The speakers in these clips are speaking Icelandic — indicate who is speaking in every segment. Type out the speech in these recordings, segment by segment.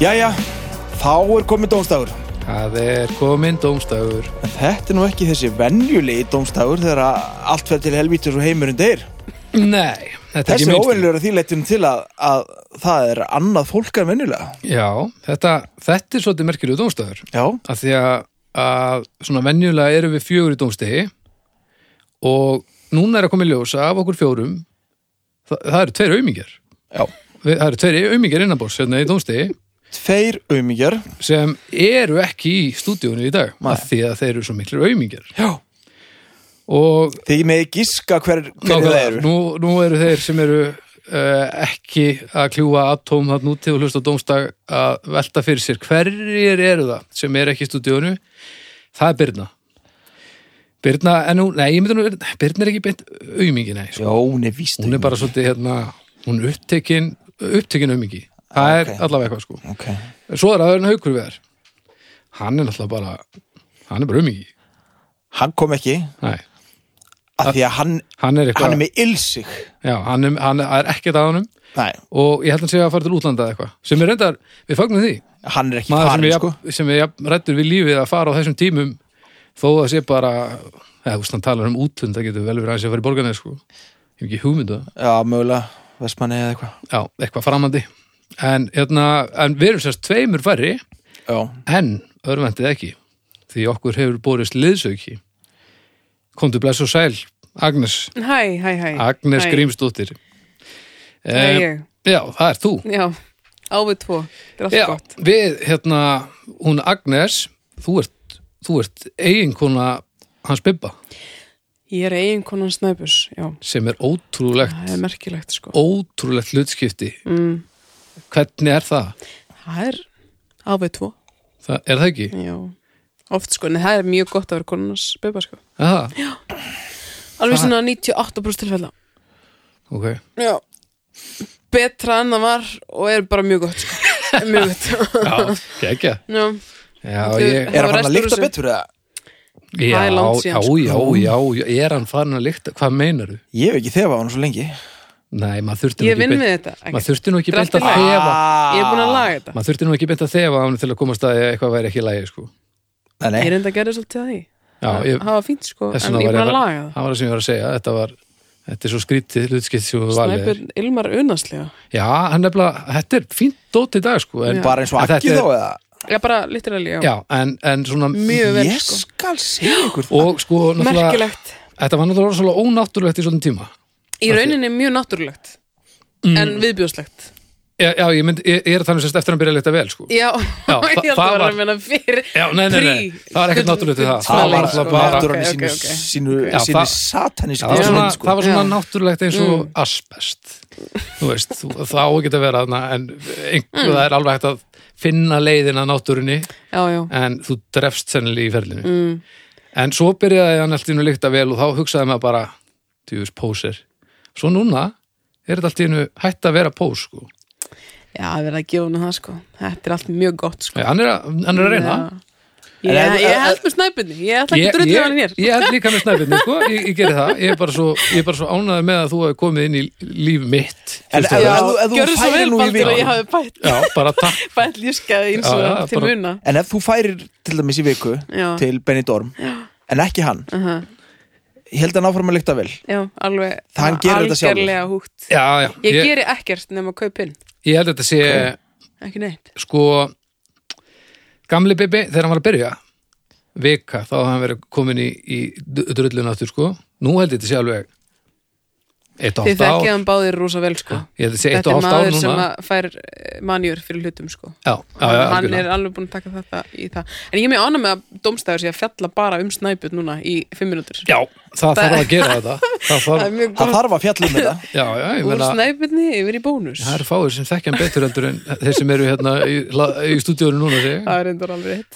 Speaker 1: Jæja, þá er komið dómstagur.
Speaker 2: Það er komin dómstagur.
Speaker 1: En þetta er nú ekki þessi venjulegi dómstagur þegar að allt fer til helvítur og heimurinn deyr.
Speaker 2: Nei, þetta er
Speaker 1: Þessi er
Speaker 2: ekki minnst.
Speaker 1: óvenjulegur að því leittunum til að, að það er annað fólk en venjulega.
Speaker 2: Já, þetta, þetta er svolítið merkilegu dómstagur.
Speaker 1: Já,
Speaker 2: Af því að, að svona venjulega erum við fjögur í dómstegi og núna er að koma í ljós að af okkur fjórum það, það eru tveir aumingjar.
Speaker 1: já.
Speaker 2: Það eru tveir aumingjar innanbors hérna í dómstegi
Speaker 1: Tveir umíkjar.
Speaker 2: sem eru ekki í stúdíunni í dag
Speaker 1: Nei.
Speaker 2: af því að þeir eru svo miklir aumingjar.
Speaker 1: Já.
Speaker 2: Og
Speaker 1: Þið með giska hver, hver það
Speaker 2: Nákvæmlega.
Speaker 1: eru.
Speaker 2: Nú, nú eru þeir sem eru uh, ekki að kljúa atóm hann úti og hlusta á dómstag að velta fyrir sér hverjir eru það sem eru ekki í stúdíónu það er Birna Birna, en hún, nei, ég myndi nú Birna er ekki beint aumingi, nei sko.
Speaker 1: Já, hún er víst.
Speaker 2: hún er bara svolítið hérna hún er upptekin, upptekin aumingi það
Speaker 1: Ah,
Speaker 2: er
Speaker 1: ok.
Speaker 2: allavega eitthvað sko
Speaker 1: Ok.
Speaker 2: svo er aðurinn haukur við þær hann er náttúrulega bara hann er bara aumingi
Speaker 1: Hann kom ekki
Speaker 2: nei,
Speaker 1: af því að hann,
Speaker 2: hann er
Speaker 1: hann
Speaker 2: eitthvað
Speaker 1: er með ylsig.
Speaker 2: já, hann er, hann er ekkert að honum
Speaker 1: Nei,
Speaker 2: og ég held að hann sé að fara til útlanda eða eitthvað sem er reyndar, við fagnum því
Speaker 1: hann er ekki
Speaker 2: maður sem
Speaker 1: farin,
Speaker 2: við,
Speaker 1: sko.
Speaker 2: jafn, sem við jafn, rættur við lífið að fara á þessum tímum þó að sé bara eða úst, hann talar um útlund, það getur vel verið aðeins að fara í borgarneið sko, ég hef ekki hugmyndu
Speaker 1: Já, mögulega, vestmanni eða eitthvað.
Speaker 2: já, eitthvað framandi en, hérna, en við erum sérst tveimur færri
Speaker 1: Já,
Speaker 2: en örvendið ekki því okkur hefur borist liðsauki komdu bless og sæl Agnes,
Speaker 3: Hæ, hæ, hæ.
Speaker 2: Agnes Eh.
Speaker 3: Hæ.
Speaker 2: Grímsdóttir
Speaker 3: Það er ég.
Speaker 2: já, það er þú
Speaker 3: Já, ávið tvo. Það er
Speaker 2: Já,
Speaker 3: alltaf gott.
Speaker 2: við, hérna, hún Agnes, þú ert, þú ert eiginkona hans Bibba
Speaker 3: Ég er eigin konan snæpus, já.
Speaker 2: sem er ótrúlegt,
Speaker 3: Það er merkilegt, sko.
Speaker 2: ótrúlegt hlutskipti.
Speaker 3: Mm,
Speaker 2: Hvernig er það?
Speaker 3: það er ávið tvo,
Speaker 2: það er það ekki?
Speaker 3: já. Oft, sko, en það er mjög gott að vera konans beba, sko.
Speaker 2: Er Það,
Speaker 3: Alveg
Speaker 2: Það-
Speaker 3: svona 98% tilfella.
Speaker 2: ok.
Speaker 3: Já. Betra en það var og er bara mjög gott, sko. mjög gott.
Speaker 2: Já, ekki.
Speaker 3: já,
Speaker 2: Já,
Speaker 3: Þú-
Speaker 2: ég,
Speaker 3: Það
Speaker 1: er
Speaker 3: var
Speaker 1: hann að
Speaker 3: restur úr
Speaker 1: líkta
Speaker 3: þessu.
Speaker 1: betur eða?
Speaker 2: já,
Speaker 3: það er
Speaker 2: já,
Speaker 3: langt síðan,
Speaker 2: já,
Speaker 3: sko.
Speaker 2: já, já, er hann farin að lykta? Hvað meinar þú?
Speaker 1: Ég hef ekki þefað hann svo lengi.
Speaker 2: Nei, maður þurfti nú
Speaker 3: ég
Speaker 2: ekki
Speaker 3: vinn
Speaker 2: beint-
Speaker 3: við þetta.
Speaker 2: maður
Speaker 3: Ekki.
Speaker 2: þurfti nú ekki
Speaker 3: Þetta er
Speaker 2: beint að
Speaker 3: allt í lagi.
Speaker 2: þefa,
Speaker 3: Ég er búin að laga þetta.
Speaker 2: maður þurfti nú ekki beint að þefa hann til að koma að staði að eitthvað væri ekki í lagi, sko.
Speaker 1: Nei,
Speaker 3: Ég
Speaker 1: nei.
Speaker 3: reynda að gera svolítið að því.
Speaker 2: Já, ég,
Speaker 3: Það var fínt, sko,
Speaker 2: Þess
Speaker 3: en
Speaker 2: vegna
Speaker 3: ég er
Speaker 2: var
Speaker 3: búin að
Speaker 2: bara-
Speaker 3: laga það.
Speaker 2: Það var það sem ég var að segja, þetta var Þetta er svo skrítið hlutskipt sem við valið
Speaker 3: Snæpur ilmar unaslega.
Speaker 2: Já, hann nefnilega, þetta er fínt dót í dag sko, en,
Speaker 1: Bara eins og
Speaker 2: en
Speaker 1: akki
Speaker 2: þetta er-
Speaker 1: þá eða?
Speaker 3: Já, bara literally, já.
Speaker 2: Já, en, en svona
Speaker 3: Mjög vel,
Speaker 1: Ég
Speaker 3: sko.
Speaker 1: skal segja ykkur það.
Speaker 2: Og sko, náttúrulega,
Speaker 3: Merkilegt.
Speaker 2: þetta var náttúrulega svolítið ónáttúrulegt í svona tíma
Speaker 3: Í rauninni mjög náttúrulegt, en
Speaker 2: Mm.
Speaker 3: viðbjóðslegt.
Speaker 2: Já, já ég, mynd, ég, ég er þannig sérst eftir að hann byrja að leta vel sko.
Speaker 3: Já,
Speaker 2: Já,
Speaker 3: ég held
Speaker 2: það- það
Speaker 3: að vera
Speaker 2: var-
Speaker 3: að menna fyrir.
Speaker 2: Já, nei, nei, nei,
Speaker 3: Prí-
Speaker 2: það var ekkert
Speaker 3: gull-
Speaker 2: náttúrulegt við það
Speaker 1: Það var
Speaker 3: Smaleg,
Speaker 1: alltaf
Speaker 3: sko.
Speaker 1: bara
Speaker 3: Ok,
Speaker 1: náttúran í
Speaker 3: ok,
Speaker 1: sínu,
Speaker 3: ok.
Speaker 1: sínu,
Speaker 2: Já,
Speaker 1: sínu
Speaker 2: það-
Speaker 1: satanísku
Speaker 2: Það var, svona,
Speaker 1: tilfinningu, sko.
Speaker 2: það var svona
Speaker 3: Já. Mm.
Speaker 2: náttúrulegt eins og asbest Þú veist, þú- það á ekki að vera þarna En einhver,
Speaker 3: Mm.
Speaker 2: það er alveg hægt að finna leiðina að náttúrunni
Speaker 3: Já, já.
Speaker 2: en þú drefst sennilega í ferlinu
Speaker 3: Mm.
Speaker 2: en svo byrjaði hann allt í einu líkta vel og þá hugsaði maður bara djúfis póser svo núna er þetta allt í einu hætt að vera pós sko.
Speaker 3: Já, það verða að gefa hún það, sko. Þetta er allt mjög gott, sko.
Speaker 2: Nei, hann, er að, hann er að reyna
Speaker 3: Já.
Speaker 1: En
Speaker 3: Ég,
Speaker 1: ef-
Speaker 3: ég
Speaker 1: ef-
Speaker 3: held með snæpunni, ég ætla ekki að
Speaker 2: ég,
Speaker 3: drullu hann
Speaker 2: ég,
Speaker 3: hér.
Speaker 2: ég held líka með snæfinni sko. ég, ég geri það, ég er bara svo, ég er bara svo ánæði með að þú hefur komið inn í líf mitt
Speaker 1: En
Speaker 2: fyrst
Speaker 1: ef-
Speaker 2: og
Speaker 1: ef-
Speaker 2: fremst.
Speaker 1: þú- ef þú
Speaker 3: Gjörðu svo
Speaker 1: færir
Speaker 3: vel,
Speaker 1: nú í
Speaker 3: Baldur, að
Speaker 1: viku.
Speaker 3: ég hafi bætt,
Speaker 2: já, bara takk
Speaker 3: bætt lífskeiði eins
Speaker 2: Já, já,
Speaker 3: og til
Speaker 2: bara-
Speaker 3: muna.
Speaker 1: En ef þú færir til dæmis í viku
Speaker 3: Já.
Speaker 1: til Benidorm, en ekki hann,
Speaker 3: Aha.
Speaker 1: ég held að hann áfram að lykta vel.
Speaker 3: Já, alveg.
Speaker 1: Það hann gerir þetta sjálfur.
Speaker 3: Algerlega hútt.
Speaker 2: já, já,
Speaker 3: Ég
Speaker 2: ég,
Speaker 3: geri ekkert nema að kaupa inn,
Speaker 2: ég held að þetta sé
Speaker 3: ekki neitt.
Speaker 2: sko gamli Bibi þegar hann var að byrja vika, þá hafði hann verið komin í, í drullun aftur sko nú held ég þetta sé alveg eitt og
Speaker 3: Þið
Speaker 2: hálft ár
Speaker 3: þekkið hann báðir rosa vel, sko.
Speaker 2: ég held að þetta sé eitt
Speaker 3: Þetta
Speaker 2: og
Speaker 3: er
Speaker 2: hálft ár
Speaker 3: maður sem
Speaker 2: núna
Speaker 3: að fær eh, manjur fyrir hlutum, sko.
Speaker 2: já, já, já,
Speaker 3: hann
Speaker 2: algjörlega.
Speaker 3: er alveg búin að taka þetta í það en ég er mjög ánæg með að domstæður sé að fjalla bara um snæput núna í fimm minútur
Speaker 2: já það
Speaker 3: Það-
Speaker 2: þarf að gera þetta það
Speaker 3: það
Speaker 2: þarf,
Speaker 3: er mjög
Speaker 1: Það
Speaker 3: gott
Speaker 1: þarf að fjalla um þetta.
Speaker 2: já, já, ég
Speaker 3: úr
Speaker 2: meina
Speaker 3: snæputni yfir í bónus
Speaker 2: það eru fáir sem þekkja hann betur heldur en þeir sem eru hérna í, hla- í stúdíónu núna sig.
Speaker 3: það er endur alveg hitt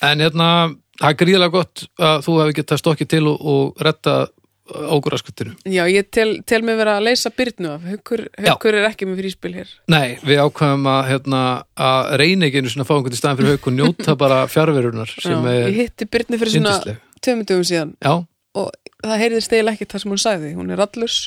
Speaker 2: en hérna, það er gríðlega gott að þú hefði getað stokkið til og, og retta águraskutinu
Speaker 3: já, ég tel, tel mig vera að leysa byrnu af haukur, haukur er ekki með fríspil hér
Speaker 2: Nei, við ákvæðum að, hérna, að reyna ekki einu svona að fá einhvern í staðan fyrir hauk og njóta bara fjárverunar
Speaker 3: já,
Speaker 2: sem er
Speaker 3: ég hitti byrnu fyrir svona
Speaker 2: yndisleg.
Speaker 3: tveimur dögum síðan
Speaker 2: Já,
Speaker 3: og það heyrðist eiginlega ekki það sem hún sagði hún er allurs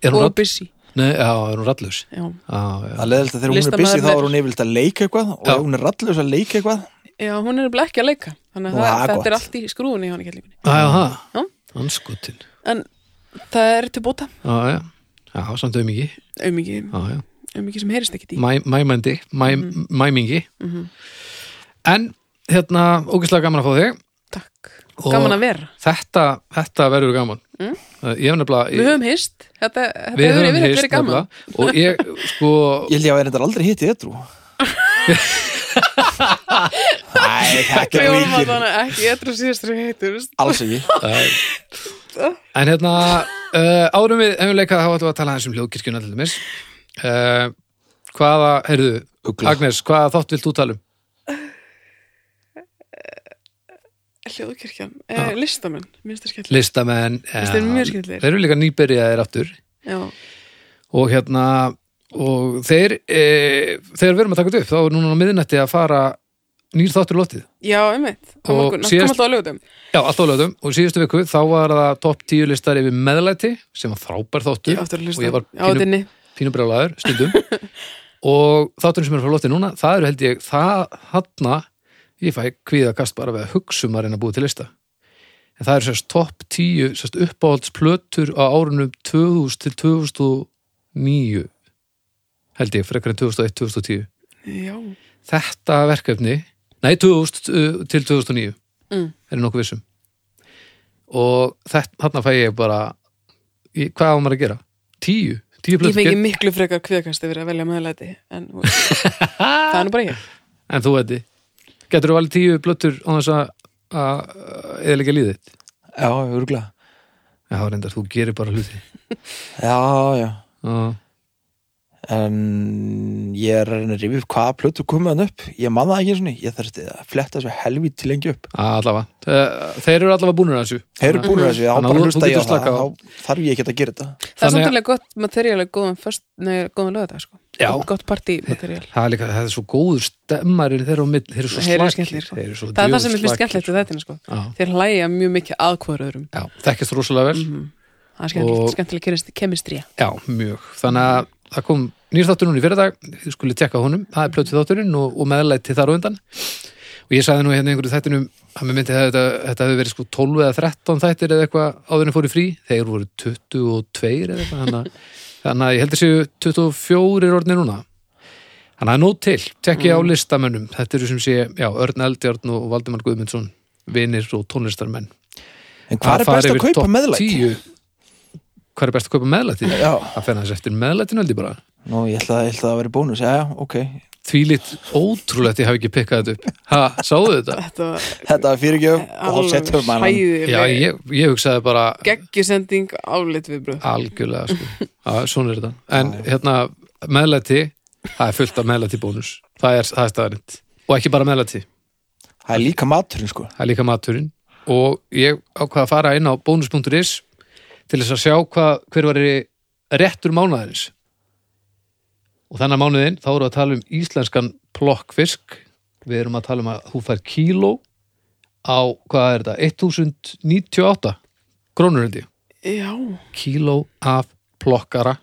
Speaker 2: er hún
Speaker 3: og
Speaker 2: að
Speaker 3: busy
Speaker 2: Nei, já, er hún rallus
Speaker 3: já,
Speaker 2: Já, já,
Speaker 1: Það leðilt að þegar hún er
Speaker 3: Listamaður
Speaker 1: busy þá
Speaker 3: verður.
Speaker 1: er hún yfirleitt að leika eitthvað og
Speaker 2: Já.
Speaker 1: ef hún er rallus að leika eitthvað
Speaker 3: já, hún er nefnilega ekki að leika þannig að
Speaker 1: Vá,
Speaker 3: það,
Speaker 1: gott.
Speaker 3: þetta er allt í skrúfunni í hann í kellingunni
Speaker 2: já, já,
Speaker 3: Já.
Speaker 2: já. Anskotin
Speaker 3: en það er til bóta
Speaker 2: Já, já, já, samt auðmiki
Speaker 3: aumingi,
Speaker 2: Já, já,
Speaker 3: aumingi sem heyrist ekkit í Mhm.
Speaker 2: Mæ, mæmandi mæ, Mæmingi En, hérna, ógeðslega gaman að fá þig
Speaker 3: takk,
Speaker 2: Og-
Speaker 3: gaman að vera
Speaker 2: Þetta, þetta verður gaman
Speaker 3: Mm.
Speaker 2: Uh, Ég hef nefnilega
Speaker 3: við höfum hist, þetta, þetta
Speaker 2: við
Speaker 3: hefur
Speaker 2: höfum
Speaker 3: verið
Speaker 2: hist
Speaker 3: verið gaman
Speaker 2: nefnilega, Og ég, sko
Speaker 1: Ég held ég að vera þetta aldrei hitti edru Æ, þetta
Speaker 3: við
Speaker 1: er
Speaker 3: vorum að
Speaker 1: vikir
Speaker 3: þannig ekki, ég er það síðast sem heitur
Speaker 1: Alls ekki
Speaker 2: uh, En hérna, uh, árum við hefum leikað þá ætlum við að tala aðeins um hljóðkirkjuna til dæmis uh, Hvaða, heyrðu,
Speaker 1: Ugla.
Speaker 2: Agnes, hvaða þátt vilt þú tala um?
Speaker 3: hljóðkirkjan, eh, listamenn minnst það skemmt,
Speaker 2: Listamenn
Speaker 3: Finnst þeir
Speaker 2: ja,
Speaker 3: mjög skemmtilegir.
Speaker 2: Þeir eru líka nýbyrjaðir aftur
Speaker 3: já,
Speaker 2: og hérna og þeir, e, þegar við erum að taka þetta upp þá er núna á miðnætti að fara nýr þáttur í lotið
Speaker 3: já, einmitt á
Speaker 2: Og
Speaker 3: morgun, það kom
Speaker 2: síðast-
Speaker 3: alltaf að lögutum
Speaker 2: Já, allt á lögðum og í síðustu viku þá var það topp tíu listar yfir meðlæti sem var frábær þáttur
Speaker 3: ég áttur að
Speaker 2: og ég
Speaker 3: hlusta
Speaker 2: var
Speaker 3: á
Speaker 2: pínu,
Speaker 3: þinni
Speaker 2: pínu brjálæður stundum og þátturinn sem er frá lotið núna það eru held ég, það hanna ég fæ kvíða kast bara við að hugsa um að reyna að búa til lista en það eru sérst topp tíu sérst uppáhaldsplötur á árunum 2000 til 2009 held ég, frekar en 2001-2010
Speaker 3: já,
Speaker 2: þetta verkefni nei, 2000 uh, til 2009
Speaker 3: Mm.
Speaker 2: er ég nokkuð vissum og þetta, þarna fæ ég bara ég, hvað á maður að gera? tíu, tíu
Speaker 3: ég
Speaker 2: plötur
Speaker 3: fengi
Speaker 2: get-
Speaker 3: miklu frekar kviðkast yfir að velja meðlæti en þú veist, það er nú bara ég
Speaker 2: en þú veitir, getur þú valið tíu plötur á þess að- að eða líka líðið þitt?
Speaker 1: Já, örgla
Speaker 2: já, reyndar, þú gerir bara hluti
Speaker 1: Já, já
Speaker 2: Já.
Speaker 1: En ég er að reyna að rifja upp hvaða plötur komið hann upp Ég man það ekki svona, ég þarf að fletta þessu helvít til lengi upp
Speaker 2: Að allavega, Eh, þeir eru allavega búnir að þessu
Speaker 1: Þeir eru búin að þessu, þá
Speaker 2: Þannig að
Speaker 1: bara
Speaker 2: þú- þú
Speaker 1: hlusta ég á
Speaker 2: getur
Speaker 1: það
Speaker 2: slakað á.
Speaker 1: Þá þarf ég ekki að gera þetta
Speaker 3: það er
Speaker 2: Þannig að-
Speaker 3: samtalið gott materiál að góðan, föst, nei, góðan lögða sko.
Speaker 2: Já.
Speaker 3: gott partí materiál
Speaker 2: það er líka, það er svo góður stemmarinn þeirra á mill, þeir eru svo
Speaker 3: Þeir eru
Speaker 2: slakir
Speaker 3: skemmtilegir, sko.
Speaker 2: þeir eru svo
Speaker 3: það er það sem
Speaker 2: djöfull
Speaker 3: er mjög
Speaker 2: slakir.
Speaker 3: skemmtilegt við þetta sko.
Speaker 2: Já.
Speaker 3: þeir hlæja mjög mikið að hver öðrum
Speaker 2: Já, þekkist rosalega vel
Speaker 3: Mhm. það er skemmtilegt,
Speaker 2: Og-
Speaker 3: skemmtileg kemist- kemistría
Speaker 2: Já, mjög. Þannig að það kom nýr þáttur núna í fyrir dag, þið skulle tekka honum, það er plötið þátturinn og, og meðlæti þar á undan. Og ég sagði nú hérna í einhverju þættinum að mér myndi að þetta, þetta hefur verið sko 12 eða 13 þættir eða eitthvað áður en fóru í frí, þeir voru 22 eða eitthvað, þannig að, þannig að ég heldur séu 24 er orðni núna. Þannig að nóg til, tekki á listamönnum, þetta eru sem sé, já, Örn Eldjárn og Valdimar Guðmundsson, vinnir og tónlistarmenn.
Speaker 1: En hvað er
Speaker 2: fara
Speaker 1: best að
Speaker 2: yfir
Speaker 1: kaupa
Speaker 2: topp
Speaker 1: meðlæti?
Speaker 2: 10. Hvar er best að kaupa meðlæti?
Speaker 1: Já,
Speaker 2: Það fer aðeins eftir meðlætinu held ég bara.
Speaker 1: nú ég ætla, ég ætla að vera bónus, já, já, ok
Speaker 2: Því lit ótrúlegt ég hafi ekki pikkað þetta upp. Ha, sáðu þetta?
Speaker 3: þetta var
Speaker 1: Þetta er fyrirgjöf og
Speaker 3: alveg
Speaker 1: setjum mælan
Speaker 2: Já,
Speaker 3: hæðileg
Speaker 2: ég, ég hugsaði bara
Speaker 3: geggjusending álit við bröð
Speaker 2: algjörlega, sko. Já, svona er þetta. En hérna, meðlæti, það er fullt af meðlæti bónus. Það er, það er staðarind. Og ekki bara meðlæti,
Speaker 1: Það er líka maturinn sko
Speaker 2: það er líka maturinn. Og ég ákvað að fara inn á bónus.is til þess að sjá hvað, hver var réttur mánuðarins. Og þannig að mánuðin, þá erum við að tala um íslenskan plokkfisk. Við erum að tala um að þú fær kíló á, hvað er þetta, 1098 krónur held ég.
Speaker 3: já,
Speaker 2: Kíló af plokkara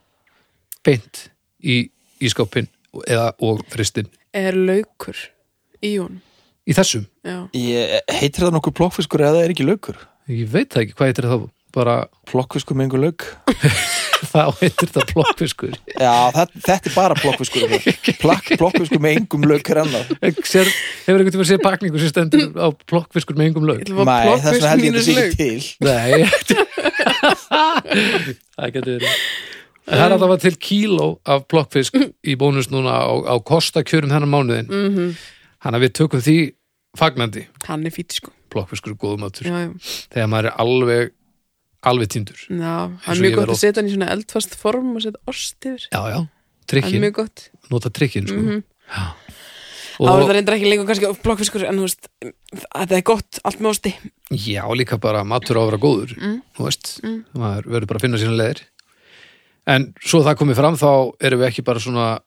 Speaker 2: beint í, í skápin eða og fristinn.
Speaker 3: er laukur í hún
Speaker 2: Í þessum,
Speaker 3: já,
Speaker 1: ég, Heitir það nokkuð plokkfiskur eða það er ekki laukur?
Speaker 2: ég veit það ekki hvað heitir það bara,
Speaker 1: Plokkfiskur með einhver lauk
Speaker 2: þá heitir það plokkfiskur.
Speaker 1: Já, það, þetta er bara plokkfiskur Plakk plokkfiskur með engum lauk er annað
Speaker 2: Sér, hefur einhvern tíma séð pakningu sem stendur á plokkfiskur með engum lög?
Speaker 3: ég ætla að fá
Speaker 1: Nei, þess vegna held
Speaker 3: plokkfisk
Speaker 1: ég þetta
Speaker 3: mínus
Speaker 1: sé
Speaker 3: lauk
Speaker 1: ekki til
Speaker 2: Nei Það getur verið En Það er alltaf til kíló af blokkfisk í bónus núna á, á kostakjörum þennan mánuðin mm -hmm.
Speaker 3: Mhm.
Speaker 2: Þannig að við tökum því fagnandi
Speaker 3: hann er fýtt sko
Speaker 2: blokkfiskur og góðumatur
Speaker 3: já, já.
Speaker 2: þegar maður er alveg alveg tindur
Speaker 3: Já, hann
Speaker 2: Eins
Speaker 3: er
Speaker 2: og
Speaker 3: mjög
Speaker 2: ég
Speaker 3: gott
Speaker 2: verð
Speaker 3: að setja hann í svona eldfast form og setja ost yfir
Speaker 2: Já, já,
Speaker 3: hann er
Speaker 2: trikkin,
Speaker 3: mjög Mhm. gott
Speaker 2: nota trikkin sko. mm
Speaker 3: og... Það
Speaker 2: og
Speaker 3: reyndir ekki lengur kannski blokkfiskur en þú veist, þetta er gott allt með osti
Speaker 2: já, líka bara matur á að vera góður
Speaker 3: Mm.
Speaker 2: þú veist, maður verður bara að finna sína leðir en svo það komið fram þá erum við ekki bara svona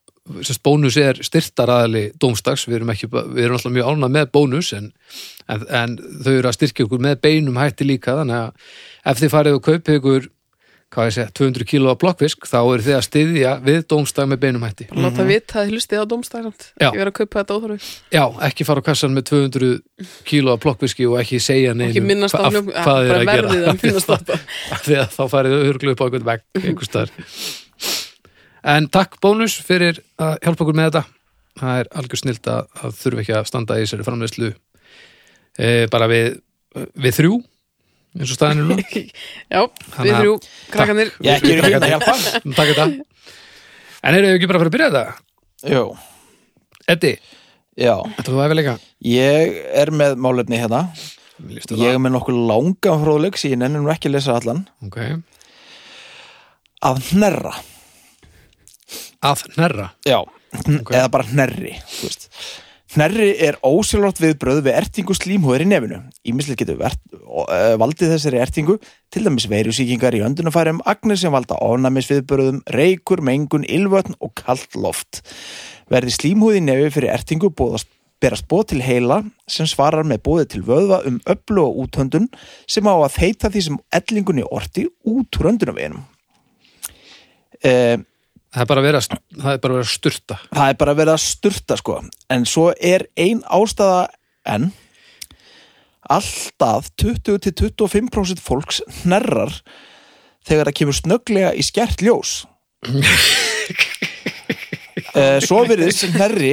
Speaker 2: sérst, bónus er styrtaraðali dómstags, við erum, ekki, ba- við erum alltaf mjög ánað með bónus en, en, en þau eru að styrkja okkur með beinum hætti líka þannig að ef þið farið og kaupið ykkur hvað ég segja, 200 kíló af blokkfisk þá eru þið að styðja við dómstag með beinum hætti
Speaker 3: Bara láta vita að þið hlustið á domstæðan
Speaker 2: Mhm. Já.
Speaker 3: Ég verið að kaupa þetta óþorfi
Speaker 2: já, ekki fara á kassan með 200 kíló af blokkfiski og ekki segja neinu
Speaker 3: Ekki minnast á hljóf
Speaker 2: hvað þið er að
Speaker 3: Verðið
Speaker 2: gera
Speaker 3: að minnast á þetta
Speaker 2: því að þá farið þau örglu upp á einhvern vegg einhvers staðar en takk bónus fyrir að hjálpa okkur með þetta það er algjör snilt að, að þurfa ekki að standa í þessari framleiðslu e, bara við, við þrjú eins og staðinu nú
Speaker 3: Já, við
Speaker 2: að-
Speaker 3: þrjú, krakkanir
Speaker 1: Ég ekki er hérna að hjálpa
Speaker 2: takk þetta en eru þau ekki bara að fara að byrja þetta
Speaker 1: Jú,
Speaker 2: Eddi,
Speaker 1: já
Speaker 2: þetta þú æfilega
Speaker 1: Ég er með málefni hérna Ég er með nokkuð langan fróðleik sem ég nennir nú ekki að lesa allan
Speaker 2: ok,
Speaker 1: Að hnerra
Speaker 2: að hnerra
Speaker 1: Já, eða bara hnerri þú veist. Hnerri er ósjálfrátt viðbröð við ertingu slímhúður í nefinu. Ímislið getur vert, eh, valdið þessari ertingu, til dæmis veirusýkingar í öndunafærum, agnir sem valda ofnæmisviðbröðum, reykur, mengun, ylvötn og kalt loft. Verði slímhúði nefi fyrir ertingu bóðast berast bóð til heila sem svarar með bóði til vöðva um öflu og útöndun sem á að þeita því sem ellingunni orti út úr öndunaveginum. Eh,
Speaker 2: það er bara að vera, það er bara að vera að sturta
Speaker 1: það er bara verið að sturta sko en svo er ein ástæða en alltaf 20-25% fólks hnerrar þegar það kemur snögglega í skert ljós Eh, Svo virðist hnerri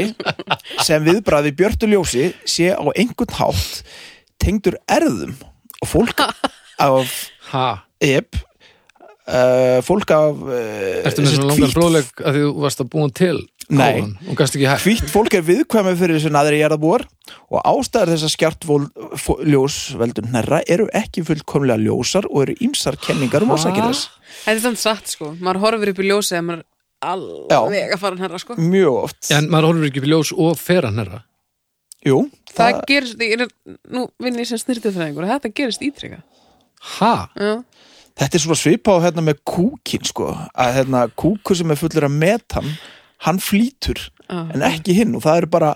Speaker 1: sem viðbraði björtu ljósi sé á einhvern hátt tengdur erðum og fólk af
Speaker 2: ha,
Speaker 1: ep, uh, fólk af uh,
Speaker 2: ertu með svona langan bróðleg að því þú varst að búa hann til
Speaker 1: Nei.
Speaker 2: áðan og gast ekki hægt
Speaker 1: Hvítt fólk er viðkvæmið fyrir þessu naðri jarðabúar og ástæður þess að skjart ljós veldum hnerra eru ekki fullkomlega ljósar og eru ýmsar kenningar um orsakir þess.
Speaker 3: Þetta er þannig satt sko, maður horfir upp í ljósið að maður er alveg að fara hérna
Speaker 2: Mm,
Speaker 3: sko
Speaker 1: Mjög oft.
Speaker 2: En maður horfir ekki upp í ljós og fer að hnerra
Speaker 1: Jú,
Speaker 3: Það
Speaker 1: það,
Speaker 3: gerist, ég er, nú vinn ég sem snirtufræðingur Þetta gerist ítreka
Speaker 2: Ha?
Speaker 3: Já,
Speaker 1: þetta er svona svipa á hérna með kúkin sko, að hérna kúku sem er fullur af metan, hann flýtur
Speaker 3: Já.
Speaker 1: en ekki hinn og það eru bara,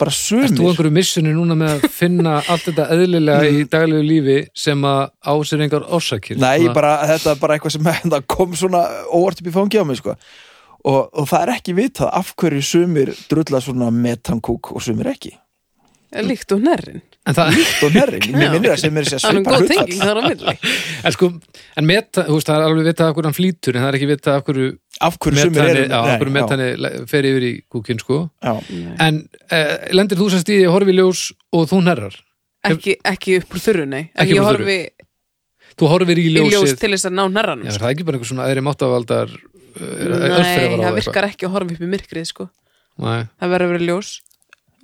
Speaker 1: bara
Speaker 2: Ert þú á
Speaker 1: sömur.
Speaker 2: einhverju missinu núna með að finna allt þetta eðlilega í daglegu lífi sem að á sér engar orsakir?
Speaker 1: Mm. Nei,
Speaker 2: Svona-
Speaker 1: bara, þetta er bara eitthvað sem hérna, kom svona óvart upp í fangi á mig sko. og, og það er ekki vitað af hverju sömur drulla svona metankúk og sömur ekki.
Speaker 3: líkt og nærrin
Speaker 2: En, það,
Speaker 1: líkt og nærri, mér minnir að sem er þessi
Speaker 3: Það er um
Speaker 1: svipa
Speaker 3: góð
Speaker 1: hlutfall
Speaker 3: tenging þar á milli
Speaker 2: en sko, en meta, þú veist, það er alveg vitað af hverju hann flýtur en það er ekki vitað af hverju
Speaker 1: af hverju sumir
Speaker 2: metani,
Speaker 1: eru
Speaker 2: já, af hverju metani le- fer yfir í kúkinn, sko.
Speaker 1: já,
Speaker 2: En eh, lendir þú sem stíði horfi í ljós og þú hnerrar?
Speaker 3: ekki, ekki upp úr þurru, nei
Speaker 2: Ekki
Speaker 3: ekki
Speaker 2: upp
Speaker 3: ég
Speaker 2: úr þurru.
Speaker 3: horfi
Speaker 2: Þú horfir í
Speaker 3: í
Speaker 2: ljósið.
Speaker 3: ljós til þess að ná nærranum
Speaker 2: Já, er það ekki bara einhver svona aðri máttavaldar
Speaker 3: Nei,
Speaker 2: örfrefar á
Speaker 3: það
Speaker 2: eitthvað?
Speaker 3: virkar ekki að horfa upp í myrkrið sko
Speaker 2: Nei.
Speaker 3: Það verður að vera ljós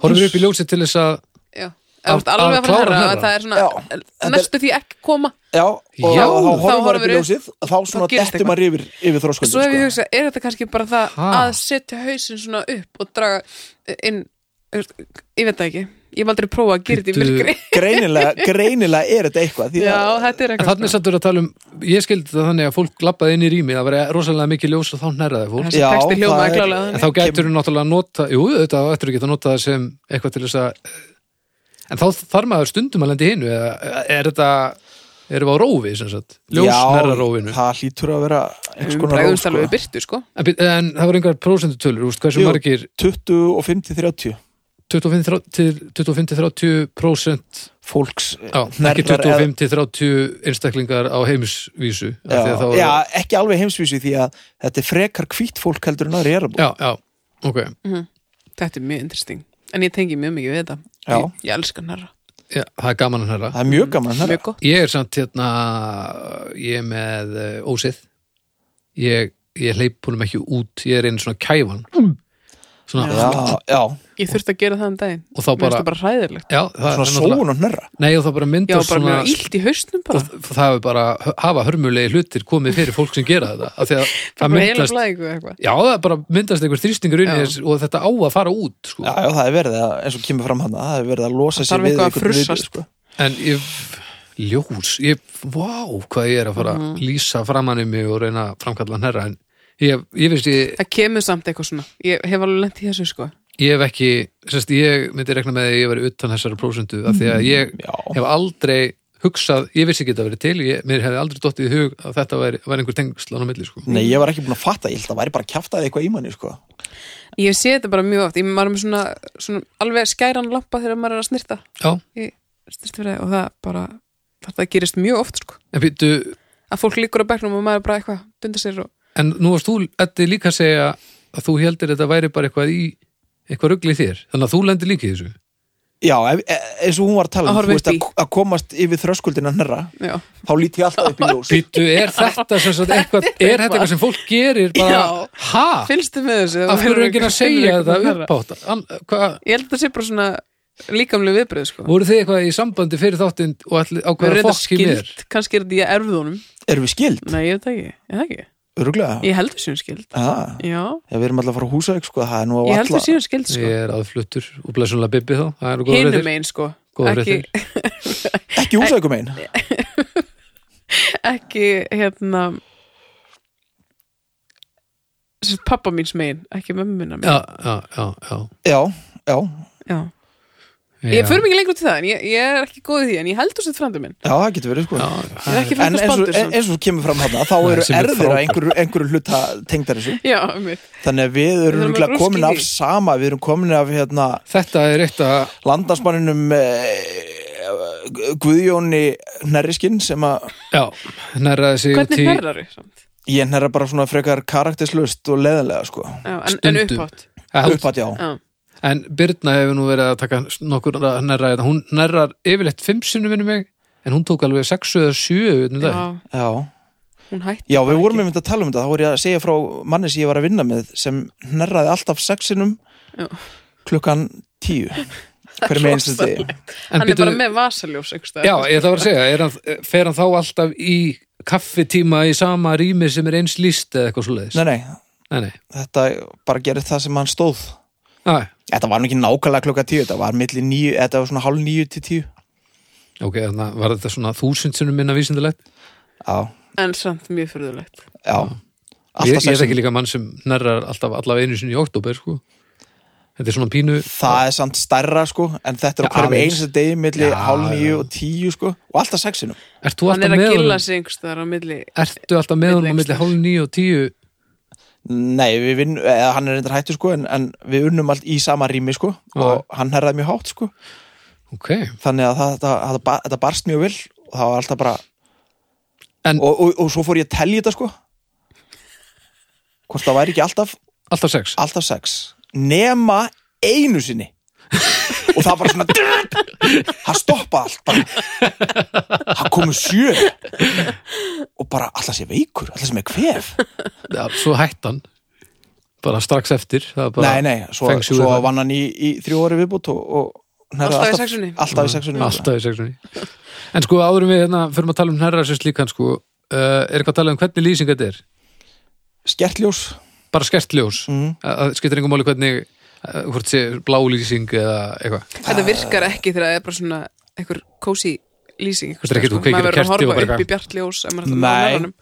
Speaker 2: Horfir upp í ljósið til þess að
Speaker 3: Já,
Speaker 2: Að-
Speaker 3: að, að,
Speaker 2: að
Speaker 3: alveg að fara
Speaker 2: klára
Speaker 3: hærra,
Speaker 2: hnerra.
Speaker 3: að það er svona
Speaker 1: Já, þetta er-
Speaker 3: næstu því ekki koma
Speaker 1: já, og þá
Speaker 2: Já,
Speaker 3: þá
Speaker 1: horfum maður
Speaker 3: horfum
Speaker 1: upp í
Speaker 3: við-
Speaker 1: ljósið og þá svona
Speaker 3: gerist
Speaker 1: dettum maður yfir, yfir sko. þrósköldum
Speaker 3: Svo hef ég hugsað, er þetta kannski bara það
Speaker 2: Ha?
Speaker 3: að setja hausinn svona upp og draga eh, inn þú veist, ég veit það ekki, ég hef aldrei prófað að gera þetta í
Speaker 2: Bíddu.
Speaker 3: myrkri
Speaker 1: greinilega, greinilega er þetta eitthvað því
Speaker 3: Já,
Speaker 1: að
Speaker 3: þetta er
Speaker 2: En
Speaker 3: eitthvað
Speaker 2: þannig sattur að tala um, ég skildi þetta þannig að fólk lappaði inn í rými, það var rosalega mikið ljós og þá hnerraði fólk.
Speaker 3: þessi
Speaker 1: Já,
Speaker 3: texti
Speaker 1: það
Speaker 3: hljómaði
Speaker 1: er-
Speaker 3: klálega
Speaker 2: En
Speaker 3: þannig.
Speaker 2: þá getur þú náttúrulega að nota, jú, þetta á eftir að geta nota það sem eitthvað til þess að, en þá þarf maður stundum að lendi hinu, eða er þetta, erum við á rófi, sem sagt, ljós hnerra rófinu.
Speaker 1: það hlýtur að vera einhvers
Speaker 3: Við
Speaker 1: konar róf
Speaker 3: bregðumst
Speaker 1: sko.
Speaker 3: alveg við byrtu sko
Speaker 2: En, bý- en það voru einhver prósendutölur, úst, hversu
Speaker 1: Jú.
Speaker 2: margir,
Speaker 1: 25 til 30
Speaker 2: 25 þrá- til 25-30 prósent,
Speaker 1: fólks eh,
Speaker 2: já, ekki 25-30 einstaklingar á heimisvísu, af því
Speaker 1: já,
Speaker 2: að þá
Speaker 1: já,
Speaker 2: eru-
Speaker 1: ekki alveg heimsvísu því að þetta er frekar hvít fólk heldur en aðri erabú
Speaker 2: já, já, ok,
Speaker 3: Þetta er mjög interesting, en ég tengi mjög mikið við þetta
Speaker 1: Já.
Speaker 3: Ég, ég elska nærra,
Speaker 2: já, það er gaman að hnerra.
Speaker 1: það er mjög gaman
Speaker 3: mjög
Speaker 1: hnerra.
Speaker 3: gott
Speaker 2: Ég er samt hérna ég er með eh, ósið ég, ég hleyp húnum ekki út ég er einu svona kæfan
Speaker 3: Mm.
Speaker 2: svona,
Speaker 1: já, já,
Speaker 3: Ég þurfti að gera það um daginn,
Speaker 2: Og þá
Speaker 3: Mér finnst
Speaker 2: bara-
Speaker 3: það bara hræðilegt
Speaker 2: já, það
Speaker 1: svona
Speaker 2: er náttúrulega-
Speaker 1: sóun og hnerra
Speaker 2: Nei, og það bara
Speaker 3: Já,
Speaker 2: myndast
Speaker 3: bara
Speaker 2: svona
Speaker 3: mjög illt í haustnum bara
Speaker 2: og það hefur bara hafa hörmulegi hlutir komið fyrir fólk sem gera þetta af því að það
Speaker 3: Bara heila
Speaker 2: myndast
Speaker 3: blæðingu eitthvað
Speaker 2: já, það bara myndast einhver þrýstingur inn í
Speaker 3: Já.
Speaker 2: þess og þetta á að fara út sko.
Speaker 1: Já, já, það er verið að, eins og kemur fram hann það er verið að losa
Speaker 3: Það
Speaker 1: sér
Speaker 3: þarf
Speaker 1: við
Speaker 3: eitthvað að
Speaker 1: einhvern
Speaker 3: frussast.
Speaker 1: viðbjóð, sko.
Speaker 2: en ég ljós, ég, vá hvað ég er að fara að
Speaker 3: Mhm.
Speaker 2: lýsa framan í mig og reyna að framkalla hnerra en ég, ég veist ég
Speaker 3: Það kemur samt eitthvað svona, ég hef alveg lent í þessu sko
Speaker 2: Ég hef ekki, sérst, ég myndi rekna með að ég veri utan þessari prósundu af því að ég
Speaker 1: Mm, Já.
Speaker 2: hef aldrei hugsað, ég vissi ekki þetta verið til ég, mér hefði aldrei dottið í hug að þetta væri, væri einhver tengsl á milli sko.
Speaker 1: Nei, ég var ekki búin að fatta, ég held að væri bara að kjafta eitthvað í manni, sko.
Speaker 3: Ég sé þetta bara mjög oft, ég var með svona, svona alveg skæran lampa þegar maður er að snirta
Speaker 2: Já,
Speaker 3: í snirtifræði og það bara þetta gerist mjög oft sko
Speaker 2: en býttu
Speaker 3: að fólk líkur á bekknum og maður bara eitthvað dundar sér og
Speaker 2: en nú varst þú, Eddi, líka að segja að þú heldur þetta væri bara eitthvað í eitthvað ruggli þér, þannig að þú lendir líka í þessu
Speaker 1: Já, ef, e- eins og hún var að tala
Speaker 3: Að
Speaker 1: um,
Speaker 3: horfa
Speaker 1: þú veist,
Speaker 3: upp
Speaker 1: að, að komast yfir þröskuldina hnerra,
Speaker 3: já,
Speaker 1: þá lít ég alltaf upp í ljós.
Speaker 2: Býttu, er þetta sem sagt eitthvað, er þetta eitthvað sem fólk gerir bara,
Speaker 3: Já.
Speaker 2: ha,
Speaker 3: finnst þið með þessu
Speaker 2: af hverju er enginn að segja þetta
Speaker 3: Ég
Speaker 2: uppátt hvað,
Speaker 3: held að það sé bara svona líkamlega viðbröð sko
Speaker 2: voru þið eitthvað í sambandi fyrir þáttinn og allir ákveður að
Speaker 3: reyndar
Speaker 2: fokki mér
Speaker 3: kannski er þetta ég erfið honum
Speaker 1: Erum við skild?
Speaker 3: Nei, ég veit það ekki, ég, ekki.
Speaker 1: Öruglega?
Speaker 3: ég held þessu skild
Speaker 1: Já,
Speaker 3: Já,
Speaker 1: Já, við erum alltaf að fara á húsauk, sko, það er nú á
Speaker 3: ég held
Speaker 1: alla.
Speaker 3: þessu skild sko
Speaker 2: ég er aðfluttur og blessunlega bibbi þá það eru góður
Speaker 3: Hinum
Speaker 2: reyðir
Speaker 3: einn sko
Speaker 2: Góðar
Speaker 3: ekki,
Speaker 1: Ekki húsaukum einn.
Speaker 3: ekki hérna sem sagt pappa míns megin, ekki mömmu minna
Speaker 2: já,
Speaker 3: megin
Speaker 2: já, já, já,
Speaker 1: Já, já,
Speaker 3: já.
Speaker 2: já.
Speaker 3: Ég fyrir mikið lengur út í það en ég, ég er ekki góð í því en ég held þessu frændi minn
Speaker 1: já, það getur verið, sko.
Speaker 2: já,
Speaker 3: Ég er ekki
Speaker 1: En
Speaker 3: frændi
Speaker 1: eins og,
Speaker 3: spandur
Speaker 1: en- eins og kemur fram hana, þá eru
Speaker 2: sem er
Speaker 1: erðir að
Speaker 2: frábært.
Speaker 1: einhverju, einhverju hluta tengdar þessu.
Speaker 3: Já, mér
Speaker 1: Þannig að við
Speaker 3: Við
Speaker 1: erum
Speaker 3: erum að
Speaker 1: örugglega
Speaker 3: grúska í
Speaker 1: komin af
Speaker 3: því.
Speaker 1: sama, við erum komin af hérna,
Speaker 2: þetta er eitt að
Speaker 1: landarsmanninum eh, Guðjóni Nærriskinn sem að
Speaker 2: já, nærraði sig út
Speaker 3: Hvernig
Speaker 2: í
Speaker 3: herrar við samt?
Speaker 1: ég nærra bara svona frekar karakterslust og leðanlega sko
Speaker 3: Já, en, en
Speaker 2: Stundum.
Speaker 3: upphátt
Speaker 2: Já,
Speaker 1: upphatt já,
Speaker 3: Já,
Speaker 2: en Birna hefur nú verið að taka nokkur nærraði þetta, hún nærrar yfirleitt fimm sinnum minni mig, en hún tók alveg sexu eða sjö, veitum
Speaker 3: já,
Speaker 2: það
Speaker 1: já
Speaker 3: hún hætti
Speaker 1: já við vorum einmitt að tala um þetta, þá voru ég að segja frá manni sem ég var að vinna með sem nærraði alltaf sexinum
Speaker 3: Já.
Speaker 1: klukkan tíu hver með eins og þetta
Speaker 2: en
Speaker 3: Hann er bara með vasaljós einhvers staðar.
Speaker 2: Já, ég ætla að vera að segja, er hann, fer hann þá alltaf í kaffitíma í sama rými sem er eins líst eða eitthvað svo leiðis?
Speaker 1: nei nei,
Speaker 2: Nei, nei.
Speaker 1: þetta bara gerði það sem hann stóð
Speaker 2: Ah,
Speaker 1: þetta var nú ekki nákvæmlega klukkan tíu, þetta var milli níu, þetta var svona hálf níu til tíu
Speaker 2: ok, þannig að var þetta svona þúsundsinnum minna vísindilegt?
Speaker 1: já,
Speaker 3: En samt mjög fyrðulegt
Speaker 1: já alltaf
Speaker 2: Ég, ég er ekki
Speaker 1: sexinum,
Speaker 2: líka mann sem nærrar alltaf allavega einu sinni í oktober, sko. Þetta er svona pínu...
Speaker 1: það er samt stærra sko en þetta er
Speaker 2: Já,
Speaker 1: á hverjum
Speaker 2: aðeins.
Speaker 1: eins og degi milli
Speaker 2: Já,
Speaker 1: hálf níu
Speaker 2: já.
Speaker 1: og tíu sko og alltaf sexinum
Speaker 2: Ert þú
Speaker 3: Hann
Speaker 2: alltaf
Speaker 3: er að
Speaker 2: með
Speaker 3: gilla
Speaker 2: honum?
Speaker 3: sig einhvers staðar á milli
Speaker 2: Ertu alltaf með honum á milli
Speaker 3: einhvers.
Speaker 2: hálf níu og tíu?
Speaker 1: Nei, við vinnum, eða hann er reyndar hættu sko en, en við unnum allt í sama rými sko og hann herraði mjög hátt sko
Speaker 2: Ok.
Speaker 1: þannig að það, það, það, það, það barst mjög vel og það var alltaf bara
Speaker 2: En-
Speaker 1: og, og, og svo fór ég að telja þetta sko hvort það væri ekki alltaf
Speaker 2: Alltaf sex?
Speaker 1: alltaf sex nema einu sinni og það bara svona það stoppaði allt bara það komu sjö og bara alltaf sé veikur alltaf sem er kvef
Speaker 2: Já, svo hættan. Bara strax eftir. það er Bara...
Speaker 1: nei, nei, svo,
Speaker 2: feng shui
Speaker 1: svo
Speaker 2: það.
Speaker 1: vann hann í, í þrjú ári viðbútt og, og hnerraði
Speaker 3: Alltaf í sexunni.
Speaker 1: alltaf í sexunni
Speaker 2: Alltaf í sexunni En sko áðurum við hérna, fyrir að tala um hnerra sem slíkan sko, uh, er eitthvað að tala um hvernig lýsing þetta er
Speaker 1: skertljós
Speaker 2: bara skert ljós
Speaker 1: Mhm.
Speaker 2: að að skiptir einhver máli hvernig uh, hvort sé blá lýsing eða eitthvað
Speaker 3: Þetta virkar ekki þegar það er bara svona einhver kósi lýsing einhvers
Speaker 2: Þetta er ekkert
Speaker 3: staðar,
Speaker 2: þú kveikir
Speaker 3: sko.
Speaker 2: á
Speaker 3: Maður verður
Speaker 2: kerti og
Speaker 3: að
Speaker 2: bara
Speaker 3: horfa upp í
Speaker 2: eitthvað.
Speaker 3: bjart ljós ef maður
Speaker 1: Nei.
Speaker 3: er Nei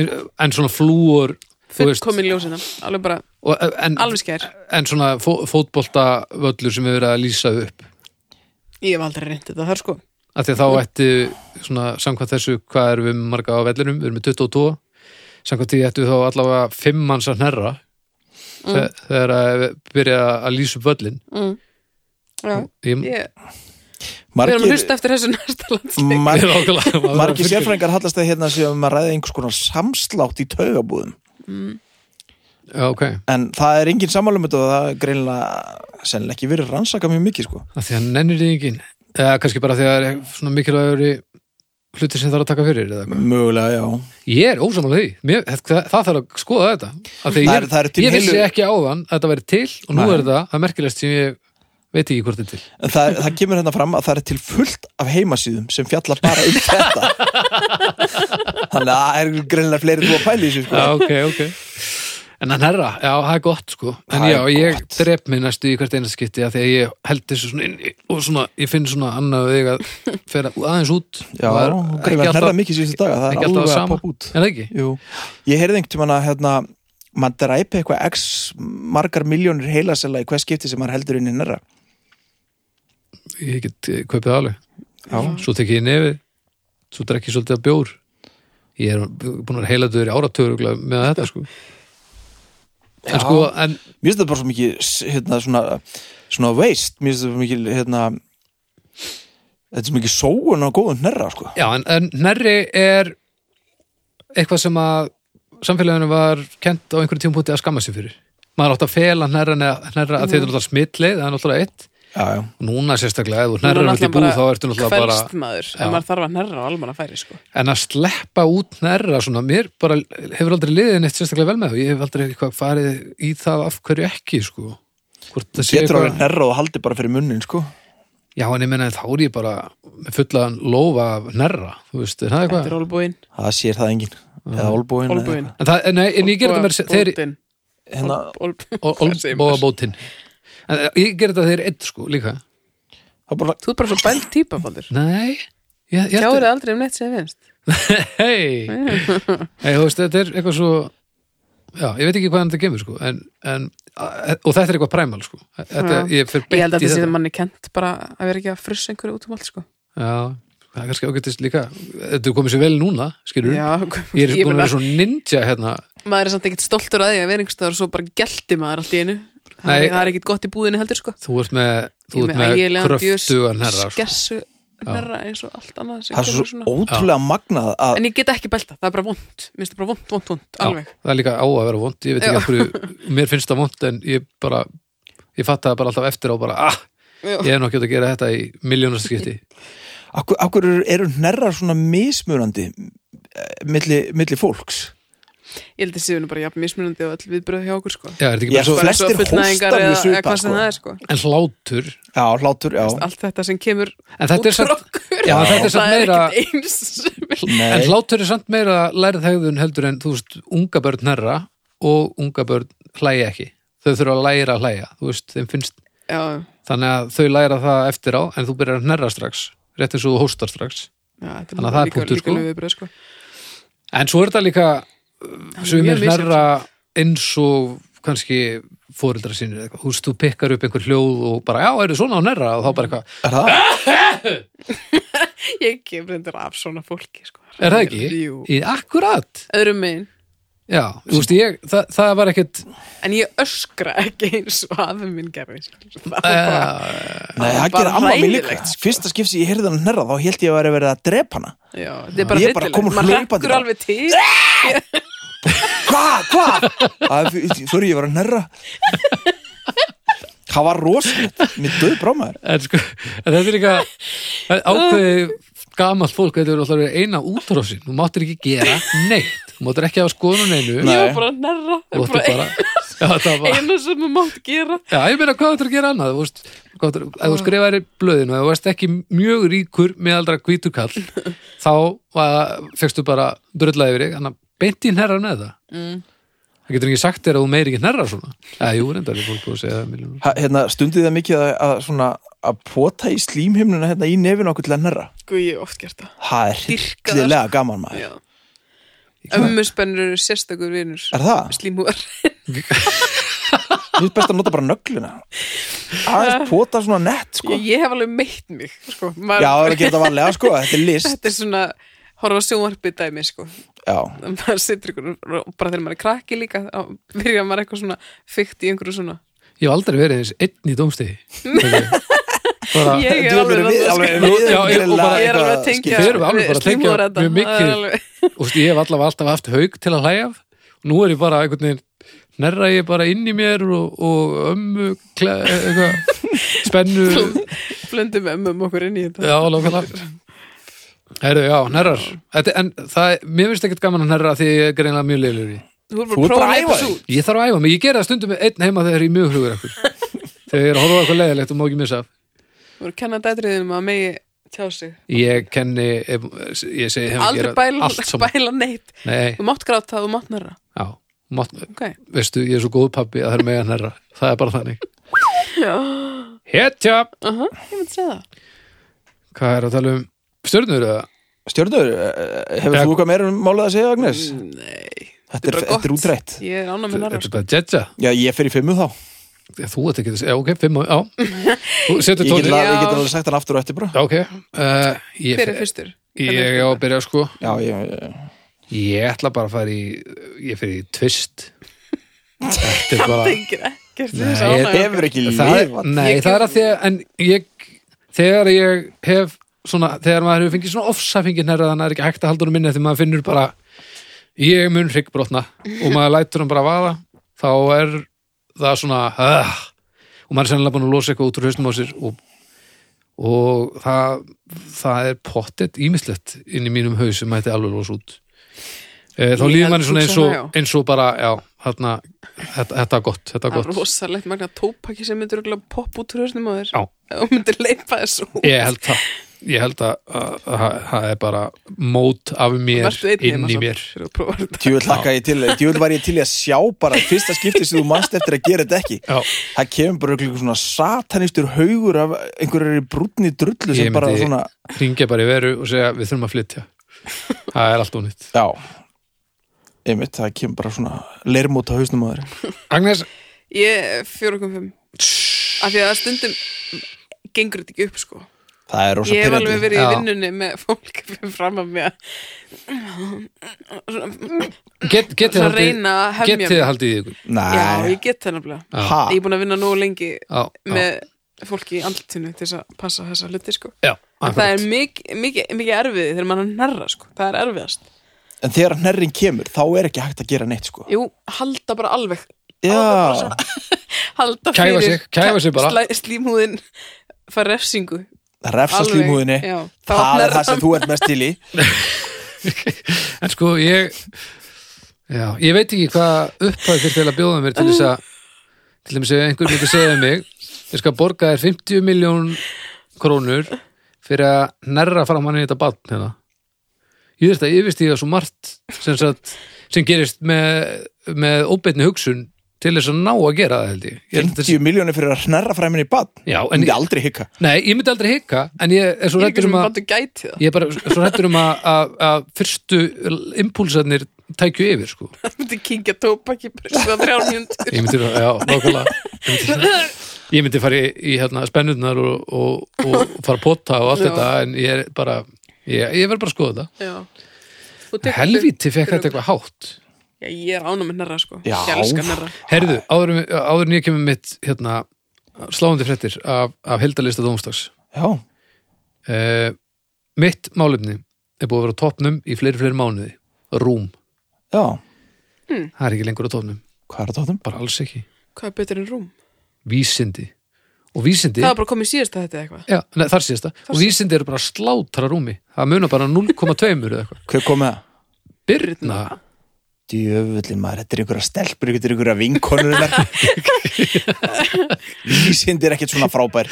Speaker 2: en, en svona flúor þú veist,
Speaker 3: Fullkomin ljósina, alveg bara,
Speaker 2: og, en,
Speaker 3: alveg skær
Speaker 2: en svona fó, fótbolta völlur sem við verið að lýsa upp
Speaker 3: Ég hef aldrei reyndið þetta þar sko
Speaker 2: að því að þá ætti svona samkvæmt þessu hvað erum við marga á vellinum, við erum með 22 samkvæmt því ættu þá allavega 5 manns að hnerra mm. þegar að byrja að lýsa upp völlin
Speaker 3: Já,
Speaker 2: ég,
Speaker 3: ég, við erum að
Speaker 1: margir,
Speaker 3: hlusta eftir þessu næsta landsleik
Speaker 2: Ég
Speaker 1: mar,
Speaker 2: er ákveðlega- maður verður
Speaker 1: margir
Speaker 2: að fylgja.
Speaker 1: sérfræðingar hallast það hérna sem að ræða einhvers konar samslátt í taugabúðum
Speaker 2: Já, ok.
Speaker 1: en það er engin sammálum og það er greinilega sennilega ekki verið rannsaka mjög mikið sko
Speaker 2: Af Því að nennir þið engin. Eða kannski bara því að það er svona mikilvægur hluti sem þarf að taka fyrir. Eða. eitthvað.
Speaker 1: mögulega já
Speaker 2: Ég er ósamála því. Mér, það, það þarf að skoða þetta. Af Því að
Speaker 1: Það
Speaker 2: ég,
Speaker 1: eru- það eru til
Speaker 2: ég vissi
Speaker 1: heilu-
Speaker 2: ekki áðan að þetta væri til og nú
Speaker 1: Nei.
Speaker 2: er það, það er merkilegst sem ég veit ekki hvort þetta er til.
Speaker 1: en það, það kemur hérna fram að það er til fullt af heimasýðum sem fjalla bara um þetta þannig að það er greinilega fleiri en þú að pæli þessu sko
Speaker 2: Já, ok, ok. En hann herra, já, það er gott sko. En
Speaker 1: Það
Speaker 2: já,
Speaker 1: er
Speaker 2: ég
Speaker 1: gott.
Speaker 2: drep mig næstu í hvert einast skipti af því að ég held þessu svona inn í- og svona, ég finn svona annað veg að færa aðeins út.
Speaker 1: já,
Speaker 2: Það er ekki
Speaker 1: greinilega
Speaker 2: alltaf-
Speaker 1: hnerrað mikið síðustu daga það
Speaker 2: ekki
Speaker 1: er
Speaker 2: alltaf
Speaker 1: alveg að
Speaker 2: sama.
Speaker 1: poppa út
Speaker 2: Er það ekki?
Speaker 1: Jú, ég heyrði einhvern tímann að hérna, maður dræpi eitthvað x margar miljónir heilasela í hvað skipti sem maður heldur inn í nærra
Speaker 2: ég get eh, kaupið það alveg
Speaker 1: Já.
Speaker 2: svo tek ég nefið svo drekk ég svolítið að bjór ég er búin að vera heilaður í áratöður með þetta sko en sko, en
Speaker 1: Mér finnst þetta bara svo mikið s- hérna, svona, svona waste Mér finnst þetta svo mikið hérna, Þetta er svo mikið sóun á góðum hnerra sko.
Speaker 2: Já, en, en nærri er eitthvað sem að samfélaginu var kent á einhverjum tímpúti að skamma sig fyrir. Maður átt að fela nærra, nærra að þetta er náttúrulega smitleið, það er náttúrulega eitt.
Speaker 1: Já, já
Speaker 2: Og Núna sérstaklega, ef þú nærra út í búð þá ertu náttúrulega bara...
Speaker 3: Hverst maður,
Speaker 2: Já.
Speaker 3: en maður þarf að nærra á almanna færi sko.
Speaker 2: En að sleppa út nærra svona, mér bara hefur aldrei liðið neitt sérstaklega vel með það. Ég hef aldrei eitthvað farið í það af hverju ekki, sko. Hvort það sé
Speaker 1: Getur að
Speaker 2: eitthvað...
Speaker 1: vera hnerra og haldi bara fyrir munnin sko.
Speaker 2: Já, en ég meina þá er ég bara með fullaðan lófa af nærra, þú veist, er það
Speaker 3: Þetta
Speaker 2: eitthvað?
Speaker 3: er olbúin,
Speaker 1: Það sér það engin
Speaker 2: Mm.
Speaker 1: Eða olbúin
Speaker 3: olbúin
Speaker 2: En, það, nei, en ég gerði þetta mér, þeir,
Speaker 1: hérna,
Speaker 3: segir maður?
Speaker 2: Olbóabótin En ég gerði þetta þeir eitt sko líka
Speaker 1: Það er bara
Speaker 3: Þú er bara svo bæld típa, Baldur
Speaker 2: Nei ég, ég
Speaker 3: Tjáður aldrei um neitt sem finnst
Speaker 2: Hei Hei, þú veist, þetta er eitthvað svo Já, ég veit ekki hvaðan þetta kemur sko en, en, eh, og þetta er eitthvað præmal sko þetta,
Speaker 3: Já.
Speaker 2: Ég fer beint
Speaker 3: Ég held að
Speaker 2: í
Speaker 3: þetta sé
Speaker 2: þetta
Speaker 3: manni kent bara að vera ekki að frussa einhverju út um allt sko.
Speaker 2: Já, það er kannski ágættist líka Þetta er komið sér vel núna, skilur
Speaker 3: Já,
Speaker 2: Ég er búin að
Speaker 3: meina,
Speaker 2: vera svo ninja hérna
Speaker 3: maður er samt ekkert stoltur að því að vera einhverstaðar og svo bara gelti maður allt í einu það er,
Speaker 2: Nei.
Speaker 3: það er ekkert gott í búðinu heldur sko.
Speaker 2: Þú ert með, þú
Speaker 3: Ég
Speaker 2: ert með
Speaker 3: ægilegan
Speaker 2: kröftugan herra sko.
Speaker 3: skessu herra eins og allt annað sem
Speaker 1: Það er
Speaker 3: kemur
Speaker 1: svo ótrúlega magnað að
Speaker 3: en ég get ekki bælt það, það er bara vond mér finnst það bara vond, vond, vond,
Speaker 2: Já,
Speaker 3: alveg
Speaker 2: það er líka á að vera vond, ég veit ekki
Speaker 3: Já.
Speaker 2: af hverju mér finnst það vond en ég bara ég fatt það bara alltaf eftir á bara ah,
Speaker 3: Já.
Speaker 2: ég hef nokkið að gera þetta í miljónarskipti
Speaker 1: Akkur, akkur eru- eru hnerrar svona mismunandi eh, milli, milli fólks
Speaker 3: ég held að séu nú bara jafn mismunandi og all viðbröð hjá okkur sko.
Speaker 2: Já, er þetta ekki
Speaker 1: Já,
Speaker 2: bara
Speaker 1: sko.
Speaker 2: svo,
Speaker 3: bara eins og
Speaker 1: Flestir
Speaker 3: fullnægingar
Speaker 1: hósta mjög
Speaker 3: eða, eða
Speaker 1: svipað,
Speaker 3: hvað sem
Speaker 1: sko.
Speaker 3: það er sko.
Speaker 2: en hlátur
Speaker 1: Já, hlátur, já
Speaker 3: allt þetta sem kemur
Speaker 2: en þetta er
Speaker 3: út frá
Speaker 2: samt,
Speaker 3: okkur
Speaker 2: Já, þetta er samt
Speaker 3: það er
Speaker 2: meira-
Speaker 3: ekkert eins sem er-
Speaker 2: en
Speaker 1: Nei,
Speaker 2: hlátur er samt meira lærið hegðun heldur en þú veist, unga börn herra og unga börn hlæja ekki þau þurfa að læra að hlæja þú veist, þeim finnst,
Speaker 3: já,
Speaker 2: þannig að þau læra það eftir á en þú byrjar að hnerra strax rétt eins og þú hóstar strax
Speaker 3: já, þetta
Speaker 2: Þannig að það er
Speaker 3: líka-
Speaker 2: punktur,
Speaker 3: líka
Speaker 2: sko.
Speaker 3: alveg viðbrögð, sko.
Speaker 2: En svo er þetta líka
Speaker 3: er
Speaker 2: sumir
Speaker 3: mjög misjafnt.
Speaker 2: hnerra eins og kannski fóreldra sínir eða eitthvað, þú veist, þú pikkar upp einhver hljóð og bara, já, eru svona á hnerra og þá bara eitthvað,
Speaker 1: er það?
Speaker 3: ég kemur þetta af svona fólki sko.
Speaker 2: er það ekki?
Speaker 3: Jú.
Speaker 2: Í akkurat,
Speaker 3: öðrum megin
Speaker 2: já, þú veist, ég það, það var ekkit,
Speaker 3: en ég öskra ekki eins og afi minn gerði
Speaker 2: Eh.
Speaker 3: skilur. það er bara,
Speaker 2: uh,
Speaker 1: Nei,
Speaker 3: Það er
Speaker 1: það gerir
Speaker 3: bara
Speaker 1: amma mér líka
Speaker 3: hræðilegt, sko.
Speaker 1: Fyrsta skipti sem ég heyrði hann hnerra þá held ég að vera verið að drepa hana
Speaker 3: já, þetta er bara
Speaker 1: Ég er bara
Speaker 3: hryllilegt.
Speaker 1: komin
Speaker 3: maður
Speaker 1: hlaupandi
Speaker 3: hrekkur
Speaker 1: bara.
Speaker 3: alveg til
Speaker 1: Hvað, hvað? Það er- Sorry, ég var að hnerra Það var rosalegt Mér döð brámaður
Speaker 2: en sko, en þetta er líka ákveði gamalt fólk, þetta er alltaf eina útrásin, þú máttir ekki gera neitt, þú máttir ekki hafa skoðun á neinu,
Speaker 1: Nei.
Speaker 3: ég var bara að nerra
Speaker 2: þú
Speaker 3: það
Speaker 2: máttir
Speaker 3: er bara
Speaker 2: bara, já, það var
Speaker 3: eina sem maður mátt gera
Speaker 2: Já, ég meina hvað þetta er að gera annað þú veist, hvað áttu- ef þú skrifaðir í blöðinu og þú varst ekki mjög ríkur meðaldra hvítur kall þá var- fékkstu bara drulla yfir þig þannig að beint í hnerra með það það getur ekki sagt þér að þú meir ekki hnerra svona Já, jú, reyndar er fólk búið að segja það miljónum
Speaker 1: Ha- hérna, Stundið það mikið að, að svona að pota í slímhimnuna hérna í nefinu okkur til að hnerra
Speaker 3: sko ég hef oft gert það
Speaker 1: Það er
Speaker 3: Dýrka það,
Speaker 1: hillilega gaman maður
Speaker 3: já. ömmuspennur eru sérstakur vinur
Speaker 1: Er það?
Speaker 3: slímúar
Speaker 1: Mér er best að nota bara nögluna Aðeins pota svona nett sko.
Speaker 3: ég, ég hef alveg meitt mig sko.
Speaker 1: Já,
Speaker 3: maður,
Speaker 1: það er að gera þetta varlega sko, þetta er list
Speaker 3: þetta er svona horfa á sjónvarpið dæmi sko.
Speaker 1: Já,
Speaker 3: maður situr ykkur og bara þegar maður er krakki líka þá byrja maður eitthvað svona fykt í einhverju svona
Speaker 2: Ég hef aldrei verið eins einn í dómstegi bara,
Speaker 3: ég
Speaker 1: Þú
Speaker 3: er alveg
Speaker 1: verður við- alveg
Speaker 3: náttúrulega-
Speaker 1: við-
Speaker 2: Já, ég- og bara
Speaker 3: ég er alveg að
Speaker 1: eitthvað
Speaker 3: tengja
Speaker 1: skil.
Speaker 2: Þið erum alveg bara að tengja
Speaker 3: slímúr þetta.
Speaker 2: mjög mikið.
Speaker 3: Það er alveg-
Speaker 2: og veist, ég hef allavega alltaf haft haug til að hlæja af. og nú er ég bara einhvern veginn hnerra ég bara inn í mér og, og ömmu kle, eitthvað, spennu
Speaker 3: blöndum ömmum okkur inn í þetta
Speaker 2: Já, lókulega Herru, já, hnerrar Þetta, En það, mér finnst ekkert gaman að hnerra því ég er greinlega mjög leilur í
Speaker 3: þú er
Speaker 1: Þú ert
Speaker 3: bara
Speaker 1: bara
Speaker 3: að
Speaker 1: að æfa
Speaker 3: prófa
Speaker 1: þig.
Speaker 3: þetta
Speaker 2: Ég þarf að æfa mig, ég gera það stundum með einn heima þegar ég er mjög hlugur ekkur Þegar ég er að horfa á eitthvað leiðilegt og má ekki missa af.
Speaker 3: þú er að kenna dætriðum að megi tjá sig
Speaker 2: Ég kenni, ef- ég segi hef að
Speaker 3: aldrei
Speaker 2: gera
Speaker 3: bæla,
Speaker 2: allt saman
Speaker 3: bæla neitt
Speaker 2: Nei,
Speaker 3: þú mátt gráta, þú mátt nærra
Speaker 2: já, mátt,
Speaker 3: okay.
Speaker 2: veistu, ég er svo góð pappi að það er mega hnerra Það er bara þannig
Speaker 3: já,
Speaker 2: Hetja,
Speaker 3: aha, ég myndi segja það
Speaker 2: hvað er að tala um? Stjörnur eða?
Speaker 1: Stjörnur, eh, hefur
Speaker 2: Já.
Speaker 1: þú eitthvað meira um málið að segja, Agnes?
Speaker 3: nei,
Speaker 1: Þetta er,
Speaker 3: bara
Speaker 1: þetta er
Speaker 3: gott.
Speaker 1: útrætt
Speaker 3: ég er ána með
Speaker 2: Þetta
Speaker 3: nærra
Speaker 2: er bara jetja
Speaker 1: Já, ég fer í fimmu þá
Speaker 2: þú ert ekki þessi, já ok, fimm á, já þú setur
Speaker 1: Ég get,
Speaker 2: tónlist,
Speaker 1: la- ég
Speaker 3: Já.
Speaker 1: get alveg sagt hann aftur og eftir bara
Speaker 2: já ok uh, ég,
Speaker 3: Hver er fyrstur?
Speaker 2: ég á að byrja sko
Speaker 1: Já, ég, ég,
Speaker 2: ég ætla bara að fara í ég fyrir í tvist þetta er bara
Speaker 3: Engin ekkert
Speaker 2: Nei,
Speaker 3: þess
Speaker 1: ég
Speaker 2: ég-
Speaker 3: ánægja.
Speaker 1: hefur ekki
Speaker 2: það er,
Speaker 1: lifað
Speaker 2: nei,
Speaker 3: Ég-
Speaker 2: það er að því að en ég, þegar ég hef svona, þegar maður hefur fengið svona ofsafingin herra þannig að það er ekki hægt að halda honum minni því maður finnur bara, ég mun hryggbrotna og maður lætur hann bara vaða þá er það svona uh, og maður er sennilega búin að losa eitthvað út úr hausnum á sér og, og það, það er pottet ímislegt inn í mínum haus sem mætti alveg losa út Eh, þá
Speaker 3: Ég
Speaker 2: líður
Speaker 3: held
Speaker 2: manni svona eins
Speaker 3: hugsanlega,
Speaker 2: og, eins og bara, já, þarna þetta, þetta er gott, þetta er
Speaker 3: Það er
Speaker 2: gott
Speaker 3: rosalegt magna tópaki sem myndur örugglega poppa út úr hausnum á þér
Speaker 2: Já.
Speaker 3: og myndur leipa þessu út.
Speaker 2: Ég held það Ég held að að- að það er bara mót af mér
Speaker 3: Vertu einn
Speaker 2: inn
Speaker 3: heima
Speaker 2: í
Speaker 3: samt
Speaker 2: mér
Speaker 3: fyrir að prófa þetta.
Speaker 1: Djúvel hlakka ég til Djúvel var ég til í að sjá bara í fyrsta skipti sem þú manst eftir að gera þetta ekki
Speaker 2: Já,
Speaker 1: Það kemur bara einhver svona satanistur haugur af einhverjari brúnni drullu sem
Speaker 2: Ég
Speaker 1: bara
Speaker 2: myndi-
Speaker 1: svona
Speaker 2: ringja bara í veru og segja við þurfum að flytja Það er allt ónýtt
Speaker 1: Já Einmitt, það kemur bara svona leirmóta hausnum að þér
Speaker 2: Agnes,
Speaker 3: Ég fjóra kom fimm. Af því að stundum gengur þetta ekki upp sko.
Speaker 1: Það er rosa
Speaker 3: Ég hef alveg
Speaker 1: pyrrandi
Speaker 3: verið í
Speaker 2: Já.
Speaker 3: vinnunni með fólk fyrir fram að mér
Speaker 2: get, getið
Speaker 3: að
Speaker 2: haldið
Speaker 3: reyna að hefja
Speaker 2: getið
Speaker 3: mig.
Speaker 2: haldið í ykkur
Speaker 3: Já,
Speaker 1: Nei,
Speaker 3: ég get það nefnilega.
Speaker 2: Já,
Speaker 1: ha,
Speaker 3: Ég er búin að vinna nógu lengi
Speaker 2: já, já,
Speaker 3: með fólki í andlutinu til þess að passa þessa hluti sko.
Speaker 2: já
Speaker 3: En það er
Speaker 2: akkurat.
Speaker 3: mikið miki, miki erfiði þegar mann er nærra sko. Það er erfiðast.
Speaker 1: en þegar hnerrin kemur þá er ekki hægt að gera neitt sko
Speaker 3: Jú, halda bara alveg
Speaker 1: Já,
Speaker 3: halda
Speaker 2: Kæfa
Speaker 3: fyrir
Speaker 2: sig, kæfa sig bara.
Speaker 3: slæ, slímhúðin fær refsingu
Speaker 1: refsa
Speaker 3: Alveg,
Speaker 1: slímhúðinni
Speaker 3: já. Þá
Speaker 1: Það
Speaker 3: opnar
Speaker 1: er það sem
Speaker 3: hann.
Speaker 1: þú ert mest til í
Speaker 2: En sko ég já, ég veit ekki hvað upphæð fyrir til að bjóða mér til þess að til þess að einhver myndi segja við mig ég skal borga þér 50 miljón krónur fyrir að nærra fram hann í þetta batn hérna. ég veist að ég veist ég að svo margt sem, sagt, sem gerist með, með óbeinni hugsun til þess að ná að gera það held ég, ég held að þessi-
Speaker 1: 50 miljónir fyrir að hnerra fræminni í badn
Speaker 2: já, en,
Speaker 1: En ég aldrei hika
Speaker 2: nei, ég myndi aldrei hika en ég er svo
Speaker 3: Ég er
Speaker 2: rættur
Speaker 3: ekki
Speaker 2: um
Speaker 3: sem
Speaker 2: að
Speaker 3: bandu gæti það
Speaker 2: ég er bara svo hættur um að, að, að fyrstu impulsarnir tækju yfir sko.
Speaker 3: Það myndi kingja tópaki bara svona þrjár mjöndur
Speaker 2: ég myndi, já, nákvæmlega Ég myndi- ég myndi fara í, í hérna, spennurnar og, og, og fara að pota og allt
Speaker 3: Já.
Speaker 2: þetta en ég er bara ég, ég verð bara að skoða þetta helvíti fekk þetta eitthvað hátt
Speaker 3: Já, ég er ánum með nærra sko
Speaker 1: Já.
Speaker 3: Ég elska nærra
Speaker 2: herðu, áður, en- áður en ég kemur mitt hérna, sláandi fréttir af, af heldalista dómstags
Speaker 1: Já,
Speaker 2: uh, mitt málefni er búið að vera á topnum í fleiri fleiri mánuði rúm,
Speaker 1: já,
Speaker 2: það er ekki lengur á topnum
Speaker 1: hvað er að tóttum?
Speaker 2: bara alls ekki
Speaker 3: Hvað er betur en rúm?
Speaker 2: vísindi og vísindi
Speaker 3: Það var bara komið síðast að þetta eitthvað
Speaker 2: já, nei, þar síðast það og vísindi eru bara að slátra rúmi það munar bara 0,2 eða eitthvað
Speaker 1: Hver kom með það?
Speaker 2: Birna,
Speaker 1: Djöfullin maður, þetta er einhverja stelpur, þetta er einhverja vinkonur Vísind er ekkert svona frábær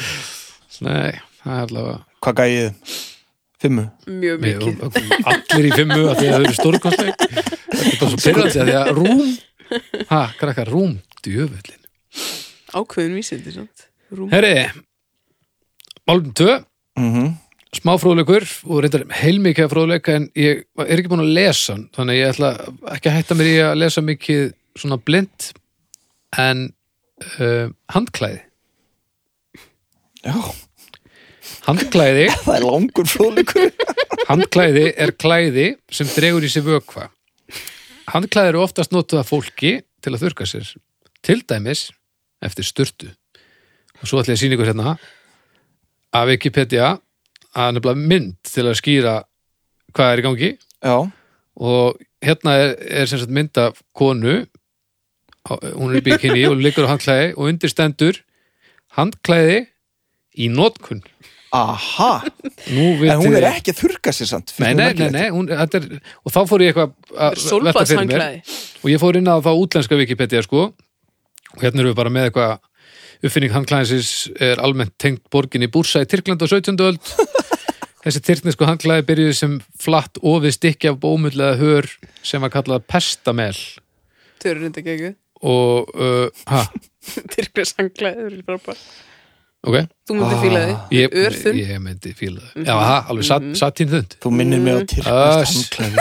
Speaker 2: nei, það er allavega
Speaker 1: Hvað gæði þið? Fimmu?
Speaker 3: Mjög
Speaker 2: við
Speaker 3: mikið
Speaker 2: erum allir í fimmu að því að þau eru stórkostleg þetta er bara svo pyrrandi að því að rúm ha, krakkar, rúm, djöfullin
Speaker 3: Ákveðin vísindi, sant? Rúm
Speaker 2: herri, málum 2
Speaker 1: Mm
Speaker 2: smá fróðleikur og reyndar heilmikið af fróðleika en ég er ekki búin að lesa hann þannig að ég ætla ekki að hætta mér í að lesa mikið svona blind en uh, handklæði
Speaker 1: Já,
Speaker 2: handklæði,
Speaker 1: það er langur fróðleikur
Speaker 2: handklæði er klæði sem dregur í sig vökva handklæði eru oftast notuð af fólki til að þurka sér til dæmis eftir sturtu og svo ætla ég að sýna ykkur hérna að Wikipedia að nefnilega mynd til að skýra hvað er í gangi
Speaker 1: Já,
Speaker 2: og hérna er, er sem sagt mynd af konu á- hún er í bikini og liggur á handklæði og undir stendur handklæði í notkun
Speaker 1: aha
Speaker 2: Nú vitið
Speaker 1: En hún er
Speaker 2: þið-
Speaker 1: ekki að þurka sér samt
Speaker 2: Nei, nei, nei, nei, hún, þetta er, og þá fór ég eitthvað að velta fyrir mér
Speaker 3: Sólbaðsanglaði
Speaker 2: og ég fór inn að þá útlenska Wikipedia sko og hérna erum við bara með eitthvað uppfinning handklæðinsins er almennt tengt borgin í Búrsa í Tyrkland á 17. öld þessi tyrknesku handklæði byrjuði sem flatt ofið stykki af bómullega hör sem var kallað pestamel
Speaker 3: Þau eru reynda geggu
Speaker 2: og uh, ha,
Speaker 3: Tyrknesanglaði, þau eru frábær
Speaker 2: ok
Speaker 3: Þú myndir fíla því
Speaker 2: Ah, ég,
Speaker 3: Örþunn Mhm.
Speaker 2: ég myndi fíla það já, ha, alveg sat, satt hinn þund
Speaker 1: Þú minnir mig á tyrkast
Speaker 2: Öss.
Speaker 1: handklæði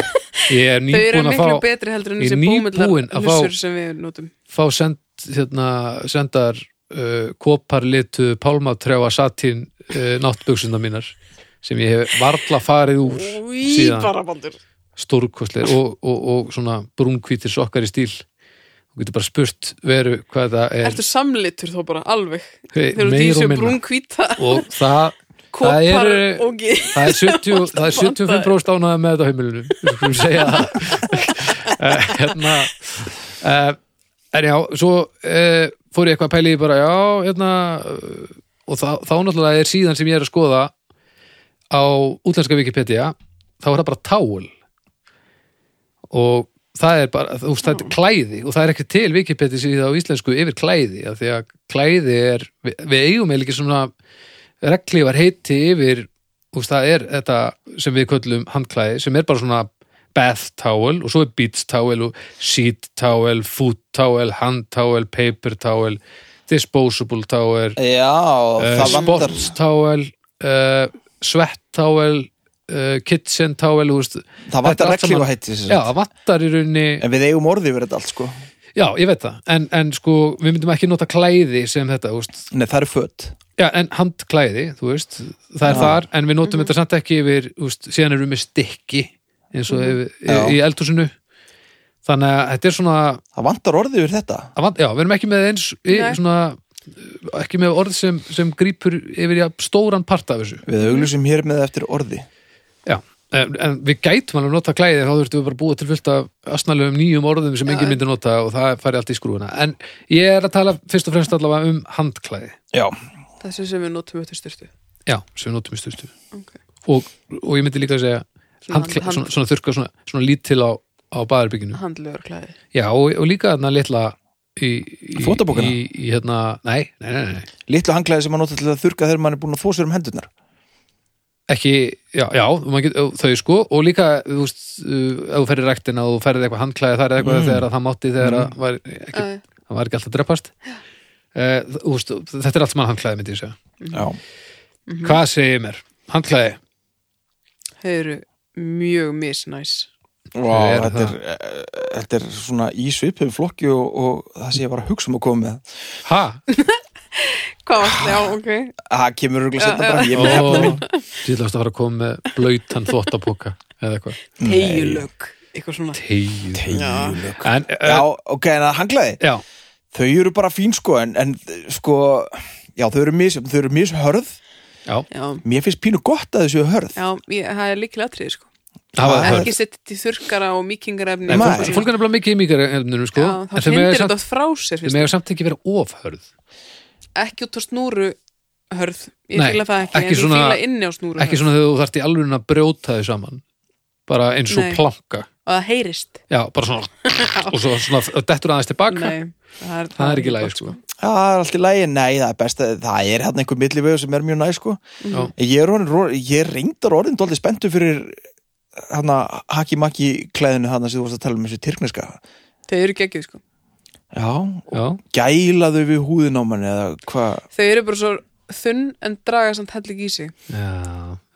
Speaker 2: ég er
Speaker 3: Þau eru
Speaker 2: nýbúin að
Speaker 3: miklu
Speaker 2: fá,
Speaker 3: betri heldur en
Speaker 2: Ég er
Speaker 3: þessi
Speaker 2: nýbúinn
Speaker 3: bómullar
Speaker 2: að fá-
Speaker 3: hlussur sem við notum
Speaker 2: fá send, hérna, sendar uh, koparlitu pálmatrjáa satín uh, náttbuxuna mínar sem ég hef varla farið úr
Speaker 3: Í
Speaker 2: síðan
Speaker 3: bara bandur
Speaker 2: stórkostleir og, og, og svona brúnkvítir sokkar í stíl þú getur bara spurt veru hvað það er
Speaker 3: Ertu samlitur þó bara alveg
Speaker 2: Hey,
Speaker 3: Þegar þú
Speaker 2: meira og
Speaker 3: dísið
Speaker 2: minna.
Speaker 3: brún hvíta
Speaker 2: og það, það
Speaker 3: Kopar
Speaker 2: eru-
Speaker 3: og gí
Speaker 2: það er, 70, það er 75% ánæða með þetta á heimilinu við skulum segja það Eh, hérna uh, en já, svo uh, fór ég eitthvað að pæla í bara já, hérna eh, og þá, þá náttúrulega er síðan sem ég er að skoða á útlenska Wikipedia þá er það bara tál og það er bara, þú veist, það er klæði og það er ekki til Wikipedia síðan á íslensku yfir klæði, af því að klæði er við, við eigum eða ekki svona reglívar heiti yfir þú veist, það er þetta sem við köllum handklæði sem er bara svona bath towel og svo er beach towel og sheet towel, foot towel, hand towel, paper towel disposable towel
Speaker 1: Já,
Speaker 2: uh,
Speaker 1: það vandar
Speaker 2: sports towel uh, sweat towel uh, kitchen towel þú veist,
Speaker 1: það vandar
Speaker 2: þetta allt saman-
Speaker 1: reglífa heiti
Speaker 2: já, það vantar í rauninni
Speaker 1: en við eigum orðið yfir þetta allt sko
Speaker 2: já, ég veit það, en, en sko við myndum ekki nota klæði sem þetta þú veist,
Speaker 1: Nei, það eru fött
Speaker 2: Já, en handklæði, þú veist, það er
Speaker 1: Já.
Speaker 2: þar, en við notum þetta samt ekki yfir, þú veist, síðan erum við með stykki, eins og yfir,
Speaker 1: Já.
Speaker 2: í eldhúsinu, þannig að þetta er svona,
Speaker 1: Það vandar orðið yfir þetta
Speaker 2: að vant- já, við erum ekki með eins, í,
Speaker 3: Nei.
Speaker 2: svona, uh, ekki með orð sem, sem grípur yfir ja, stóran part af þessu,
Speaker 1: Við auglýsum hér með eftir orði
Speaker 2: já, en, en við gætum alveg að nota klæði, þá þurftum við bara að búa til fullt af asnalegum nýjum orðum sem
Speaker 3: Já.
Speaker 2: enginn myndi nota og það fari allt í skrúfuna, en ég er að tala fyrst og fremst allavega um handklæði,
Speaker 1: Já,
Speaker 3: Þessi sem við notum upp til styrtu
Speaker 2: já, sem við notum í styrstu.
Speaker 3: okay.
Speaker 2: og, og ég myndi líka að segja handklæ,
Speaker 3: hand-
Speaker 2: svona, svona þurrka svona, svona lítil á, á baðarbygginu
Speaker 3: Handlegur klæði
Speaker 2: já og, og líka þarna litla í, í,
Speaker 1: Þvottabókina?
Speaker 2: í, í hérna, nei, nei, nei, nei
Speaker 1: litlu hanglaði sem maður nota til að þurrka þegar maður er búin að þvo sér um hendurnar
Speaker 2: ekki, já, já maður get, þau sko og líka, þú veist, uh, ef þú ferði rektina og þú ferði eitthvað handklæði þar eða eitthvað
Speaker 1: Mm.
Speaker 2: þegar að það mátti þegar að var ekki,
Speaker 3: Æ,
Speaker 2: það var ekki alltaf dreppast uh, þú veist, þetta er allt sem handklæði myndi ég segja,
Speaker 1: Já,
Speaker 3: Mhm.
Speaker 2: hvað segir mér handklæði,
Speaker 3: Þeir eru mjög misnæs
Speaker 1: Vá,
Speaker 2: Er
Speaker 1: þetta, er, eh, þetta er svona í svipum flokki og, og það sé ég bara að hugsa um að koma með
Speaker 2: ha,
Speaker 3: Hvað var þetta? Já, ok
Speaker 1: Það kemur rúglega
Speaker 3: Já,
Speaker 1: setna
Speaker 3: já.
Speaker 1: bara Ég er með hefna mín
Speaker 2: og síðlast að fara að koma með blöytan þvottapoka eða eitthvað,
Speaker 3: Tegjulög Eitthvað svona
Speaker 2: tegju
Speaker 1: Teygjuleg.
Speaker 2: en,
Speaker 1: Já,
Speaker 2: uh,
Speaker 1: ok, en að hanglaði
Speaker 2: já,
Speaker 1: Þau eru bara fín sko En, en sko, já, þau eru mis Þau eru mis hörð
Speaker 2: já,
Speaker 3: Já,
Speaker 1: Mér finnst pínu gott að þau séu hörð
Speaker 3: já ég, það er líkilega atriði sko
Speaker 2: það var það
Speaker 3: Ekki setja til þurrkara og
Speaker 2: Nei,
Speaker 3: mýkingarefni og
Speaker 2: fólk,
Speaker 1: Nei.
Speaker 2: fólk er nefnilega mikið í mikrofnunum sko,
Speaker 3: Já, þá
Speaker 2: en þau
Speaker 3: hrindir
Speaker 2: með
Speaker 3: þetta
Speaker 2: samt,
Speaker 3: oft frá sér
Speaker 2: þau
Speaker 3: finnst
Speaker 2: mega samt ekki vera ofhörð
Speaker 3: ekki út á snúru hörð ég
Speaker 2: Nei,
Speaker 3: fíla það ekki,
Speaker 2: ekki
Speaker 3: en
Speaker 2: svona-
Speaker 3: ég fíla inni á snúru
Speaker 2: ekki svona þegar þú þarft í alveg að brjóta þau saman bara eins og
Speaker 3: Nei.
Speaker 2: planka
Speaker 3: og það heyrist
Speaker 2: já, bara svona og svo svona dettur aðeins tilbaka
Speaker 3: Nei, það, er,
Speaker 2: það er ekki lægi sko
Speaker 1: Já, það er allt í lagi, nei, það er best að það er hérna einhver millivegu sem er mjög næ sko.
Speaker 2: Já.
Speaker 1: ég er, orðin, ro- ég er reyndar orðin dóldi spenntu fyrir hana haki-maki klæðinu hana sem þú varst að tala um þessu tyrkneska
Speaker 3: þau eru geggjuð sko
Speaker 1: já, og
Speaker 2: já,
Speaker 3: Mhm.
Speaker 1: gæla þau við húðin á manni eða hvað
Speaker 3: þau eru bara svo þunn en draga samt hellig í sig
Speaker 2: já,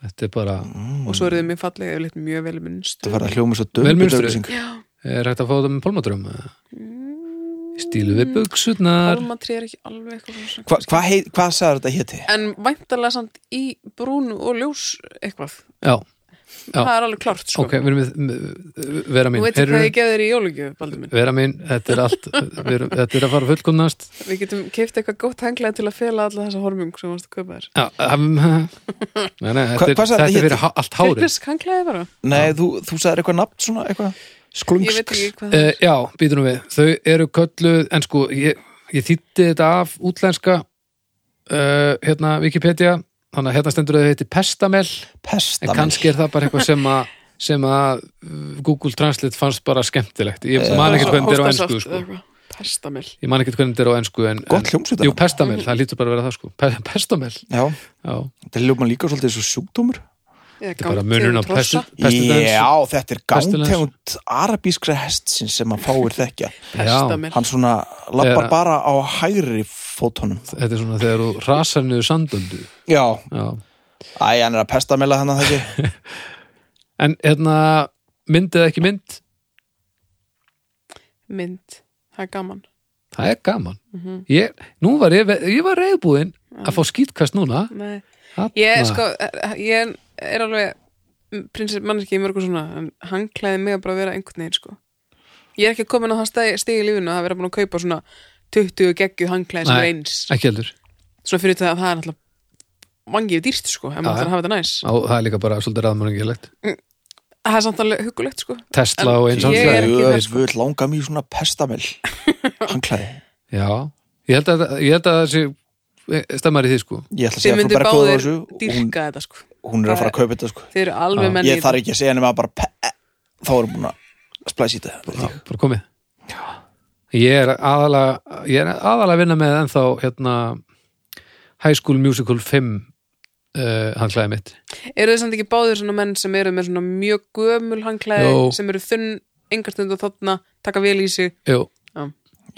Speaker 2: þetta er bara
Speaker 3: og svo eru þau mjög fallega yfirleitt mjög vel minnstu
Speaker 1: það fara að hljóma svo
Speaker 2: Vel
Speaker 1: dömbi
Speaker 2: munstruð.
Speaker 1: dögleysing
Speaker 2: er hægt að fá þetta með pálmadrömm stílu við buksutnar
Speaker 3: Almatri er ekki alveg eitthvað svona
Speaker 1: hvað hva hei- hvað sagði þetta héti?
Speaker 3: en væntalega samt í brúnu og ljós eitthvað,
Speaker 2: já, Já.
Speaker 3: það er alveg klart sko
Speaker 2: ok, við erum við- við- vera
Speaker 3: Nú
Speaker 2: mín
Speaker 3: veitir
Speaker 2: Heyrðu-
Speaker 3: hvað ég geði þér í jólugjöf, Baldur minn.
Speaker 2: vera mín, þetta er allt við erum, þetta er að fara fullkomnast
Speaker 3: Við getum keift eitthvað gótt henglega til að fela alla þessa hormung sem varst að kaupa þér.
Speaker 2: Já, um, nei, nei, þetta,
Speaker 1: Hva-
Speaker 2: er,
Speaker 1: hvað sagði
Speaker 2: þetta er
Speaker 1: þetta
Speaker 2: fyrir há- allt hárið
Speaker 3: Tyrknesk henglega bara.
Speaker 1: nei, þú, þú sagðir eitthvað nafn svona eitthvað
Speaker 3: Ég veit
Speaker 1: sklungsk
Speaker 3: ekki hvað það
Speaker 2: uh,
Speaker 3: er.
Speaker 2: Já, býtur nú við Þau eru kölluð, en sko ég, ég þýtti þetta af útlenska uh, hérna Wikipedia þannig að hérna stendur þau heiti Pestamel en
Speaker 1: pestamil
Speaker 2: kannski er það bara eitthvað sem að sem að uh, Google Translate fannst bara skemmtilegt ég man ekkert hvernig þetta er á
Speaker 3: Hóstasaft
Speaker 2: ennsku
Speaker 3: eða
Speaker 2: sko.
Speaker 3: eitthvað. Pestamil.
Speaker 2: ég man ekkert hvernig þetta er á ennsku en,
Speaker 1: gott
Speaker 2: en,
Speaker 1: hljómsveit
Speaker 2: Jú, Pestamel, það lítur bara að vera það sko Pe- Pestamel,
Speaker 1: já,
Speaker 2: já,
Speaker 1: þetta hljóma líka svolítið þessu sjúkdómur
Speaker 3: Eða
Speaker 2: þetta er bara
Speaker 3: gangt
Speaker 2: munurinn á
Speaker 3: yfir
Speaker 2: pestu,
Speaker 3: trossa.
Speaker 2: pestudens
Speaker 1: já, þetta er
Speaker 2: Pestilens.
Speaker 1: gangtegund arabískra hestsins sem að fáir þekkja
Speaker 3: Pestamil.
Speaker 1: hann svona lappar
Speaker 2: Þegar-
Speaker 1: bara á hægri fótunum
Speaker 2: Þetta er svona þegar þú rasar niður sandundu
Speaker 1: já,
Speaker 2: Já.
Speaker 1: æ, hann er að pestamela hann að þessi
Speaker 2: En hérna mynd eða ekki mynd
Speaker 3: Mynd. Það er gaman.
Speaker 2: það er gaman
Speaker 3: Mhm.
Speaker 2: ég, nú var ég, ég var reyðbúinn að fá skýtkast núna
Speaker 3: Nei.
Speaker 2: Þarna.
Speaker 3: Ég, sko, ég er alveg prinsess mannski í mörgum svona en hann klæði mig að bara vera einhvern veginn sko. ég er ekki komin á það steg, steg í lífinu að vera búin að kaupa svona 20 geggju hangklæði sem
Speaker 2: Nei.
Speaker 3: er eins
Speaker 2: ekki heldur,
Speaker 3: svona fyrir þetta að það er náttúrulega vangið dýrst sko, en maður
Speaker 2: Já,
Speaker 3: þarf að hafa þetta næs
Speaker 2: Á, það er líka bara svolítið raðmörningilegt
Speaker 3: það er samt alveg huggulegt sko
Speaker 2: Tesla og eins og
Speaker 3: Ég
Speaker 2: hans
Speaker 3: er ekki þar,
Speaker 1: Ég
Speaker 3: sko.
Speaker 1: vil langa mér svona pestamil Hanklæði
Speaker 2: já, ég held að, ég held að þessi stemmar í því sko
Speaker 1: Ég ætla að
Speaker 3: þið
Speaker 1: segja frá
Speaker 3: myndu
Speaker 1: Bergóður
Speaker 3: báðir
Speaker 1: þessu hún,
Speaker 3: dýrka þetta sko
Speaker 1: hún er að fara að kaupa þetta sko
Speaker 3: þið eru alveg menn í
Speaker 1: Ég þarf ekki að segja nema bara pe- e- Þá erum búin að splæsi þetta
Speaker 2: Já, bara komið ég er aðalega ég er aðalega að vinna með ennþá hérna High School Musical 5 uh, handklæði mitt
Speaker 3: eru þið samt ekki báðir svona menn sem eru með svona mjög gömul hangklæði
Speaker 2: Jó.
Speaker 3: sem eru þunn engarstund og þóttna taka vel í sig
Speaker 2: Jú,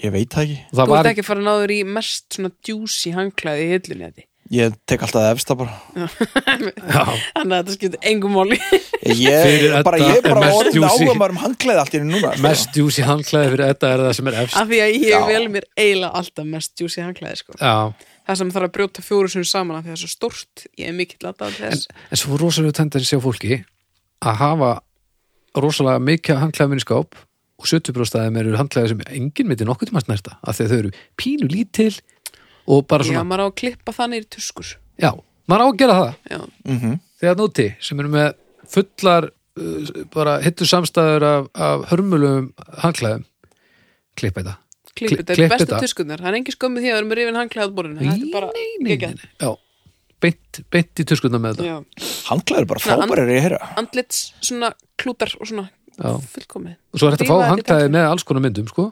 Speaker 1: Ég veit það ekki
Speaker 2: og það
Speaker 3: þú
Speaker 2: var
Speaker 3: ert ekki að fara náður í mest svona djúsi hangklæði í hillunni þetta
Speaker 1: Ég tek alltaf efsta bara
Speaker 2: já,
Speaker 3: þannig að þetta skiptir engum máli
Speaker 1: Ég
Speaker 2: Fyrir
Speaker 1: bara,
Speaker 2: Edda
Speaker 1: ég er bara
Speaker 2: er mest
Speaker 1: orðin
Speaker 2: juicy.
Speaker 1: áhuga maður um hanklæði allt í einu núna sko.
Speaker 2: mest djúsi handklæði fyrir þetta er það sem er efst
Speaker 3: af því að
Speaker 1: Já.
Speaker 3: ég vel mér eiginlega alltaf mest djúsi hangklæði sko.
Speaker 2: já,
Speaker 3: það sem þarf að brjóta fjóru sem saman af því að það er svo stórt ég er mikill aðdáðan þess
Speaker 2: en svo rosalega tendar ég sjá fólki að hafa rosalega mikið handklæði minni skáp og 70% af þeim eru handklæði sem enginn myndi nokkuð tíma snerta af því að þau eru pínu lítil og bara
Speaker 3: já,
Speaker 2: svona,
Speaker 3: maður á að klippa þannig í tuskur
Speaker 2: já, maður á að gera það
Speaker 3: já,
Speaker 2: þegar núti sem eru með fullar uh, bara hittu samstæður af, af hörmulum hanglaðum klippa þetta
Speaker 3: klippa,
Speaker 2: Kli-
Speaker 3: þetta
Speaker 2: klipp
Speaker 3: er bestu
Speaker 2: þetta.
Speaker 3: tuskunar það er engin skömmið því að vera með rifin hangklæði á borðinu þetta er bara geggjað.
Speaker 2: nei. Já, beint, beint í tuskundar með þetta
Speaker 3: Já.
Speaker 1: Hanklæði er bara
Speaker 3: Nei,
Speaker 1: frábærir ég heyra
Speaker 3: andlits svona klútar og svona
Speaker 2: Já.
Speaker 3: fullkomið
Speaker 2: og svo er þetta að fá
Speaker 3: Rífa þetta í
Speaker 2: hanglaði
Speaker 3: taktinn.
Speaker 2: með alls konar myndum sko.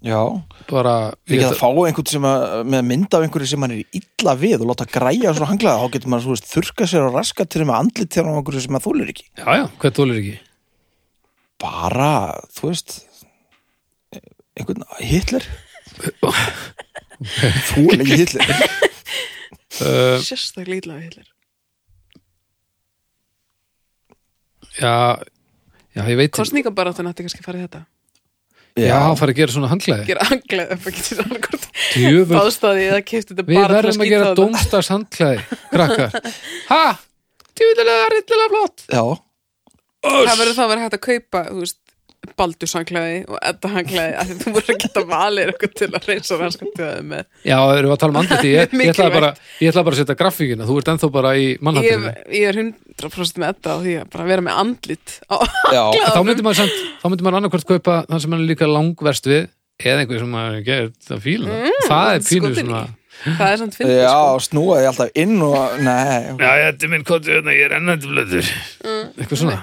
Speaker 1: Já
Speaker 2: bara
Speaker 1: Ég get að fá einhvern sem að, með mynd af einhverju sem hann er illa við og láta græja svona hanglaða, þá getur maður þú veist, þurka sér og raska til þeim að andlit til hann einhverju sem maður þólir ekki.
Speaker 2: já, já, hvað tólir ekki
Speaker 1: Bara, þú veist, einhvern Hitler? Þólir ekki Hitler.
Speaker 2: uh,
Speaker 3: sérstaklega illa við hillir
Speaker 2: já, já, ég veit
Speaker 3: kostningabaráttan ætti kannski að fara í þetta
Speaker 2: já, hann fari að gera svona hanglaði
Speaker 3: gera anglaði upp að geta sér annarkort
Speaker 2: Djöfull,
Speaker 3: báðstaði eða kefti þetta
Speaker 2: við
Speaker 3: bara til
Speaker 2: verðum að
Speaker 3: skíta
Speaker 2: gera
Speaker 3: á þetta.
Speaker 2: dómstars hanglaði krakkar, ha djúvilega, rillilega flott
Speaker 1: Já,
Speaker 3: það verður þá að vera hægt að kaupa þú veist, baldurshanglaði og eddahanglaði að þú voru að geta valir okkur til að reysa rannskantuðaði með
Speaker 2: Já, við erum að tala um andliti ég, ég, ætla
Speaker 3: Mikilvægt.
Speaker 2: bara, ég ætla bara að setja grafíkina Þú ert ennþá bara í
Speaker 3: ég,
Speaker 2: mannhandlinu
Speaker 3: ég er 100% með edda á því að bara vera með andlit á
Speaker 1: já,
Speaker 2: Þá myndi maður, samt, þá myndi maður annarkvært kaupa þann sem hann er líka langverst við eða einhver sem maður gerir það fíla
Speaker 3: Mm,
Speaker 2: Það er pínu
Speaker 3: skotinni.
Speaker 2: svona
Speaker 3: það er samt fyndið
Speaker 1: já,
Speaker 3: sko.
Speaker 1: snúaði alltaf inn og, nei,
Speaker 2: Já, þetta er minn kottu hérna, ég er ennandi blöður
Speaker 3: Mm,
Speaker 2: Eitthvað svona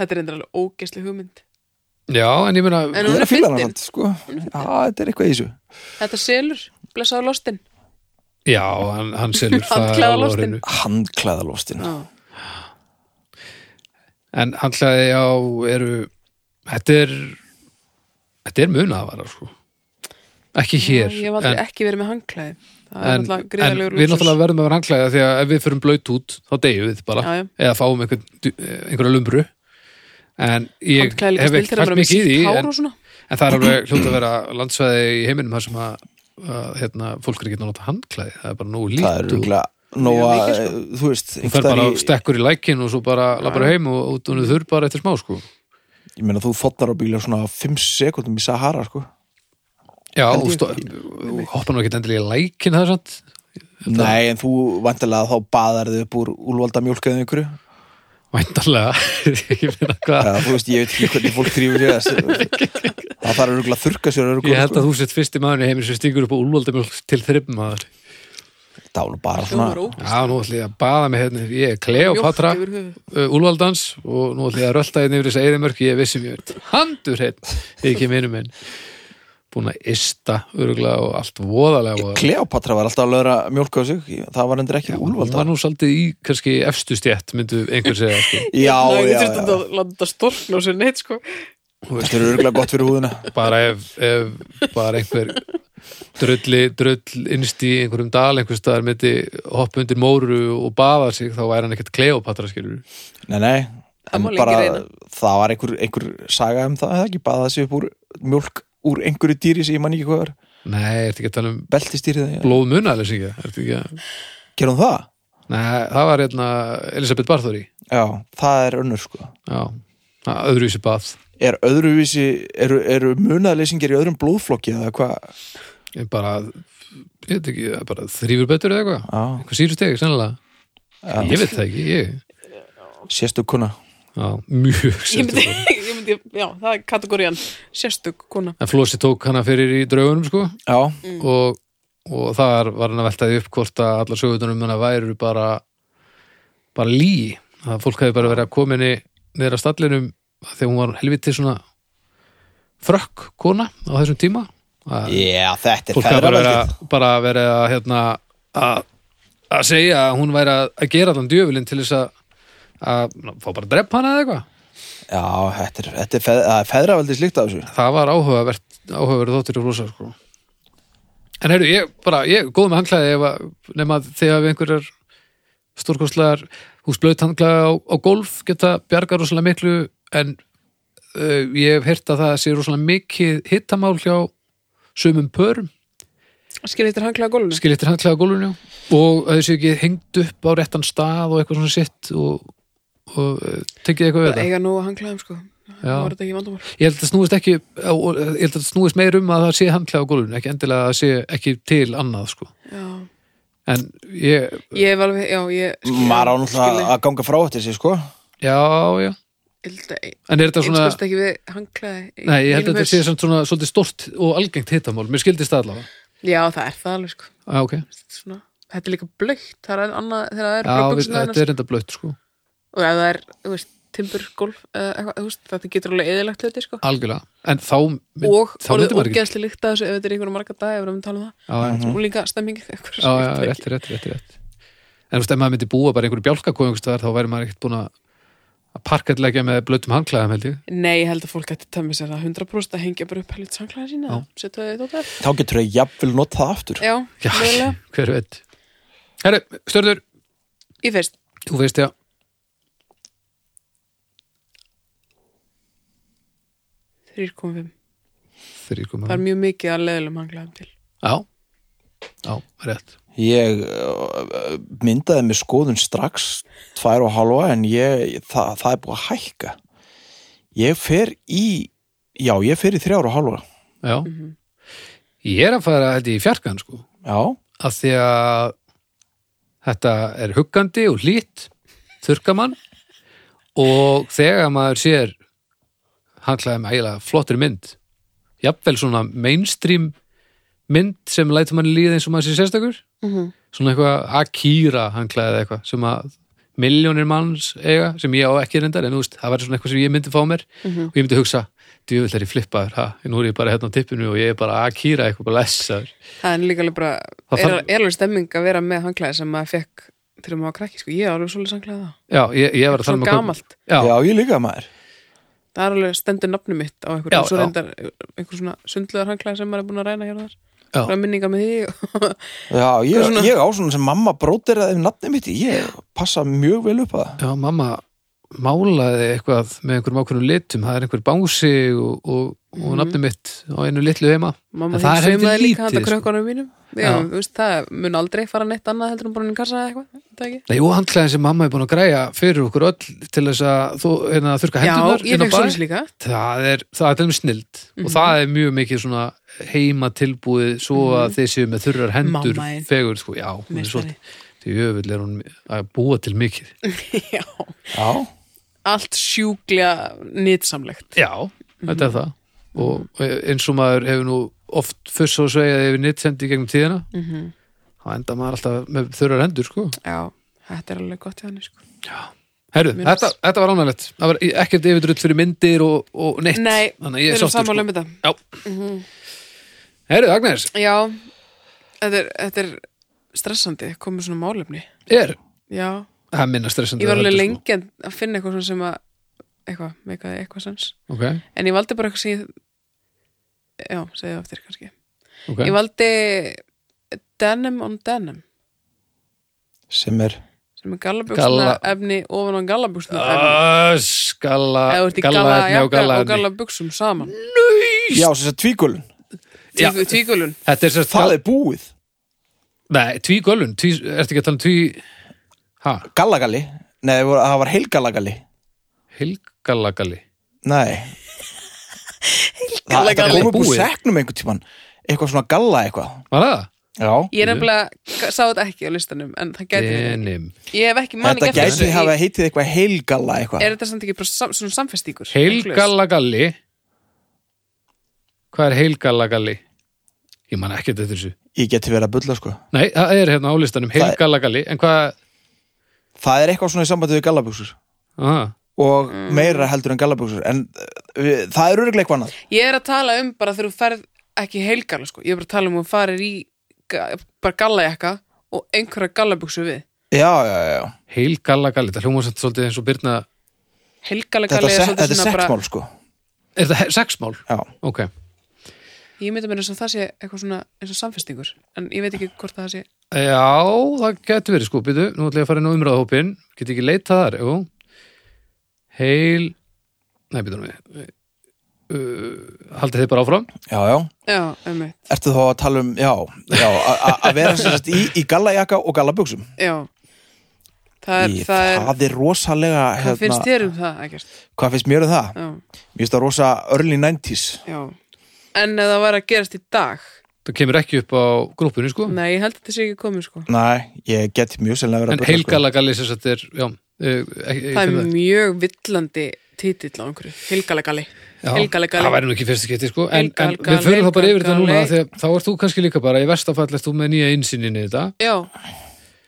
Speaker 3: þetta er endur alveg ógesli hugmynd
Speaker 2: Já, en ég meina
Speaker 3: En
Speaker 1: ég er
Speaker 3: hún er
Speaker 1: að fíla hann
Speaker 3: fyndin.
Speaker 1: samt, sko. Já, þetta er eitthvað í þessu.
Speaker 3: þetta selur, blessaður lostin
Speaker 2: Já, hann, hann selur það
Speaker 3: Handklæða
Speaker 2: alveg á
Speaker 3: lostin.
Speaker 2: hreinu.
Speaker 1: Hanklæðalófstinn.
Speaker 3: já,
Speaker 2: En handklæði, já, eru Þetta er Þetta er munavara, sko Ekki hér
Speaker 3: ég hef aldrei ekki verið með hanglaði það er
Speaker 2: en,
Speaker 3: náttúrulega
Speaker 2: en
Speaker 3: gríðalegur
Speaker 2: við
Speaker 3: lúxus.
Speaker 2: náttúrulega verðum að vera hanglæða því að ef við förum blöyt út þá deyjum við bara
Speaker 3: Já, já.
Speaker 2: eða fáum einhver, einhverja lumbru en ég
Speaker 3: Handklæði líka
Speaker 2: hef
Speaker 3: snill
Speaker 2: ekki hægt
Speaker 3: þegar maður er með
Speaker 2: mikið í
Speaker 3: sítt
Speaker 2: því
Speaker 3: hár
Speaker 2: en,
Speaker 3: og svona.
Speaker 2: en það er alveg hljótt að vera landsvæði í heiminum þar sem að, að hérna, fólk er ekki að nota handklæði það er bara nógu
Speaker 1: Það er
Speaker 2: lít og
Speaker 1: rúglega, nú
Speaker 3: Mjög
Speaker 1: að,
Speaker 3: mikið, sko.
Speaker 1: þú veist,
Speaker 2: þú fer
Speaker 1: staðar
Speaker 2: bara
Speaker 1: í-
Speaker 2: stekkur í lækin og svo bara labbar heim og út og þurr bara eftir smá sko
Speaker 1: ég meina þú þotnar á bíla svona 5 sekundum í Sahara, sko.
Speaker 2: já,
Speaker 1: Held
Speaker 2: og
Speaker 1: ég-
Speaker 2: stó- hoppar nú ekki endilega í lækin það er sant
Speaker 1: Nei, en þú vantilega þá baðar þið upp úr úlvalda mjólk eða einhverju
Speaker 2: væntanlega ég meina hvað
Speaker 1: Eða, þú veist, ég veit ekki hvernig fólk þrýfur sér þessi það þarf örugglega að þurrka sér örugglega,
Speaker 2: Ég held
Speaker 1: sko.
Speaker 2: að þú sett fyrsti maður í heiminn sem stingur upp á úlvaldamjólk til þrippum maður.
Speaker 1: það var nú bara
Speaker 3: Hljómar
Speaker 1: svona
Speaker 3: ógeðslega.
Speaker 2: Já, nú ætlum ég að baða mig hérna, ég er Kleopatra,
Speaker 3: Mjólk yfir höfuð.
Speaker 2: uh, úlvaldans og nú ætlum ég að rölda hérna yfir þess að eðimörk, ég vissi mjög handur hérna, ég ekki minnum minn. Búin að ista, öruglega og allt voðalega voðalega.
Speaker 1: Kleopatra var alltaf að löðra mjólk á sig það var endur ekki
Speaker 2: Hún var
Speaker 1: úlvalda
Speaker 2: nú svolítið í, kannski, efstu stjætt, myndu einhver segja, sko.
Speaker 1: já,
Speaker 3: Nei,
Speaker 1: já,
Speaker 3: ég þurfti
Speaker 1: já,
Speaker 3: að landa storkn og sér neitt sko.
Speaker 1: þetta er örugglega gott fyrir húðina
Speaker 2: Bara ef, ef, bara einhver drulli, drull innst í einhverjum dal, einhvers staðar myndi hoppa undir móru og baða sig, þá væri hann ekkert Kleopatra, skilur.
Speaker 1: nei, nei,
Speaker 3: Það
Speaker 1: en
Speaker 3: má lengi
Speaker 1: bara
Speaker 3: reyna.
Speaker 1: það var einhver, einhver saga um það, eða ekki, baða sig upp úr mjólk úr einhverju dýri sem ég man ekki hvað er
Speaker 2: Nei, ertu ekki að tala um
Speaker 1: beltistýrið, já.
Speaker 2: blóð munaðlis ekki? Ertu ekki að...
Speaker 1: gerum það?
Speaker 2: Nei, það var hérna Elisabeth Barþóri
Speaker 1: Já, það er önnur sko
Speaker 2: Já, öðruvísi bað
Speaker 1: Er öðruvísi, eru, eru munaðleysingir í öðrum blóðflokki eða hvað?
Speaker 2: Ég bara, ég veit ekki, bara þrýfur betur eða eitthvað
Speaker 1: Já,
Speaker 2: Eitthvað sírustegi, sennilega
Speaker 1: Já.
Speaker 2: Ég veit það ekki, ég
Speaker 1: sérstu kuna
Speaker 2: Já, mjög
Speaker 3: ég myndi,
Speaker 2: sérstök
Speaker 3: ég myndi, já, það er kategórian sérstök kona
Speaker 2: En Flósi tók hana fyrir í draugunum sko
Speaker 1: Já,
Speaker 3: Mm.
Speaker 2: og, og þar var hann að veltaði upp hvort að allar sögutunum hennar væru bara bara lí að fólk hefði bara verið að koma henni neður að stallinum af því að hún var helviti svona frökk kona á þessum tíma að
Speaker 1: yeah, þetta er
Speaker 2: fólk hefði bara,
Speaker 1: feðraveldið
Speaker 2: verið að- bara verið að hérna að að segja að hún væri að, að gera allan djöfulinn til þess að að ná, fá bara að drepp hana eða eitthvað
Speaker 1: Já, þetta er, þetta er, feð, það er feðraveldið slíkt af þessu
Speaker 2: það var áhugavert áhugaverð þóttir í rosa sko. en heyrðu, ég bara, ég er góð með hanglaði ef að, nema að þegar við einhverjar stórkostlegar húsblöðt hanglaði á, á golf geta bjargar rosalega miklu en uh, ég hef heyrt að það sé rosalega mikið hittamál hjá sumum pörum,
Speaker 3: skilja þetta hanglaða gólunum
Speaker 2: skilittir hanglaði á golfinu og að þau séu ekki hengt upp á réttan stað og eitthvað svona sitt og, og uh, tekið eitthvað við
Speaker 3: það
Speaker 2: þetta
Speaker 3: eiga nú að hanglaðum sko
Speaker 2: Já.
Speaker 3: það var þetta ekki vandamál
Speaker 2: Ég held að það snúist ekki á- eh, ég held að það snúist meir um að það sé handklæða á gólfinu, ekki endilega að það sé ekki til annað sko.
Speaker 3: já.
Speaker 2: En ég,
Speaker 3: ég var alveg, já, ég skil-
Speaker 1: Maður á
Speaker 3: skil-
Speaker 1: náttúrulega að ganga frá eftir sér sko
Speaker 2: já, já
Speaker 3: ég held að-
Speaker 2: En er þetta
Speaker 3: eins
Speaker 2: svona,
Speaker 3: kosti ekki við hanglaði í
Speaker 2: nei, ég held
Speaker 3: mínum
Speaker 2: að þetta sé
Speaker 3: haus.
Speaker 2: samt svona svolítið stort og algengt hittamál, mér skildist það allavega
Speaker 3: já, það er það alveg sko
Speaker 2: Já, ok,
Speaker 3: svona, þetta er líka blökt, það er annað þegar það er
Speaker 2: já, við,
Speaker 3: blökbuxurnar
Speaker 2: þetta
Speaker 3: hennar.
Speaker 2: er enda blöitt sko,
Speaker 3: og ef það er, þú veist, timburgólf eða eitthvað, þú veist, þetta getur alveg eðilagt hluti sko
Speaker 2: algjörlega En þá, Ah, mynd,
Speaker 3: og
Speaker 2: þá
Speaker 3: orðið
Speaker 2: myndi maður ekki
Speaker 3: ógeðsli líkt að þessu ef þetta er einhverjum marga dag ef við erum að tala um það,
Speaker 2: Já, já,
Speaker 3: og líka stemming einhverjum
Speaker 2: já, já,
Speaker 3: sem-
Speaker 2: rétt, rétt, rétt, rétt En þú veist, ef maður myndi búa bara í einhverju bjálkakóðungstöðar þá væri maður ekkert búin að að parkatleggja með blöttum handklæðum held ég
Speaker 3: nei, ég held að fólk gæti tömmi sér það 100% að hengja bara upp helvit sanglaði sína setja þau þetta
Speaker 1: Þá getur þau jafnvel nota það aftur
Speaker 3: já,
Speaker 2: Já,
Speaker 3: mögulega,
Speaker 2: hver veit Herru, stjörður,
Speaker 3: í fyrst
Speaker 2: þú veist já
Speaker 3: þrýr komum við,
Speaker 2: þrýr
Speaker 3: það
Speaker 2: koma
Speaker 3: er mjög mikið að leðilum hanglaðum til
Speaker 2: já, já, rétt
Speaker 1: Ég uh, myndaði með skoðun strax tvær og halva en ég, það, það er búið að hækka Ég fer í Já, ég fer í þrjár og halva
Speaker 2: já. ég er að fara held ég í fjarkan sko,
Speaker 1: Já,
Speaker 2: af því að þetta er huggandi og hlýtt þurrkamann og þegar maður sér handlaði með ægilega flottir mynd jafnvel svona mainstream mynd sem lætur manni líða eins og maður sér sérstakur
Speaker 3: Mhm.
Speaker 2: svona eitthvað Akira handklæði eða eitthvað sem að miljónir manns eiga sem ég á ekki reyndar en þú veist, það væri svona eitthvað sem ég myndi fá mér og ég myndi hugsa, djöfull er ég flippaður ha? nú er ég bara hérna á tippinu og ég er bara Akira eitthvað bara lessaður
Speaker 3: það er líka alveg bara,
Speaker 2: Það
Speaker 3: er,
Speaker 2: þarf-
Speaker 3: er alveg stemming að vera með hanglaði sem maður fekk til að maður var krakki, sko, ég er alveg svolítið sanglaði það
Speaker 2: Já, ég, ég var að tala um
Speaker 3: svo
Speaker 2: að kaupa-
Speaker 3: gamalt,
Speaker 1: já,
Speaker 2: Já,
Speaker 1: ég líka maður
Speaker 3: það er alveg stendur nafnum mitt á
Speaker 2: Já,
Speaker 3: einhverju, já, svo
Speaker 2: já.
Speaker 3: reyndar einhver svona sundluðar hanglaði sem maður er búin að ræna hér og þar,
Speaker 2: Já.
Speaker 3: það er minninga með því og-
Speaker 1: Já, ég,
Speaker 3: Hvað svona?
Speaker 1: ég á svona sem mamma bróteraði um nafni mitt, ég passa mjög vel upp að það.
Speaker 2: já, mamma málaði eitthvað með einhverjum ákveðnum litum það er einhver bánsi og, og,
Speaker 3: Mhm.
Speaker 2: og nafni mitt á einu litlu heima
Speaker 3: Mamma
Speaker 2: En það er
Speaker 3: þín saumaði
Speaker 2: heldur
Speaker 3: líka handa
Speaker 2: lítið, sko.
Speaker 3: krökkunum mínum Já,
Speaker 2: Já.
Speaker 3: þú veist, það mun aldrei fara neitt annað heldur en bara inn í kassa eða eitthvað, það ekki
Speaker 2: Nei, og handklæðin sem mamma er búin að græja fyrir okkur öll til þess að þú, hérna, þurrka hendunar
Speaker 3: Já, ég fekk Mhm. svona líka
Speaker 2: það er, það er til þeim snild og það er mjög mikið svona heima tilbúið svo að þeir séu með þurrar hendur
Speaker 3: Mhm. Mamma er-
Speaker 2: fegur, sko, já, hún er
Speaker 3: Meistari.
Speaker 2: svolítið til jöfull er hún að búa til mikið
Speaker 3: Já,
Speaker 1: Já,
Speaker 3: allt sjúklega nýtsamlegt
Speaker 2: já, þetta er það og eins og maður hefur nú oft fyrst og sveið yfir nýttsendi gegnum tíðina
Speaker 3: Mhm.
Speaker 2: þá enda maður alltaf með þurrar hendur, sko
Speaker 3: Já, þetta er alveg gott hjá henni sko
Speaker 2: Herru,
Speaker 3: Mér finnst-
Speaker 2: þetta, þetta var ánægilegt það var ekkert yfirdrull fyrir myndir og, og neitt
Speaker 3: Nei,
Speaker 2: þannig að
Speaker 3: við
Speaker 2: ég er
Speaker 3: erum
Speaker 2: sáttur,
Speaker 3: sammála Mhm.
Speaker 2: sko.
Speaker 3: um þetta
Speaker 2: Já. Herru, Agnes,
Speaker 3: Já, þetta er, þetta er stressandi, komið svona málefni
Speaker 2: er
Speaker 3: Já,
Speaker 2: það er minna stressandi
Speaker 3: ég var
Speaker 2: en
Speaker 3: alveg
Speaker 2: þetta,
Speaker 3: lengi að að finna eitthvað svona sem að eitthvað, meikaði eitthvað sens
Speaker 2: sko. okay,
Speaker 3: En ég valdi bara eitthvað sem ég Já, segið það eftir kannski
Speaker 2: okay.
Speaker 3: Ég valdi denim on denim
Speaker 1: sem er,
Speaker 3: sem er gallabuxna
Speaker 2: Galla-
Speaker 3: efni ofan á gallabuxna efni
Speaker 2: Öss, galla
Speaker 3: eða þú ert í
Speaker 2: galla
Speaker 3: galla
Speaker 2: efni og
Speaker 3: jakka
Speaker 2: galla
Speaker 3: og
Speaker 2: efni
Speaker 3: gallabuxum saman
Speaker 2: Nei,
Speaker 1: Já, sem sagt tvíkulun,
Speaker 2: Já.
Speaker 3: Tvígu- Tvígulun
Speaker 2: Þetta er sérst
Speaker 1: það er búið
Speaker 2: Nei, tvígölun, tví, ertu ekki að tala um tví Ha,
Speaker 1: Gallagalli, nei það var- það var heilgallagalli
Speaker 2: hilgalagali
Speaker 1: Nei Það það
Speaker 2: Gallagalli
Speaker 1: kom upp úr
Speaker 2: búið.
Speaker 1: seknum einhvern tímann Eitthvað svona galla eitthvað
Speaker 2: Var það?
Speaker 1: Já,
Speaker 3: Ég
Speaker 2: Mhm.
Speaker 3: er nefnilega sá þetta ekki á listanum en það gæti verið.
Speaker 2: Denim
Speaker 3: Ég hef ekki man
Speaker 1: þetta
Speaker 3: ekki eftir
Speaker 1: gæti
Speaker 3: þessu
Speaker 1: hafa
Speaker 3: í-
Speaker 1: heitið eitthvað heilgalla eitthvað
Speaker 3: Er þetta samt ekki bara sam, svona samfestingur?
Speaker 2: Heilgalagali Hvað er heilgalagali? Ég man ekki eftir þessu
Speaker 1: Ég geti verið að bulla sko
Speaker 2: Nei, það er hérna á listanum,
Speaker 1: er-
Speaker 2: heilgalagali En hvað,
Speaker 1: Það er eitthvað svona í sambandi við gallabuxur
Speaker 2: aha,
Speaker 1: Og
Speaker 3: Mm.
Speaker 1: meira heldur en gallabuxur En uh, það er örugglega eitthvað annað
Speaker 3: Ég er að tala um bara þegar þú ferð ekki heilgala sko. Ég er bara að tala um að þú farir í ga- bara gallajakka og einhverja gallabuksu við.
Speaker 1: Já, já, já, já
Speaker 2: heilgalagali Það hljóma samt svolítið eins og Birna
Speaker 3: Heilgala
Speaker 1: Þetta,
Speaker 3: galli er
Speaker 1: se,
Speaker 3: svolítið
Speaker 1: þetta er
Speaker 3: svona bara
Speaker 1: sexmál sko
Speaker 2: Er það he- sexmál?
Speaker 1: Já,
Speaker 2: Ok,
Speaker 3: Ég myndi mér eins og það sé eitthvað svona eins og samfestingur en ég veit ekki hvort það sé
Speaker 2: já, það getur verið sko Býtu, nú ætla ég að fara inn á umræðahópin Get ekki leitað þar, jú Heil Nei, býtu nú við uh, Haldið þið bara áfram
Speaker 1: já, já
Speaker 3: Já, um mitt
Speaker 1: Ertu þá að tala um, já, já a- a- Að vera sem sagt í, í gallajakka og gallabuxum
Speaker 3: Já Það er,
Speaker 1: Í-
Speaker 3: það er
Speaker 1: það er rosalega hérna-
Speaker 3: Hvað finnst þér um það, ekkert?
Speaker 1: Hvað finnst mér um það?
Speaker 3: Já,
Speaker 1: Mér finnst það rosa early 90s
Speaker 3: já En ef það var að gerast í dag
Speaker 2: Það kemur ekki upp á grúppinu sko
Speaker 3: Nei, ég held að þetta sé ekki komið sko
Speaker 1: Nei, ég get mjög sennilega verið að
Speaker 2: En
Speaker 1: bulla, sko.
Speaker 2: heilgalagali sem sagt er, já eh, ekki-
Speaker 3: Það
Speaker 2: ekki-
Speaker 3: er mjög villandi títill á einhverju Helgalegali
Speaker 2: Já, það
Speaker 3: Helgalegali
Speaker 2: væri nú ekki fyrst skipti sko en, en
Speaker 3: Helgalgali,
Speaker 2: við förum þá bara yfir þetta núna
Speaker 3: helgalgali.
Speaker 2: af því að þá ert þú kannski líka bara í vestafall ert þú með nýja insinninni þetta
Speaker 3: Já,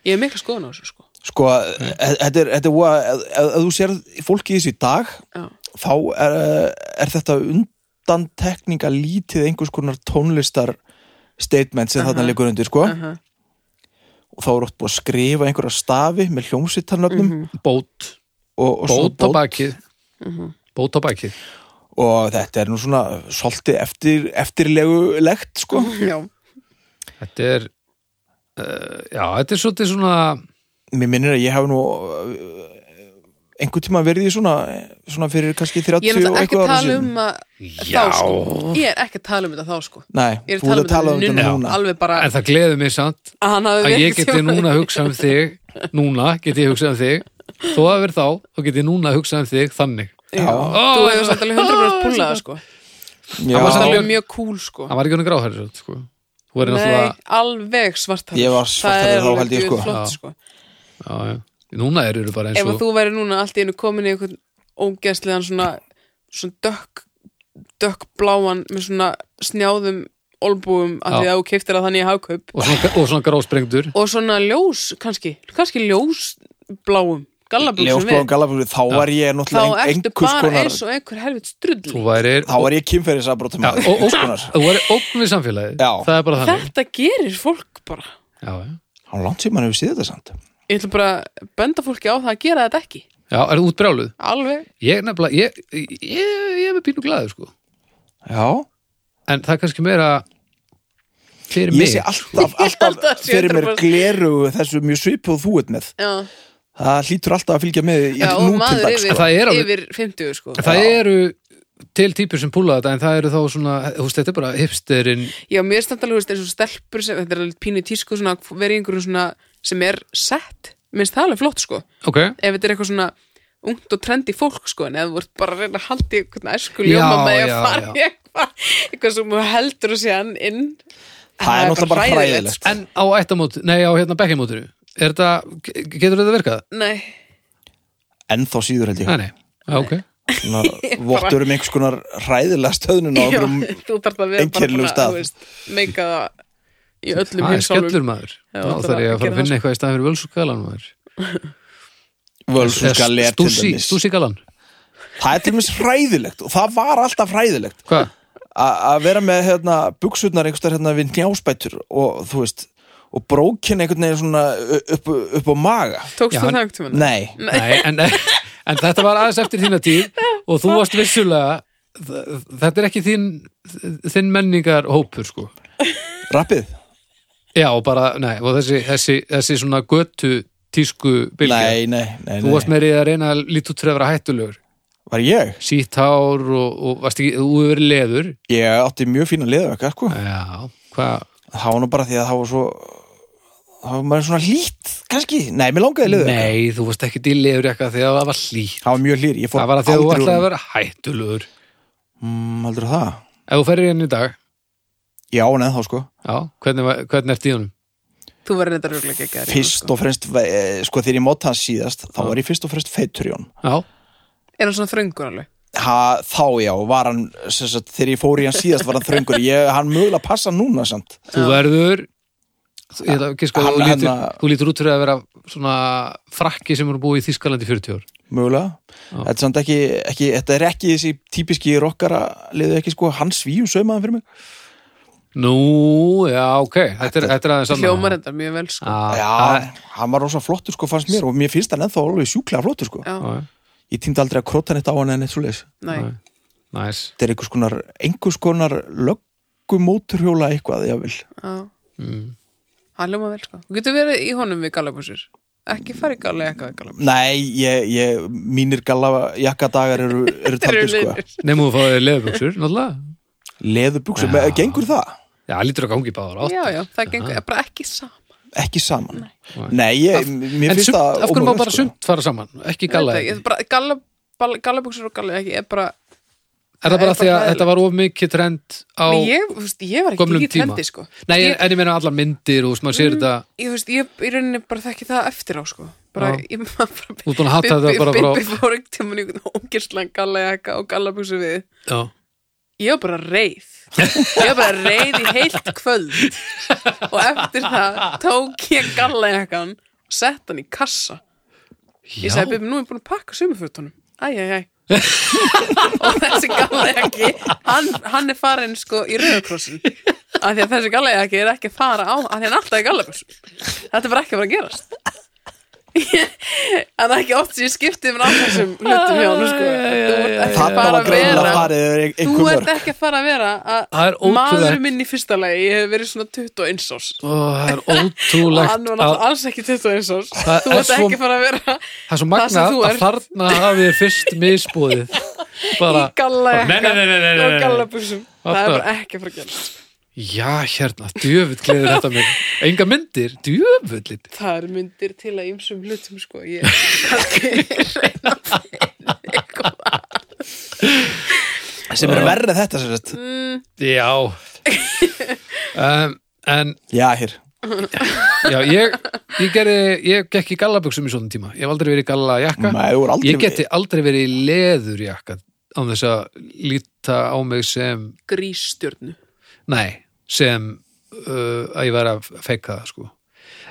Speaker 3: ég er mikla skoðun á þessu sko
Speaker 1: Sko, e- þetta er, þetta er voða- ef, ef ef þú sér fólki í þessu í dag
Speaker 3: Já,
Speaker 1: þá er, e- er þetta undantekninga lítið einhvers konar tónlistar statement sem þarna liggur undir, sko
Speaker 3: uh
Speaker 1: og þá er oft búið að skrifa einhverja stafi með hljómsvittarnöfnum
Speaker 2: Mhm. bót,
Speaker 1: og, og, svona
Speaker 2: bót á bakið
Speaker 3: Mhm.
Speaker 2: bót á bakið
Speaker 1: og þetta er nú svona svolítið eftir, eftirlegulegt, sko
Speaker 3: já
Speaker 2: þetta er uh, já, þetta er svolítið svona
Speaker 1: Mér minnir að ég hef nú eh, einhvern tíma verið í svona svona fyrir kannski 30
Speaker 3: Ég er náttúrulega
Speaker 1: og
Speaker 3: ekki
Speaker 1: eitthvað ára
Speaker 3: að tala
Speaker 1: síðan.
Speaker 3: um að
Speaker 2: Já.
Speaker 3: þá sko Ég er ekki að tala um þetta þá sko
Speaker 1: Nei,
Speaker 3: Ég er
Speaker 1: þú ert
Speaker 3: að tala um þetta núna Alveg bara
Speaker 2: en það gleður mig samt
Speaker 3: að hann hafi
Speaker 2: að
Speaker 3: verið
Speaker 2: ég geti núna að hugsa um þig núna geti ég hugsað um þig þó að verð þá, þá geti ég núna að hugsa um þig þannig
Speaker 3: Já,
Speaker 2: Ó,
Speaker 3: þú hefur samt alveg 100% púlaða sko Það var
Speaker 1: Já.
Speaker 2: samt
Speaker 3: alveg mjög cool sko
Speaker 2: hann var ekki hann gráhæri sko. þú verður
Speaker 3: Nei,
Speaker 2: náttúrulega
Speaker 3: alveg svartarður
Speaker 1: Ég var svarthærður þá, held ég, sko.
Speaker 3: flott,
Speaker 2: Já.
Speaker 3: sko.
Speaker 2: já, já. núna eru þú bara eins
Speaker 3: Ef
Speaker 2: og
Speaker 3: að þú væri núna allt í einu komin í einhvern ógæsliðan svona, svona dökk dökk bláan með svona snjáðum olbúum af
Speaker 2: Já.
Speaker 3: því að þú keiftir að þannig í hagkaup
Speaker 2: og svona, og svona grásprengdur
Speaker 3: og svona ljós kannski, kannski ljós bláum, gallabuxum
Speaker 1: Ljósbláum
Speaker 3: við
Speaker 1: gallabúsi, þá var ég
Speaker 3: þá
Speaker 1: náttúrulega ein-
Speaker 3: ertu
Speaker 1: einhvers
Speaker 3: bara
Speaker 1: konar
Speaker 3: eins og einhver helvitt
Speaker 2: þú
Speaker 3: strull
Speaker 2: værir
Speaker 1: þá var ég kynferðisabrótum
Speaker 2: Já,
Speaker 1: maður,
Speaker 2: og- og-
Speaker 1: einhvers konar
Speaker 2: þú væri ógn við samfélagið
Speaker 1: Já.
Speaker 2: það er bara þannig
Speaker 3: Þetta gerir fólk bara
Speaker 2: já, já.
Speaker 1: Há langt sem mann hefur séð þetta samt
Speaker 3: Ég ætla bara að benda fólki á það að gera þetta ekki
Speaker 2: já, er þú útbrjáluð?
Speaker 3: Alveg
Speaker 2: ég nefnilega, ég, ég, ég er með pínu glæður sko.
Speaker 1: Já,
Speaker 2: en það er kannski meira fyrir
Speaker 1: ég
Speaker 2: mig
Speaker 1: sé alltaf,
Speaker 3: held að
Speaker 1: alltaf
Speaker 3: sé
Speaker 1: fyrir mér
Speaker 3: 100%.
Speaker 1: gleru þessu mjög svipu og þú ert með
Speaker 3: Já
Speaker 1: það hlýtur alltaf að fylgja með í
Speaker 3: Já, og maður
Speaker 1: nútildags sko.
Speaker 2: sko.
Speaker 3: yfir,
Speaker 2: Það er alveg-
Speaker 3: yfir 50 sko.
Speaker 2: það eru til típur sem púla þetta en það eru þá svona, þú veist, þetta er bara hipsterinn
Speaker 3: Já, mér stand alveg þú veist, eins og stelpur sem, þetta er alveg pínu í tísku svona, að vera í einhverju svona sem er sett, minnst það alveg flott sko
Speaker 2: ok,
Speaker 3: ef þetta er eitthvað svona ungt og trendi fólk sko en ef þú ert bara að reyna að halda í einhvern æsku
Speaker 2: Já,
Speaker 3: ljóma með því
Speaker 2: já,
Speaker 3: að fara í eitthvað eitthvað sem þú heldur og sé hann inn
Speaker 1: Það er náttúrulega bara hræðilegt sko.
Speaker 2: en á ættamót nei, á hérna bekkimótinu er þetta, ge- getur þetta virkað?
Speaker 3: Nei,
Speaker 1: En þá síður held ég
Speaker 2: nei, nei, já, ok
Speaker 1: Svona Vottur um einhvers konar ræðilega stöðnun á
Speaker 3: já,
Speaker 1: einhverjum
Speaker 3: þú þarf að vera bara
Speaker 1: einkennilegum
Speaker 3: búin að,
Speaker 1: stað.
Speaker 3: þú veist, meika það í öllum
Speaker 2: það er skellur
Speaker 3: heimsálfum
Speaker 2: maður
Speaker 3: Já,
Speaker 2: þá
Speaker 3: það sko.
Speaker 2: þarf ég að fara
Speaker 3: er að
Speaker 2: að
Speaker 3: gera
Speaker 2: finna eitthvað í staðan fyrir völsugalan maður
Speaker 1: völsunga ler til
Speaker 2: stúsi,
Speaker 1: dæmis
Speaker 2: stúsi galan
Speaker 1: Það er til dæmis hræðilegt og það var alltaf hræðilegt
Speaker 2: hvað?
Speaker 1: a- að vera með hérna, buksurnar einhverstað hérna við njásbætur og þú veist og brókin einhvern veginn svona u- upp, upp á maga
Speaker 3: Tókst
Speaker 2: Já,
Speaker 3: þú
Speaker 2: en-
Speaker 3: það einhvern tímann?
Speaker 1: Nei,
Speaker 2: Nei, en, en þetta var aðeins eftir þína tíð og þú varst vissulega þ- þetta er ekki þín, þinn menningar hópur sko
Speaker 1: rappið
Speaker 2: já og bara, nei, og þessi, þessi, þessi svona götu tísku bylgja
Speaker 1: Nei, nei, nei,
Speaker 2: þú varst
Speaker 1: nei.
Speaker 2: meiri að reyna að lítu trefra hættulegur
Speaker 1: Var ég?
Speaker 2: sítt hár og, og varst ekki, þú hefur verið leður
Speaker 1: Ég átti mjög fína liðvöka, sko
Speaker 2: já, hvað
Speaker 1: Það var nú bara því að það var svo Það var maður svona lít, kannski Nei, mér langaði liðvöka
Speaker 2: nei, þú varst ekki til leður eitthvað þegar það var hlý
Speaker 1: Það var mjög hlýr, ég fór
Speaker 2: það var að því að þú
Speaker 1: aldrei
Speaker 2: ætlaði að
Speaker 1: úr-
Speaker 2: vera hættulegur
Speaker 1: Mm, heldur það?
Speaker 2: ef þú ferir inn í dag,
Speaker 1: Já, neð þá, sko
Speaker 2: já, hvernig, var- hvernig ertu í honum
Speaker 3: Þú verður þetta röglega ekki að
Speaker 1: Fyrst og fremst, eh, sko, þegar ég mót hans síðast Þá var ég fyrst og fremst feitur í honum
Speaker 2: já,
Speaker 3: Er hann svona þröngur alveg?
Speaker 1: ha, þá já, var hann sem sagt, þegar ég fór í hann síðast var hann þröngur ég, hann mögulega passa núna samt
Speaker 2: þú verður þú- ég ætla að giska,
Speaker 1: Hann- hérna-
Speaker 2: þú,
Speaker 1: hann-
Speaker 2: lítur, þú lítur út fyrir að vera svona frakki sem eru búið í Þískalandi 40 ár
Speaker 1: mögulega, þetta er samt ekki, ekki þetta er ekki þessi típiski rockara liðu ekki sko, hann svíu saumaðan fyrir mig
Speaker 2: nú, já, ok, þetta er, þetta er aðeins annað.
Speaker 3: Hljómar þetta mjög vel
Speaker 1: Ah,
Speaker 3: sko
Speaker 2: Já, það-
Speaker 1: já, hann var rosa flottur sko fannst mér og mér finnst hann ennþá alveg sjúklega flottur sko
Speaker 3: Já,
Speaker 2: já,
Speaker 1: ég týndi aldrei að króta neitt á hann en eitt svo leis
Speaker 3: næ
Speaker 2: já. næs
Speaker 1: þetta er einhvers konar, einhvers konar löggumóturhjóla eitthvað, ég vil
Speaker 3: Já Ah.
Speaker 1: Mm.
Speaker 3: Hann hljómar vel sko Þú getur verið í honum við galabúsur Ekki fara í gala eitthvað við galabúsur
Speaker 1: nei, ég, ég, mínir galla jakkadagar eru, eru taldir sko
Speaker 2: Nefnum þú fáið leðbuksur, náttúrulega
Speaker 1: leðubuxur, gengur það?
Speaker 2: Já, lítur að gangi báðar átt
Speaker 3: Já, já, það gengur er bara ekki saman
Speaker 1: ekki saman nei, ég, mér
Speaker 2: En
Speaker 1: finnst
Speaker 2: sumt,
Speaker 1: það
Speaker 2: af hverju má
Speaker 1: ómögulegt,
Speaker 2: bara
Speaker 1: sko.
Speaker 2: sumt fara saman, ekki galla Er
Speaker 3: Ég veit ekki, bara galla- ball- Gallabúsur og galla ekki er bara
Speaker 2: það bara
Speaker 3: er
Speaker 2: því að
Speaker 3: bara
Speaker 2: þetta var of mikið trend á
Speaker 3: Nei, ég, þú veist, ég var
Speaker 2: gömlum
Speaker 3: ekki í
Speaker 2: tíma
Speaker 3: trendi sko
Speaker 2: Nei,
Speaker 3: ég, Mm.
Speaker 2: en ég meina allar myndir og maður sér þetta
Speaker 3: ég, þú veist, ég í rauninni bara þekki það eftir á sko bara,
Speaker 2: Já.
Speaker 3: ég, maður bara,
Speaker 2: Þú ert búin að hata
Speaker 3: Bibbi-
Speaker 2: þetta bara frá-
Speaker 3: Bibbi fór ekkert tíma í einhvern ógerslan gallajaka og gallabúsu við
Speaker 2: Já,
Speaker 3: ég var bara reið ég var bara reið í heilt kvöld og eftir það tók ég gallajakan og sett hann í kassa ég
Speaker 2: Já.
Speaker 3: sagði Bibbi, nú er ég búin að pakka sumufötunum æj, æj, æj og þessi gallajaki hann, hann er farin sko í rauðakrossin af því að þessi gallajaki er ekki að fara á af því að hann er alltaf í gallabössum þetta er bara ekki að fara að gerast en það er ekki oft sem ég skiptið með alltaf þessum hlutum hjá hann sko. þú ert ekki að
Speaker 1: þarna
Speaker 3: fara
Speaker 1: var
Speaker 3: að
Speaker 1: greinlega
Speaker 3: vera
Speaker 1: farið yfir
Speaker 3: Þú
Speaker 1: einhver
Speaker 3: ert
Speaker 1: mörg
Speaker 3: ekki að fara að vera
Speaker 2: Það er
Speaker 3: að
Speaker 2: ótrúlegt.
Speaker 3: maður minn í fyrsta lagi, ég hef verið svona 21 árs
Speaker 2: Ó, það er
Speaker 3: og
Speaker 2: ótrúlegt
Speaker 3: hann var
Speaker 2: að,
Speaker 3: náttúrulega alls ekki 21 árs
Speaker 2: Það
Speaker 3: Þú
Speaker 2: er
Speaker 3: ert
Speaker 2: svo-
Speaker 3: ekki að fara að vera
Speaker 2: Það er svo
Speaker 3: það sem
Speaker 2: magnað
Speaker 3: þú
Speaker 2: að
Speaker 3: ert.
Speaker 2: þarna hafið þið fyrst misbúðið bara,
Speaker 3: í galla
Speaker 2: Nei, nei, nei, nei, nei, nei,
Speaker 3: og
Speaker 2: nei.
Speaker 3: gallabuxum Það er
Speaker 2: Þetta-
Speaker 3: bara ekki að fara að gerast
Speaker 2: já hérna, djöfull gleður þetta mér Enga myndir, djöfullit
Speaker 3: Það er myndir til að ymsum hlutum sko Ég kannski reyna að finna eitthvað.
Speaker 1: sem
Speaker 2: Mm.
Speaker 1: er verrið þetta sem sagt
Speaker 3: Mm.
Speaker 2: Já um, En
Speaker 1: já, hér,
Speaker 2: Já, ég, ég gerði, ég gekk í gallabuxum í svona tíma. Ég hef aldrei verið í gallajakka.
Speaker 1: Nei, þú er aldrei-
Speaker 2: Ég geti aldrei verið í leðurjakka án þess að líta á mig sem,
Speaker 3: Grísstjörnu
Speaker 2: nei, sem uh, að ég væri að feika það, sko.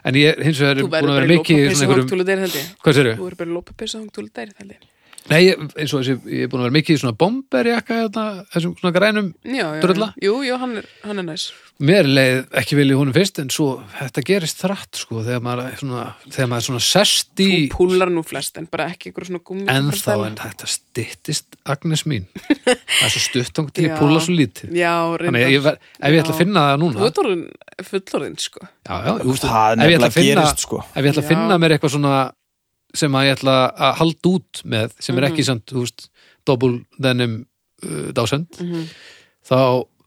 Speaker 2: En ég er hins vegar
Speaker 3: Þú
Speaker 2: búin að
Speaker 3: verður bara
Speaker 2: vera
Speaker 3: í
Speaker 2: mikið í
Speaker 3: lópapeysu
Speaker 2: svona einhverjum,
Speaker 3: hangtúlu dæri held ég
Speaker 2: hvað sér
Speaker 3: Þú verður bara í lópapeysu hangtúlu dæri held ég
Speaker 2: Nei, ég- eins og þessi, ég er búin að vera mikið í svona bomberjakka, þarna, þessum svona grænum.
Speaker 3: Já, já, já,
Speaker 2: Drulla?
Speaker 3: jú, jú, hann er, hann er næs
Speaker 2: Mér leið ekki vel í honum fyrst, en svo þetta gerist þrætt, sko, þegar maður er svona, þegar maður er svona sest í...
Speaker 3: Þú púlar nú flest en bara ekki ykkur svona gummi
Speaker 2: En þá en þetta stittist Agnes mín Það er svo stutt ángt til ég
Speaker 3: Já.
Speaker 2: púla svo lítið
Speaker 3: Já,
Speaker 2: Þannig að ég
Speaker 3: reyndar
Speaker 2: ver, ef ég ætla að
Speaker 3: Já.
Speaker 2: finna það
Speaker 3: Þú
Speaker 2: núna
Speaker 3: ert orðin fullorðin sko
Speaker 2: já, já, jú, veistu,
Speaker 1: Það
Speaker 2: ef ég
Speaker 1: nefnilega
Speaker 2: ætla að finna
Speaker 1: gerist, sko.
Speaker 2: Ef ég ætla að
Speaker 3: Já.
Speaker 2: finna mér eitthvað svona sem að ég ætla að halda út með sem er
Speaker 3: Mhm.
Speaker 2: ekki samt, þú veist, dobbul þennum uh, dásend
Speaker 3: Mhm.
Speaker 2: þá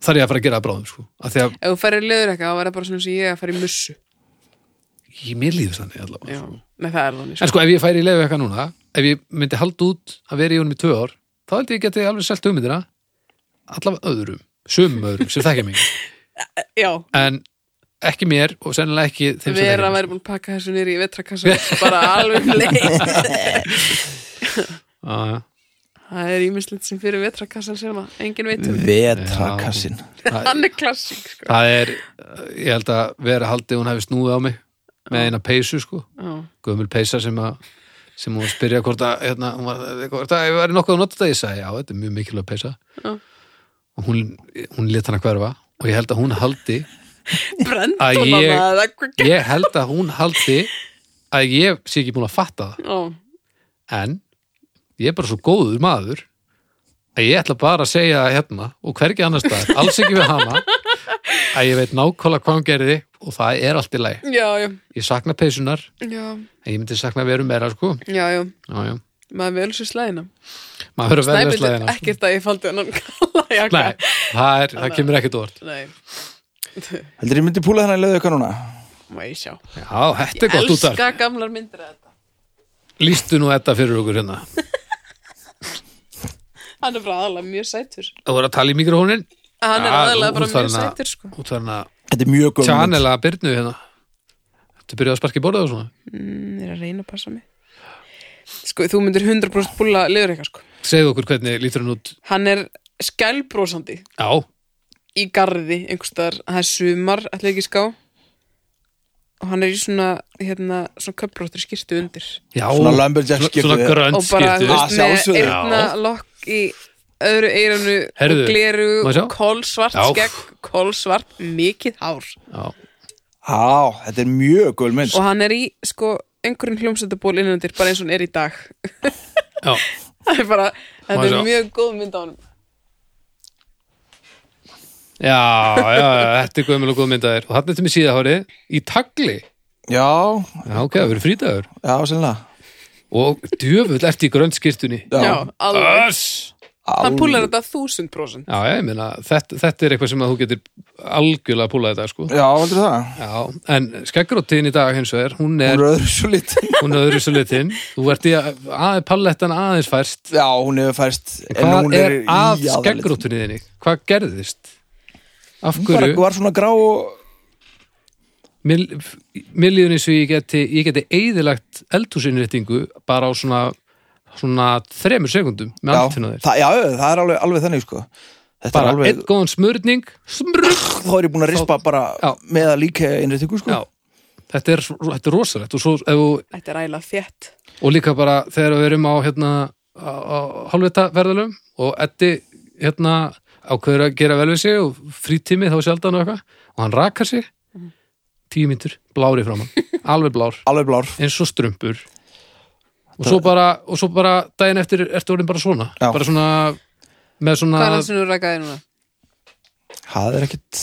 Speaker 2: þarf ég að fara að gera það bráðum sko. af því að
Speaker 3: Ef þú færir liður eitthvað, þá verður bara svona sem ég að færi mussu
Speaker 2: ég mér líður þannig allavega
Speaker 3: Já,
Speaker 2: sko.
Speaker 3: nei það er þannig
Speaker 2: En
Speaker 3: sko.
Speaker 2: sko, ef ég færi í leiðu eitthvað núna ef ég myndi halda út að vera í honum í tvö ár þá held ég geti alveg selt hugmyndina allavega öðrum, sumum öðrum sem þekkja mig, sko,
Speaker 3: Já,
Speaker 2: en ekki mér og sennilega ekki þeim sem þekkja
Speaker 3: vera að
Speaker 2: mig
Speaker 3: væri búin að pakka þessu nýri í vetrakassa bara alveg um leið
Speaker 2: Já, já.
Speaker 3: Það er ímislegt sem fyrir vetrakassan sem að enginn veit um
Speaker 1: vetrakassin
Speaker 3: Hann er klassík sko
Speaker 2: Það er, ég held að vera haldið hún hefði snúið á mig með eina peysu sko,
Speaker 3: Já,
Speaker 2: gömul peysa sem að sem hún var að spyrja hvort að hérna, hún var, hvort að ég var nokkuð að nota þetta ég sagði, já, þetta er mjög mikilvæg peysa
Speaker 3: Já.
Speaker 2: og hún, hún let hann að hverfa og ég held að hún haldi
Speaker 3: brenda
Speaker 2: Að
Speaker 3: mamma
Speaker 2: ég-
Speaker 3: eða hvað ge-
Speaker 2: ég held að hún haldi að ég sé ekki búin að fatta það
Speaker 3: Já,
Speaker 2: en ég er bara svo góður maður að ég ætla bara að segja það hérna og hvergi annars staðar, alls ekki við hana að ég veit nákvæmlega hvað hún gerði og það er allt í lagi
Speaker 3: já, já,
Speaker 2: ég sakna peysunar,
Speaker 3: já,
Speaker 2: en ég myndi sakna veru meira sko
Speaker 3: já, já
Speaker 2: já, já.
Speaker 3: maður vel sér slæðina
Speaker 2: maður verður að velja
Speaker 3: Snæbjörn
Speaker 2: slæðina
Speaker 3: er
Speaker 2: sko.
Speaker 3: ekkert að ég faldi hann kalla jakka
Speaker 2: Nei, það, er, það kemur ekkert orð
Speaker 3: Nei.
Speaker 1: Heldur ég myndi púla þannig að leiðu eitthvað núna?
Speaker 3: Má ég sjá
Speaker 2: Já, þetta er gott út
Speaker 3: Elska gamlar myndir að þetta
Speaker 2: af Lýstu nú þetta fyrir okkur hérna
Speaker 3: Hann er bara aðalega mjög sætur
Speaker 2: Það voru að tala í mikrofónin
Speaker 3: Hann er
Speaker 2: Já,
Speaker 3: aðalega bara
Speaker 2: hún
Speaker 3: mjög
Speaker 2: þarf hana-
Speaker 3: sætur sko
Speaker 2: Út þarna
Speaker 1: Þetta er mjög gömul mynd.
Speaker 2: tjanela byrnu hérna Þetta byrjaði að sparka í borða og svona
Speaker 3: mm, Er að reyna að passa mig Sko þú myndir 100% búla liður eitthvað sko
Speaker 2: Segðu okkur hvernig lítur hann út
Speaker 3: Hann er skælbrósandi
Speaker 2: Já,
Speaker 3: í garði einhverstaðar, það er sumar ætla ekki ská og hann er í svona hérna, svona köpbróttir skýrtu undir
Speaker 2: já
Speaker 1: Svona lumberjack
Speaker 2: svona-
Speaker 1: skiptu.
Speaker 2: Svona grönt
Speaker 3: og bara
Speaker 2: skiptu
Speaker 3: þú
Speaker 1: Ah,
Speaker 3: veist, með
Speaker 1: sjálfsögðu.
Speaker 3: eirna lokk í öðru eiranu og
Speaker 2: Heyrðu,
Speaker 3: gleru
Speaker 2: má ég sjá?
Speaker 3: og kólsvart
Speaker 2: Já.
Speaker 3: skegg, kólsvart, mikið hár
Speaker 2: Já,
Speaker 1: Á, þetta er mjög gömul mynd.
Speaker 3: og hann er í sko einhverjum hljómsættaból innandir bara eins og hann er í dag
Speaker 2: já
Speaker 3: það er bara,
Speaker 2: Má
Speaker 3: þetta
Speaker 2: ég
Speaker 3: er
Speaker 2: sjá?
Speaker 3: mjög góð mynd á hann
Speaker 2: Já, já, já, þetta er gömul og góð myndaðir og hann er til mig síðahári í tagli
Speaker 1: Já,
Speaker 2: Já, ok, það verður frítagur
Speaker 1: já, sennilega.
Speaker 2: og djöfull eftir grönt skýrtunni
Speaker 3: já, alveg,
Speaker 2: Öss
Speaker 3: hann púlar þetta þúsund prósent
Speaker 2: Já, ég meina, þetta, þetta er eitthvað sem að þú getur algjörlega að púla þetta, sko.
Speaker 1: Já, heldur það?
Speaker 2: Já, en skeggróttin í dag hins vegar, hún
Speaker 1: Hún
Speaker 2: er,
Speaker 1: er öðru svo lítið.
Speaker 2: hún er öðru svo litin. Þú ert í að, að pallettan aðeins færst.
Speaker 1: Já, hún hefur færst. en
Speaker 2: Hvað
Speaker 1: hún
Speaker 2: er
Speaker 1: í
Speaker 2: að
Speaker 1: aðallit.
Speaker 2: skeggróttinni þinni? Hvað gerðist? Af
Speaker 1: Hún bara
Speaker 2: hverju?
Speaker 1: var svona grá og...
Speaker 2: Miljóni svo ég geti, ég geti eðilagt eldhúsinnréttingu bara á svona, svona þremur sekundum með
Speaker 1: Já,
Speaker 2: alltinn á hérna þér.
Speaker 1: það, já, það er alveg, alveg þannig, sko. Þetta
Speaker 2: Bara
Speaker 1: er alveg...
Speaker 2: einn góðan smörning, smrugg,
Speaker 1: Þá er ég búin að rispa bara
Speaker 2: Já.
Speaker 1: með að líka innréttingu, sko.
Speaker 2: Já, þetta er, þetta er rosalegt og, svo, ef þú-
Speaker 3: þetta er ægilega þétt
Speaker 2: og líka bara þegar við erum á, hérna, á, á hálfvita verðalum og Eddi hérna, ákveður að gera vel við sig og frítími þá sjaldan og eitthvað og hann rakar sig
Speaker 3: Mhm.
Speaker 2: tíu mínútur, blári fram hann alveg blár,
Speaker 1: Alveg blár.
Speaker 2: eins og strumpur og svo bara, og svo bara daginn eftir ertu orðin bara svona
Speaker 1: Já.
Speaker 2: bara svona með
Speaker 3: hvað
Speaker 2: svona
Speaker 3: er það sem þú rækaði núna?
Speaker 1: Það er ekkit...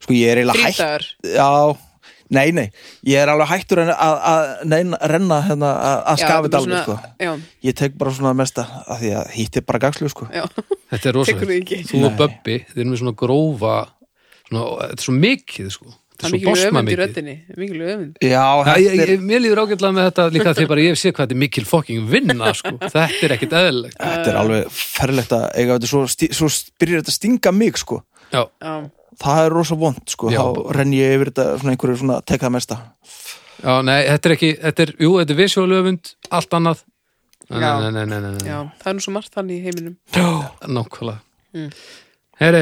Speaker 1: Sko, ég er eiginlega hægt...
Speaker 3: þrítagur
Speaker 1: Já, nei, nei. Ég er alveg hættur en að, að, neina- renna hérna, að, að skafi
Speaker 3: Já, þetta er
Speaker 1: þetta alveg,
Speaker 3: svona-
Speaker 1: sko.
Speaker 3: já,
Speaker 1: Ég tek bara svona mesta, af því að hitt er bara gagslu, sko.
Speaker 3: já,
Speaker 2: þetta er
Speaker 3: tekur þú
Speaker 2: rosalegt,
Speaker 3: ekki
Speaker 2: þú og
Speaker 1: Nei.
Speaker 2: Böbbi þeir eru með svona grófa svona, þetta er svo mikið sko
Speaker 3: það
Speaker 2: þetta
Speaker 3: er
Speaker 2: er svo
Speaker 3: mikil
Speaker 2: bosma
Speaker 3: öfund í
Speaker 2: mikið
Speaker 3: röddinni það er mikil öfund
Speaker 1: Já,
Speaker 2: Já,
Speaker 1: þetta
Speaker 2: ég,
Speaker 1: er...
Speaker 2: ég, mér líður ágætlega með þetta líka því bara ég sé hvað þetta er mikil fokking vinna sko. þetta er ekkit eðlilegt
Speaker 1: Þetta er alveg ferlegt að eiga þetta svo, sti- svo byrjar þetta að stinga mig sko
Speaker 2: já,
Speaker 3: já,
Speaker 1: það er rosa vond sko,
Speaker 2: Já.
Speaker 1: þá renn ég yfir þetta svona einhverju svona teka það mesta
Speaker 2: já, nei, þetta er ekki þetta er, jú, þetta er visjóðlöfund, allt annað nei,
Speaker 3: Já.
Speaker 2: nei, nei, nei, nei, nei.
Speaker 3: já, það er nú svo margt þannig í heiminum
Speaker 2: nákvæmlega
Speaker 3: Mm.
Speaker 2: herri,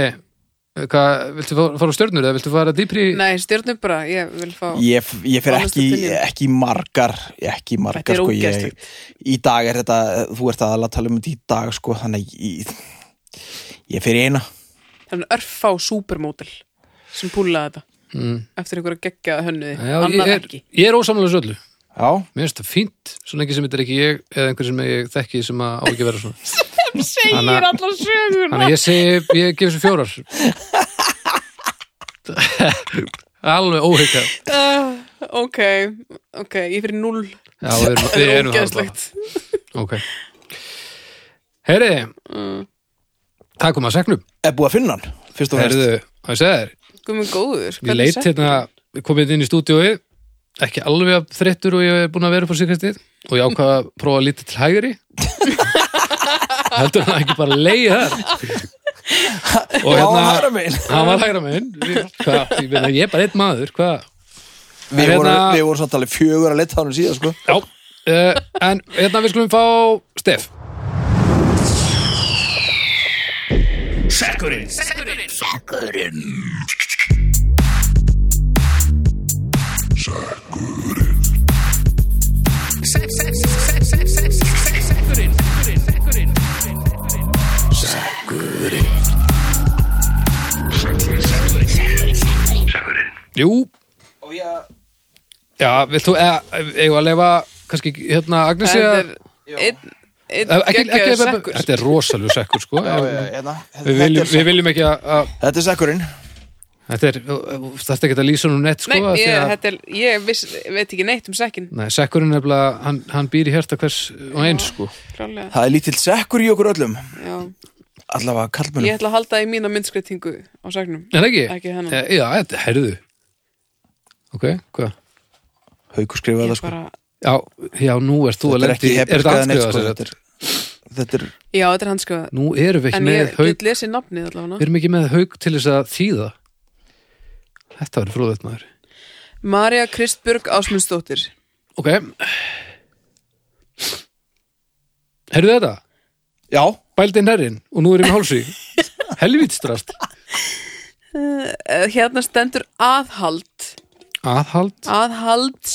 Speaker 2: hvað, viltu fá- fara á stjörnur eða viltu fara dýpri
Speaker 3: nei, stjórnum bara, ég vil fá
Speaker 1: ég, ég fer
Speaker 3: Honest
Speaker 1: ekki,
Speaker 3: opinion.
Speaker 1: ekki í margar ekki í
Speaker 3: Þetta
Speaker 1: margar
Speaker 3: er
Speaker 1: sko ég,
Speaker 3: ógeðslegt.
Speaker 1: í dag er þetta, þú ert aðalega að tala um þetta í dag sko, þannig að ég, ég fer í eina
Speaker 3: það er örfá supermodel sem púlaði þetta
Speaker 2: mm.
Speaker 3: eftir einhverja geggjaða hönnuði,
Speaker 2: já, ég
Speaker 3: annar
Speaker 2: er,
Speaker 3: ekki
Speaker 2: ég er ósamlega söllu
Speaker 1: já,
Speaker 2: mér finnst það fínt, svo lengi sem þetta er ekki ég eða einhver sem ég þekki sem að á ekki að vera svona
Speaker 3: sem segir
Speaker 2: Anna-
Speaker 3: allar sögur
Speaker 2: þannig að ég segi, ég gef þessu fjórar alveg óhyggjað
Speaker 3: Ah, ok, ok, ég fyrir null
Speaker 2: Já, við erum,
Speaker 3: það
Speaker 2: við
Speaker 3: er
Speaker 2: erum það
Speaker 3: ógeðslegt
Speaker 2: bara Ok Heyri,
Speaker 3: Mm.
Speaker 2: það kom að segnum
Speaker 1: er búið að finna hann fyrst og fremst,
Speaker 2: Heyrðu, það ég segir,
Speaker 3: guð minn góður,
Speaker 2: ég
Speaker 3: hvernig
Speaker 2: leit
Speaker 3: sett
Speaker 2: hérna við komið inn í stúdíói ekki alveg að þreyttur og ég er búin að vera upp á síkastíð og ég ákvað að prófa að líta til hægri heldur hann ekki bara leið þar og
Speaker 1: já,
Speaker 2: hérna
Speaker 1: það er megin
Speaker 2: hann var hægra minn Hvað, ég, meina, ég er bara einn maður hvað
Speaker 1: við,
Speaker 2: hérna-
Speaker 1: vorum- við vorum samt alveg fjögur að leta hann síðan sko
Speaker 2: Já, uh, en hérna við skulum fá Stef Jú,
Speaker 1: og ég,
Speaker 2: Já, vilt þú, eða, eigum að leifa kannski, hérna, Agnesi
Speaker 3: þetta
Speaker 2: að
Speaker 3: er einn einn
Speaker 2: eða, ekki, ekki,
Speaker 3: geggjaður
Speaker 2: ekki,
Speaker 3: sekkur
Speaker 2: Þetta er rosaljú sekkur, sko
Speaker 1: já, já, hérna,
Speaker 2: Við
Speaker 1: þetta,
Speaker 2: viljum,
Speaker 1: er,
Speaker 2: við viljum ekki að, að
Speaker 1: þetta er sekkurinn
Speaker 2: Þetta er, þetta er ekki að lýsa nú neitt sko
Speaker 3: Nei,
Speaker 2: af því
Speaker 3: ég,
Speaker 2: að-
Speaker 3: þetta er, ég viss, veit ekki neitt um sekkin
Speaker 2: Nei, sekkurinn er nefnilega, hann, hann býr í hérta hvers og eins sko
Speaker 3: Klálega,
Speaker 1: Það er lítill sekkur í okkur öllum
Speaker 3: já
Speaker 1: Allavega
Speaker 3: Ég
Speaker 1: kallmennum
Speaker 3: ætla að halda í mína myndskreitingu á seknum
Speaker 2: Er það ekki?
Speaker 3: Ekki hennan.
Speaker 2: Eh, Já, þetta, herðu Ok, hvað?
Speaker 1: Haukur skrifaði
Speaker 3: Ég
Speaker 1: það sko
Speaker 3: bara,
Speaker 2: Já, já, nú ert þú að
Speaker 1: Þetta er
Speaker 2: lendi
Speaker 1: ekki
Speaker 2: Er þetta
Speaker 1: hefniskað neitt
Speaker 2: aðskrifað
Speaker 1: sko
Speaker 2: sér
Speaker 1: Þetta er, þetta er
Speaker 3: já, þetta er handskrifað
Speaker 2: Nú erum við ekki
Speaker 3: En
Speaker 2: með
Speaker 3: ég
Speaker 2: haug
Speaker 3: get lesið nafnið
Speaker 2: Við
Speaker 3: allavega
Speaker 2: erum ekki með haug til þess að þýða Þetta verður fróðið maður
Speaker 3: Marja Kristbjörg Ásmundsdóttir
Speaker 2: Ok Herðu þetta?
Speaker 1: Já,
Speaker 2: Bældin herrin og nú er ég með hálsí Helvítstrast
Speaker 3: Eh, Hérna stendur aðhald
Speaker 2: Aðhald
Speaker 3: Aðhalds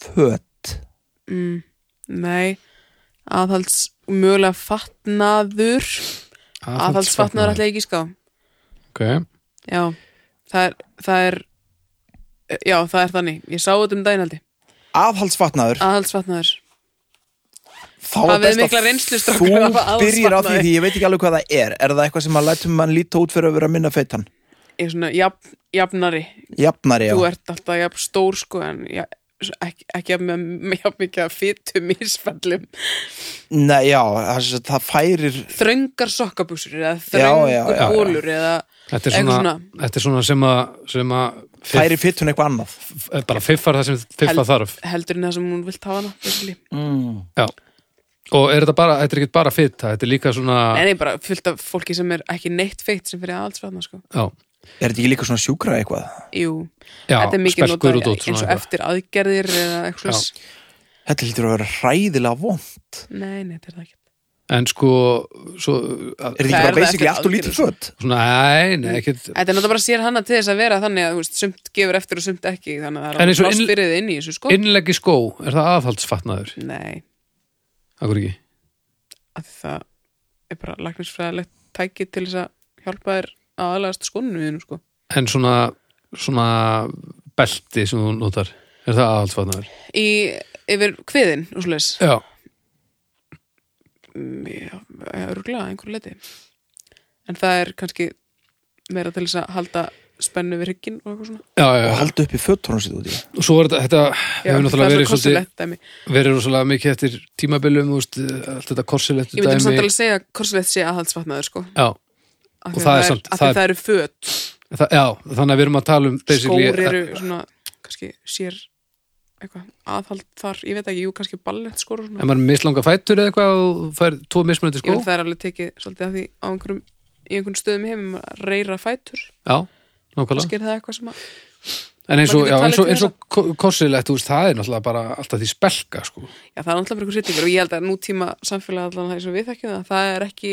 Speaker 1: fött
Speaker 3: Nei, aðhalds mögulega fatnaður Aðhaldsfatnaður ætla ég ekki ská
Speaker 2: Ok
Speaker 3: Já, það er, það er Já, það er þannig Ég sá þetta um daginn haldi
Speaker 1: Afhaldsfatnaður
Speaker 3: Aðhaldsfatnaður
Speaker 1: Þá
Speaker 3: Ah, Hafið
Speaker 1: er best
Speaker 3: mikla
Speaker 1: að
Speaker 3: reynslu,
Speaker 1: Þú
Speaker 3: strákar, af
Speaker 1: byrjir á því
Speaker 3: aðhaldsfatnaði.
Speaker 1: því ég veit ekki alveg hvað það er Er það eitthvað sem að lætum mann líta út fyrir að vera minna feitan?
Speaker 3: Ég er svona jafn, jafnari
Speaker 1: Jafnari, já
Speaker 3: Þú ert alltaf jafn stór sko En ja, ekki, ekki jafn, með- jafn mikið að fytu misfellum
Speaker 1: Nei, já, það, sem sagt, það færir
Speaker 3: Þröngar sokkabúsur Eða
Speaker 1: já,
Speaker 3: þröngur
Speaker 1: já, já.
Speaker 3: bólur Eða
Speaker 2: Þetta er
Speaker 3: Eitthvað
Speaker 2: svona,
Speaker 3: svona.
Speaker 2: Þetta er svona sem að, sem að fiff, eh,
Speaker 1: færir fytun eitthvað annað
Speaker 2: bara fiffar það sem fiffa
Speaker 3: Held-
Speaker 2: þarf
Speaker 3: heldur en það sem hún vilt hafa hana basically.
Speaker 1: mm.
Speaker 2: Já. og er þetta bara, þetta er ekki bara fitta þetta er líka svona
Speaker 3: Nei, nei, bara fullt af fólki sem er ekki neitt feitt sem fyrir aðhaldsfatna sko
Speaker 2: já,
Speaker 1: Er þetta ekki líka svona sjúkra eitthvað?
Speaker 3: Jú,
Speaker 2: já,
Speaker 3: þetta er mikið
Speaker 2: sperkur
Speaker 3: notað
Speaker 2: og dót
Speaker 3: eins og
Speaker 2: svona eitthvað.
Speaker 3: eftir aðgerðir eða eitthvað
Speaker 2: Já.
Speaker 3: svoleiðis.
Speaker 1: Þetta lítur að vera hræðilega vond
Speaker 3: Nei, nei, þetta er það ekki
Speaker 2: en sko svo, að,
Speaker 1: Er þetta ekki
Speaker 3: Það er það
Speaker 1: bara basically
Speaker 3: eftir
Speaker 1: allt og lítið fött?
Speaker 2: svona, nei, nei, ekkert
Speaker 3: Þetta er náttúrulega bara sér hana til þess að vera þannig að þú veist, sumt gefur eftir og sumt ekki þannig að
Speaker 2: En
Speaker 3: það er
Speaker 2: eins og
Speaker 3: alveg
Speaker 2: inn-
Speaker 3: inn... fyrir þið inn í þessu sko
Speaker 2: innleggi skó, er það aðhaldsfatnaður
Speaker 3: Nei,
Speaker 2: akkur ekki,
Speaker 3: af því það er bara læknisfræðilegt tæki til þess að hjálpa þér að aðlagast skónunum þínum sko
Speaker 2: en svona svona belti sem þú notar er það aðhaldsfatnaður
Speaker 3: í, yfir kviðin og Mm, svo leis
Speaker 2: já,
Speaker 3: örgulega einhver leti en það er kannski meira til þess að halda spennu við hrygginn og eitthvað svona
Speaker 2: já, já,
Speaker 1: Og
Speaker 2: já.
Speaker 1: halda upp í föttunum sitt út í
Speaker 2: og svo er þetta, þetta
Speaker 3: Já,
Speaker 2: hefur
Speaker 3: það
Speaker 2: náttúrulega
Speaker 3: er
Speaker 2: verið svolítið
Speaker 3: svo kostilegt dæmi
Speaker 2: verið rosalega mikið eftir tímabilum úst, allt þetta korsilegt
Speaker 3: Ég myndi
Speaker 2: dæmi
Speaker 3: samt alveg segja að korslegt sé aðhaldsfatnaður sko
Speaker 2: já,
Speaker 3: Af
Speaker 2: Og
Speaker 3: því að
Speaker 2: það er
Speaker 3: er-
Speaker 2: samt-
Speaker 3: af því
Speaker 2: það er-
Speaker 3: að það eru föt,
Speaker 2: það, já, þannig að við erum að tala um basically-
Speaker 3: skór eru svona kannski sér eitthvað aðhald þar, ég veit ekki, jú kannski ballett skór og
Speaker 2: ef
Speaker 3: svona,
Speaker 2: maður er með mislanga fætur eða eitthvað og fær tvo mismunandi
Speaker 3: ég
Speaker 2: skó
Speaker 3: veit það er alveg tekið svolítið af því á einhverjum, í einhverjum stöðum í heimum að reyra fætur,
Speaker 2: já, nákvæmlega
Speaker 3: kannski er það eitthvað sem að
Speaker 2: en eins
Speaker 3: maður
Speaker 2: og,
Speaker 3: getur
Speaker 2: já,
Speaker 3: talið
Speaker 2: eins og,
Speaker 3: til
Speaker 2: eins og ko- korsilegt, þú veist, það er náttúrulega bara alltaf því spelka sko.
Speaker 3: já það er alltaf bara einhver sýttingur og ég held að nútíma samfélag allan það eins og við þekkjum það, það er ekki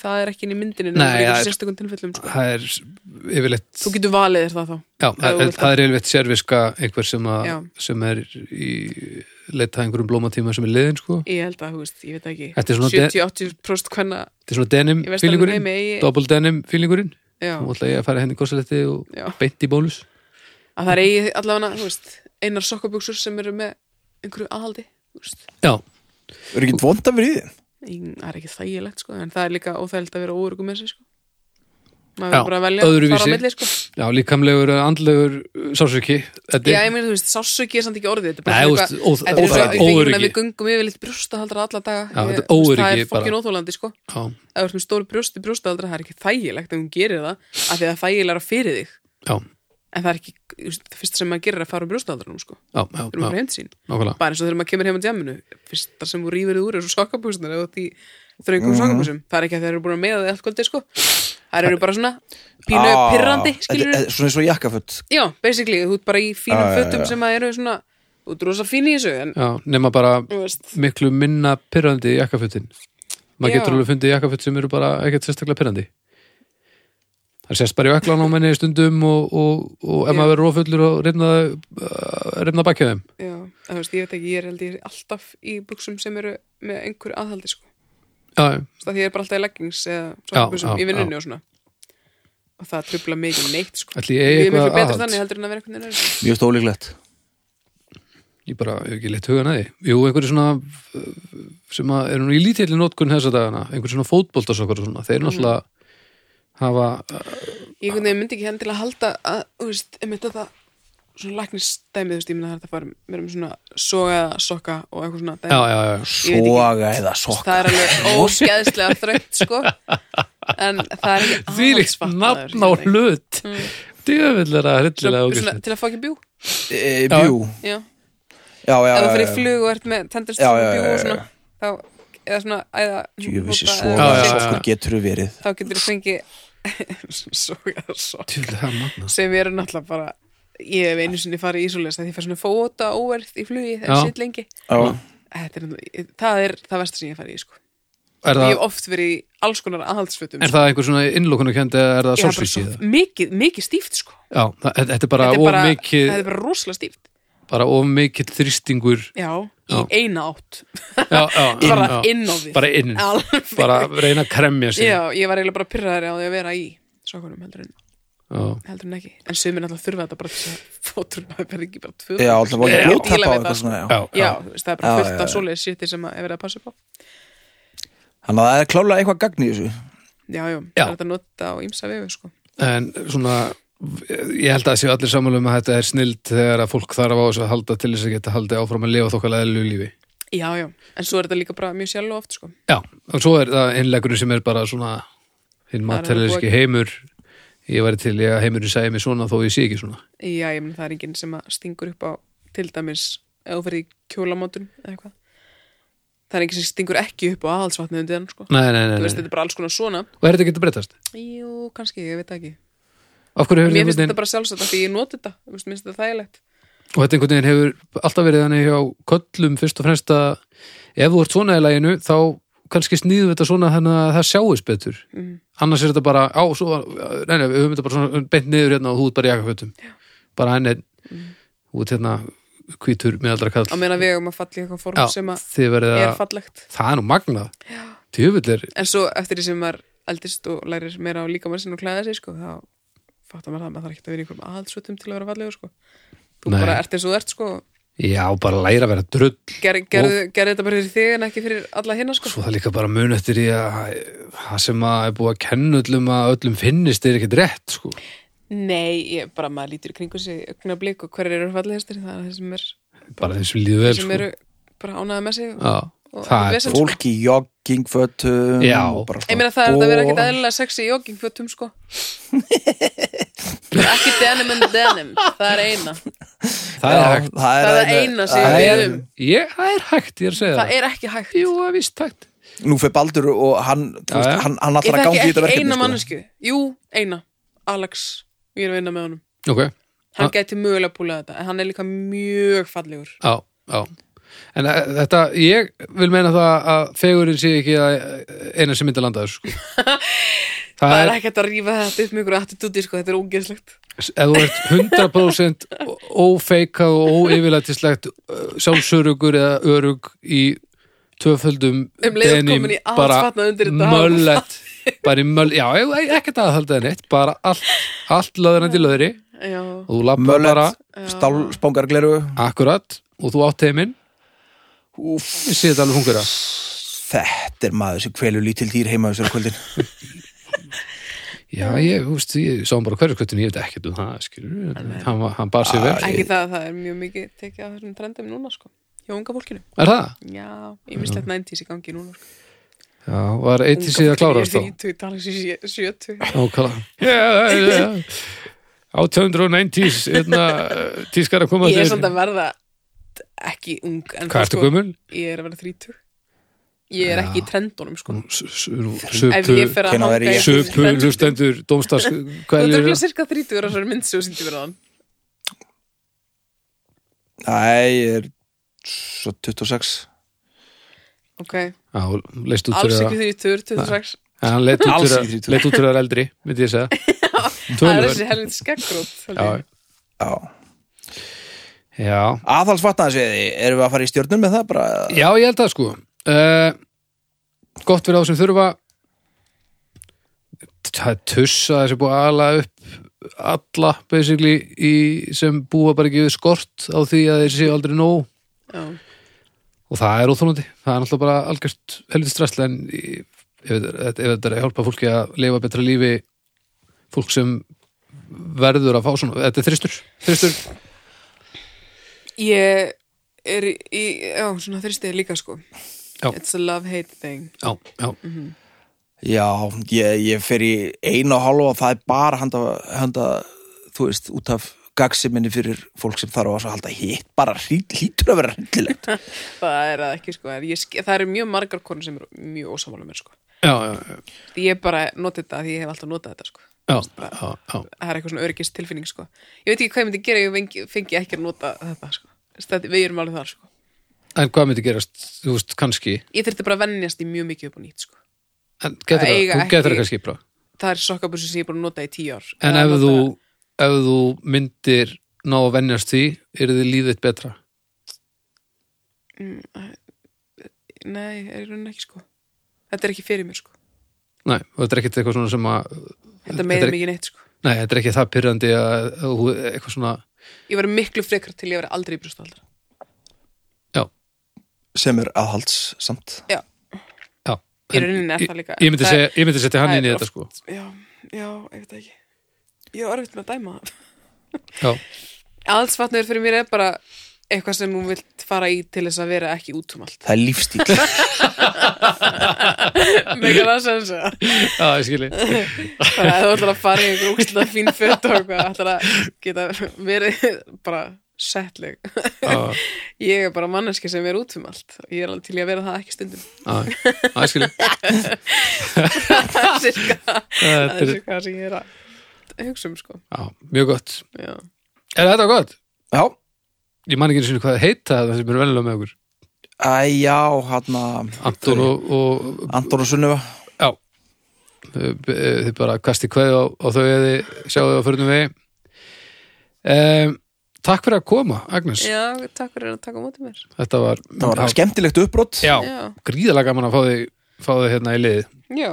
Speaker 3: það er ekki inn í myndinu nema
Speaker 2: Nei,
Speaker 3: í einhverjum
Speaker 2: það er-
Speaker 3: sérstökum tilfellum sko.
Speaker 2: það er yfirleitt
Speaker 3: þú getur valið þér það þá
Speaker 2: já,
Speaker 3: ef þú
Speaker 2: það,
Speaker 3: vilt
Speaker 2: það er yfirleitt serviska einhver sem, a,
Speaker 3: Já.
Speaker 2: sem er í leita að einhverjum blómatíma sem er liðin sko.
Speaker 3: ég held að, þú veist, ég veit ekki
Speaker 2: Þetta er svona-
Speaker 3: 70-80% hvenna,
Speaker 2: þetta er svona denim
Speaker 3: ég veist að
Speaker 2: fílingurinn,
Speaker 3: heimi eigi-
Speaker 2: double denim fílingurinn
Speaker 3: já,
Speaker 2: og alltaf ég að fara henni korsilegti og
Speaker 3: Já.
Speaker 2: beint í bólus
Speaker 3: að það er eigi allavega þú veist, einar sokkabjöksur sem eru með einhverju aðhaldi þú veist.
Speaker 2: já,
Speaker 1: Er ekki vond að vera í því?
Speaker 3: Í- það er ekki þægilegt sko, en það er líka óþægilegt að vera óörugum með sig sko. maður
Speaker 2: Já,
Speaker 3: verður bara að velja
Speaker 2: öðruvísi.
Speaker 3: fara á milli sko.
Speaker 2: já líkamlegur, andlegur sásöki
Speaker 3: já, ég meina, þú veist, sásöki er samt ekki orðið þetta
Speaker 2: Nei,
Speaker 3: er bara
Speaker 2: þú
Speaker 3: eitthvað-
Speaker 2: veist, óþ-
Speaker 3: þetta er
Speaker 1: óþægildi.
Speaker 3: bara óöryggi
Speaker 2: óöryggi.
Speaker 3: við gungum yfir litt brjóstahaldra alla daga
Speaker 2: Já, þetta
Speaker 3: Ég-
Speaker 2: er
Speaker 3: þú veist, það
Speaker 2: óöryggi
Speaker 3: er fokkin
Speaker 2: bara.
Speaker 3: óþólandi sko.
Speaker 2: já,
Speaker 3: ef þú ert með stór brjóst í brjóstahaldra það er ekki þægilegt ef hún gerir það af því að það er þægilega fyrir þig
Speaker 2: já,
Speaker 3: en það er ekki, þú veist, það fyrsta sem maður gerir er að fara á brjóstahaldra sko.
Speaker 2: já, já,
Speaker 3: Þú erum bara
Speaker 2: já,
Speaker 3: heimt sín
Speaker 2: nákvæmlega
Speaker 3: bara eins og þegar maður kemur heim á djaminu fyrsta sem þú rýfur þið úr er svo sokkabúsunar eða því þröngum
Speaker 1: Mhm.
Speaker 3: sokkabúsum það er ekki að þeir eru búin að meða þið allt kvöldi sko það eru bara svona pínu
Speaker 1: Ah,
Speaker 3: pirrandi skilur
Speaker 1: þetta- þetta er Svona eins og jakkafött
Speaker 3: já, basically, þú ert bara í fínum
Speaker 1: Já, já,
Speaker 3: fötum
Speaker 1: já.
Speaker 3: sem að eru svona þú ert rosa fín í þessu en,
Speaker 2: Já, nema bara
Speaker 3: þú veist,
Speaker 2: miklu minna pyrrandi jakkafutin maður
Speaker 3: Já.
Speaker 2: getur alveg fundið jakkafut sem eru bara ekkert sérstaklega pyrrandi það sést bara í öklan á menni stundum og, og, og ef
Speaker 3: Já.
Speaker 2: maður verður rofullur og reyna, reyna bakið þeim
Speaker 3: já, en þú veist, ég veit ekki, ég er held ég alltaf í buksum sem eru með einhverju aðhaldi sko
Speaker 2: já, já,
Speaker 3: Þú veist, af því ég er bara alltaf í leggings
Speaker 2: Já,
Speaker 3: eða sokkabúsum
Speaker 2: já,
Speaker 3: í vinnunni og svona og það trubla mikið neitt sko
Speaker 2: ætli ég
Speaker 3: Ég
Speaker 2: eigi
Speaker 3: er miklu
Speaker 2: eitthvað
Speaker 3: betur
Speaker 2: aðhald
Speaker 3: þannig heldur en að vera einhvern veginn öðruvísi.
Speaker 1: Mjög stólíklegt
Speaker 2: ég bara hef ekki leitt hugan að því jú, einhverju svona uh, sem að eru nú í lítilli nótkun þessa dagana einhverju svona fótboltasokkar og svona
Speaker 3: Mm.
Speaker 2: þeir náttúrulega hafa
Speaker 3: Ég einhvern veginn myndi ekki henn til að halda að, þú veist, einmitt að það svona læknistæmi, þú veist, ég myndi að það er að fara mér um svona soga eða sokka og eitthvað svona dæmi.
Speaker 2: já, já, já,
Speaker 3: Ég veit ekki.
Speaker 1: Soga eða sokka
Speaker 3: Það er alveg óskeðslega þröngt, sko. En það er ekki
Speaker 2: því líkt
Speaker 3: aðhaldsfatnaður,
Speaker 2: nafn á
Speaker 3: ég veit ekki.
Speaker 2: hlut mm. djöfellara hryllilega
Speaker 3: Svona-
Speaker 2: ógeðslegt.
Speaker 3: svona Til að fá ekki bjú.
Speaker 1: e, Bjú
Speaker 3: Já.
Speaker 1: Já, já,
Speaker 3: Ef þú
Speaker 1: já,
Speaker 3: fyrir í
Speaker 1: já.
Speaker 3: flug og ert með tendist
Speaker 1: Já,
Speaker 3: svona
Speaker 1: já,
Speaker 3: bjú
Speaker 1: já,
Speaker 3: og
Speaker 1: já,
Speaker 3: svona, þá, eða svona, æða,
Speaker 1: Djöfissi
Speaker 3: hnúta
Speaker 1: soga
Speaker 3: eða
Speaker 1: eða
Speaker 2: já, já.
Speaker 1: sokkur getur þú verið
Speaker 3: þá getur þú fengið soga eða sokka.
Speaker 2: Djöfull, það er magna
Speaker 3: sem eru náttúrulega bara ég hef einu sinni farið í Ísóles að ég fær svona fóta óverð í flugi þegar
Speaker 2: Já.
Speaker 3: ég sitt lengi
Speaker 1: Já,
Speaker 3: Þetta er, náttúrulega- það er það versta sem ég hef farið í sko.
Speaker 2: Er
Speaker 3: ég
Speaker 2: það,
Speaker 3: hef oft verið í alls konar aðhaldsfötum sko.
Speaker 2: er það einhver svona innlokunarkend eða er það
Speaker 3: ég hef bara
Speaker 2: sársvísi?
Speaker 3: svo mikið, mikið stíft sko.
Speaker 2: Já, það, þetta er bara
Speaker 3: þetta, er
Speaker 2: of
Speaker 3: bara,
Speaker 2: mikið
Speaker 3: þetta er bara rosalega stíft
Speaker 2: bara of mikill þrýstingur
Speaker 3: já,
Speaker 2: Já.
Speaker 3: í eina átt
Speaker 2: já, já,
Speaker 3: bara
Speaker 2: já.
Speaker 3: inn á því
Speaker 2: bara inn
Speaker 3: Alveg.
Speaker 2: bara reyna að kremja sig
Speaker 3: já, ég var eiginlega bara pyrraðari á því að vera í sokkunum heldur en,
Speaker 2: Já.
Speaker 3: heldur en ekki en sömur náttúrulega þurfa þetta bara til þess að fótur maður verður ekki bara tvö
Speaker 1: já alltaf bara
Speaker 3: Ég
Speaker 1: blóttapa
Speaker 3: fíla
Speaker 1: og
Speaker 3: við
Speaker 1: eitthvað
Speaker 3: það,
Speaker 1: svona já.
Speaker 2: Já, já.
Speaker 3: Já, þú veist, það er bara
Speaker 1: Já,
Speaker 3: fullt
Speaker 1: já,
Speaker 3: af
Speaker 1: já.
Speaker 3: svoleiðis shiti sem að er verið að passa upp á
Speaker 1: Þannig að það er klálega eitthvað gagn í þessu
Speaker 3: Já, já,
Speaker 2: Já.
Speaker 3: það er þetta að nota á ímsa vegu sko.
Speaker 2: en svona ég held að séu allir sammála um að þetta er snild þegar að fólk þarf á þessu að halda til þess að geta haldið áfram að lifa þokkala eðlu lífi
Speaker 3: Já, já, en svo er þetta líka bara mjög sjálf oft sko.
Speaker 2: já, og svo er það innlegurinn sem er bara svona hinn
Speaker 3: Það er alveg
Speaker 2: materialiski heimur ég væri til ég að heimurinn segi mig svona þó ég sé ekki svona
Speaker 3: Já, ég menn það er enginn sem að stingur upp á til dæmis ef þú fyrir í kjólamótun eða eitthvað Það er enginn sem stingur ekki upp á aðhaldsvatnið undir hann sko.
Speaker 2: nei, nei, nei,
Speaker 3: Þú
Speaker 2: nei.
Speaker 3: veist, þetta er bara alls konar svona
Speaker 2: og er þetta getur breytast?
Speaker 3: Jú, kannski, ég veit það ekki
Speaker 2: af hverju hefur
Speaker 3: Mér finnst
Speaker 2: einhvern
Speaker 3: þetta bara sjálfsagt af því ég noti þetta Þú veist, Mér finnst þetta þægilegt
Speaker 2: og þetta einhvern veginn hefur alltaf verið þannig hjá köllum fyrst og fremst að ef þú ert svona í læginu þá kannski snýðum við þetta svona þannig að það sjáist betur
Speaker 3: Mhm.
Speaker 2: annars er þetta bara á, svo, nei, nei, við höfum þetta bara svona beint niður hérna og þú ert bara í jakafötum bara enn einn út hérna hvítur miðaldra kall
Speaker 3: Mhm. Á meina við um að falla í eitthvað form
Speaker 2: Já,
Speaker 3: sem að
Speaker 2: þið verið
Speaker 3: er
Speaker 2: að
Speaker 3: fallegt
Speaker 2: það er nú magnað djöfull er
Speaker 3: En svo eftir því sem maður eldist og lærir meira á líkamann sinn og klæða sig sko, þá fattar maður það að maður þarf ekki að vera í einhverjum aðhaldsvötum til að vera fallegur sko. Þú
Speaker 2: Nei.
Speaker 3: bara ert eins og þú ert sko.
Speaker 2: já bara að læra að vera drull
Speaker 3: Ger, gerðu, gerðu þetta bara fyrir þig en ekki fyrir alla hinna sko.
Speaker 2: svo það er líka bara mun eftir í að það sem að er búið að kenna öllum að öllum finnist er ekkert rétt sko
Speaker 3: Nei, ég, bara maður lítur í kringu sig augnablík og hverjir eru fallegastir það er það sem, er,
Speaker 2: bara þeim sem líður vel
Speaker 3: sem
Speaker 2: sko.
Speaker 3: eru bara ánæða með sig
Speaker 2: Já,
Speaker 3: og
Speaker 2: það er
Speaker 3: vesen, sko.
Speaker 1: Fólk í joggingfötum
Speaker 2: Já.
Speaker 1: og bara svona
Speaker 3: Ég meina það er þetta að vera ekkit
Speaker 1: bor.
Speaker 3: eðlilega sexy í joggingfötum sko Ekki denim en denim Það er eina
Speaker 2: það er
Speaker 1: Já,
Speaker 2: hægt
Speaker 1: það
Speaker 3: Það er
Speaker 1: eina-
Speaker 3: eina sem
Speaker 1: það
Speaker 3: við
Speaker 1: er-
Speaker 3: viljum.
Speaker 2: ég, það er hægt, ég er að segja
Speaker 3: Það
Speaker 2: það
Speaker 3: er ekki hægt
Speaker 2: jú, það er víst hægt
Speaker 1: Nú fyrir Baldur og hann þú
Speaker 2: Já,
Speaker 1: veist,
Speaker 2: já.
Speaker 1: hann, hann
Speaker 3: Ég
Speaker 1: allar að gangi
Speaker 3: þekki
Speaker 1: í þetta
Speaker 3: ekki
Speaker 1: verkefni
Speaker 3: eina
Speaker 1: sko.
Speaker 3: mannesku Jú, eina, Alex Ég er að vinna með honum
Speaker 2: ok,
Speaker 3: Hann
Speaker 2: Ha-
Speaker 3: gæti mögulega púlað þetta En hann er líka mjög fallegur
Speaker 2: já, já en eh, þetta, ég vil meina það að fegurinn sé ekki að eh, eina sem myndi landa þessu sko. það
Speaker 3: Það er
Speaker 2: er,
Speaker 3: ekkert að rífa þetta upp með ykkur attitúti sko, Þetta er ógeðslegt
Speaker 2: ef þú ert 100% ó- ófeikað og óyfirlætislegt eh, sjálfsörugur eða örug í tvöföldum
Speaker 3: Um leið og
Speaker 2: denim,
Speaker 3: komin í allt
Speaker 2: bara
Speaker 3: fatnað undir þetta, þá-
Speaker 2: möllett bara í möll, já, e- ekkert aðhaldið neitt bara allt, allt löðurandi löðri
Speaker 3: Já,
Speaker 2: og þú lappar bara
Speaker 1: Möllet, stálspongar gleru
Speaker 2: akkurat og þú átt heiminn ég sé þetta alveg hungura
Speaker 1: Þetta er maður sem kvelur lítil dýr heima þessu kvöldin
Speaker 2: já ég, þú veist, ég sá hann bara hverju skvöttin ég veit ekkert um það, skilur hann, var- hann bar sér vel,
Speaker 3: Ah, ekki það að það er mjög mikið tekið á þessum trendum núna sko. Hjá unga fólkinu
Speaker 2: er það?
Speaker 3: Já, ég mislegt 90s í gangi núna sko.
Speaker 2: já, var eitt í síða Mm. að klárast þá
Speaker 3: Ég er 30, tala sér 70
Speaker 2: ókala já, já, já 890s hérna, eh, tískar að koma
Speaker 3: Ég er
Speaker 2: þér
Speaker 3: samt að verða ekki ung en
Speaker 2: hvað ertu gömul?
Speaker 3: Ég er að verða 30 Ég er ekki í trendunum sko. Ef
Speaker 2: söpu
Speaker 3: ég fer að
Speaker 1: Hvenær
Speaker 3: hanga
Speaker 1: er
Speaker 3: í
Speaker 1: ég-
Speaker 3: þessum
Speaker 2: söpu
Speaker 3: trendum-
Speaker 2: hlustendur dómstars
Speaker 3: Þú ert
Speaker 2: hvað
Speaker 3: örgulega
Speaker 2: er
Speaker 3: cirka 30 á þessari mynd sem þú sýndi mér áðan.
Speaker 1: Æ, ég er svo 26
Speaker 3: Ok,
Speaker 2: leist út
Speaker 3: alls
Speaker 2: fyrir að
Speaker 3: ekki 30, 26
Speaker 2: En hann leit út
Speaker 1: Alls
Speaker 2: fyrir
Speaker 1: ekki
Speaker 2: að-
Speaker 1: þrítugur.
Speaker 2: leit út fyrir að vera eldri, myndi ég segja.
Speaker 3: Það er
Speaker 2: Tölvöld.
Speaker 3: þessi helvind skeggrót
Speaker 2: Já,
Speaker 1: Já.
Speaker 2: já.
Speaker 1: Aðhalsvatnaðsviði, erum við að fara í stjörnum með það bara?
Speaker 2: já, ég held að sko. Uh, gott fyrir þá sem þurfa. Það er tussa þessi búið að ala upp alla, basically, í, sem búa bara ekki við skort á því að þeir séu aldrei nóg.
Speaker 3: já,
Speaker 2: og það er óþólandi, það er náttúrulega bara algjört helviti stresslega en í- ef þetta- ef þetta er að hjálpa fólki að lifa betra lífi fólk sem verður að fá svona, þetta er þristur þristur,
Speaker 3: ég er í, í- já, svona þristið líka sko
Speaker 2: Já.
Speaker 3: it's a love-hate thing
Speaker 2: já, já
Speaker 1: Já, ég, ég fer í einu og hálfa og það er bara handa, handa þú veist, út af gagsiminni fyrir fólk sem þarf á þessu að halda hitt bara hlý- hlýtur að vera hryllilegt
Speaker 3: það er það ekki sko, en ég, sk- það eru mjög margar konur sem eru mjög ósamála mér sko
Speaker 2: já, já, já,
Speaker 3: því ég bara notið þetta, því ég hef alltaf notað þetta sko
Speaker 2: já, já, já.
Speaker 3: það er eitthvað svona öryggist tilfinning sko ég veit ekki hvað ég myndi gera, ef ég fengi, fengi ekki að nota þetta sko, Stætti, við erum alveg þar sko
Speaker 2: en hvað myndi gerast, þú veist, kannski
Speaker 3: ég þurfti bara að vennjast í mjög mikið upp á nýtt sko.
Speaker 2: en getur
Speaker 3: Að
Speaker 2: það,
Speaker 3: eiga
Speaker 2: þú getur
Speaker 3: ekki-
Speaker 2: það kannski bra
Speaker 3: það er sokkabussu sem ég er búin að nota í tíu ár
Speaker 2: en
Speaker 3: Eða
Speaker 2: ef
Speaker 3: nota-
Speaker 2: þú, ef þú myndir ná að venjast því, er þið lífið betra
Speaker 3: nei, er í rauninni ekki sko þetta er ekki fyrir mér sko
Speaker 2: nei, og þetta er ekkert eitthvað svona sem að
Speaker 3: þetta
Speaker 2: Þetta
Speaker 3: meðir
Speaker 2: er-
Speaker 3: mig ekki neitt sko
Speaker 2: nei, þetta er ekki það pyrrandi að, að þú- eitthvað svona,
Speaker 3: ég var miklu frekar til ég var aldrei í brjóstaldra
Speaker 2: já,
Speaker 1: sem er aðhalds samt
Speaker 3: já,
Speaker 2: já
Speaker 3: Í
Speaker 2: En
Speaker 3: rauninni er
Speaker 2: ég-
Speaker 3: það líka-
Speaker 2: ég myndi,
Speaker 3: það-
Speaker 2: segja, ég myndi setja hann
Speaker 3: það
Speaker 2: inn í
Speaker 3: er
Speaker 2: þetta sko
Speaker 3: já, já, ég veit það ekki ég var erfitt með að dæma það
Speaker 2: já,
Speaker 3: alls fatnaður fyrir mér er bara eitthvað sem hún vilt fara í til þess að vera ekki út um allt
Speaker 1: það er lífstíl
Speaker 3: Mega það sem segja
Speaker 2: já, ég skilji
Speaker 3: Bara ef þú ætlar að fara í einhver úksla fín fött og eitthvað ætlar að geta verið bara settleg
Speaker 2: Já.
Speaker 3: Ég er bara manneski sem er út um allt og ég er alveg til í að vera það ekki stundum
Speaker 2: já, ég skilji
Speaker 3: Það er sirka
Speaker 2: Þetta
Speaker 3: það er
Speaker 2: er-
Speaker 3: sirka það sem ég er að hugsa um sko
Speaker 2: já, mjög gott,
Speaker 3: Já,
Speaker 2: er þetta gott?
Speaker 1: Já,
Speaker 2: ég man ekki einu sinni hvað það heita það sem er venjulega með okkur
Speaker 1: Æ, já, hann
Speaker 2: Anton og, og
Speaker 1: Anton og Sunnuva
Speaker 2: Já Eh, Þið bara kasti kveði á, á þau eða þið sjáðu á förnum vegi um, Takk fyrir að koma Agnes,
Speaker 3: Já takk fyrir að taka á móti mér
Speaker 2: þetta var,
Speaker 1: það var skemmtilegt uppbrott
Speaker 2: Já,
Speaker 3: Já,
Speaker 2: gríðalega gaman að fá þig, fá þig hérna í liði
Speaker 3: já,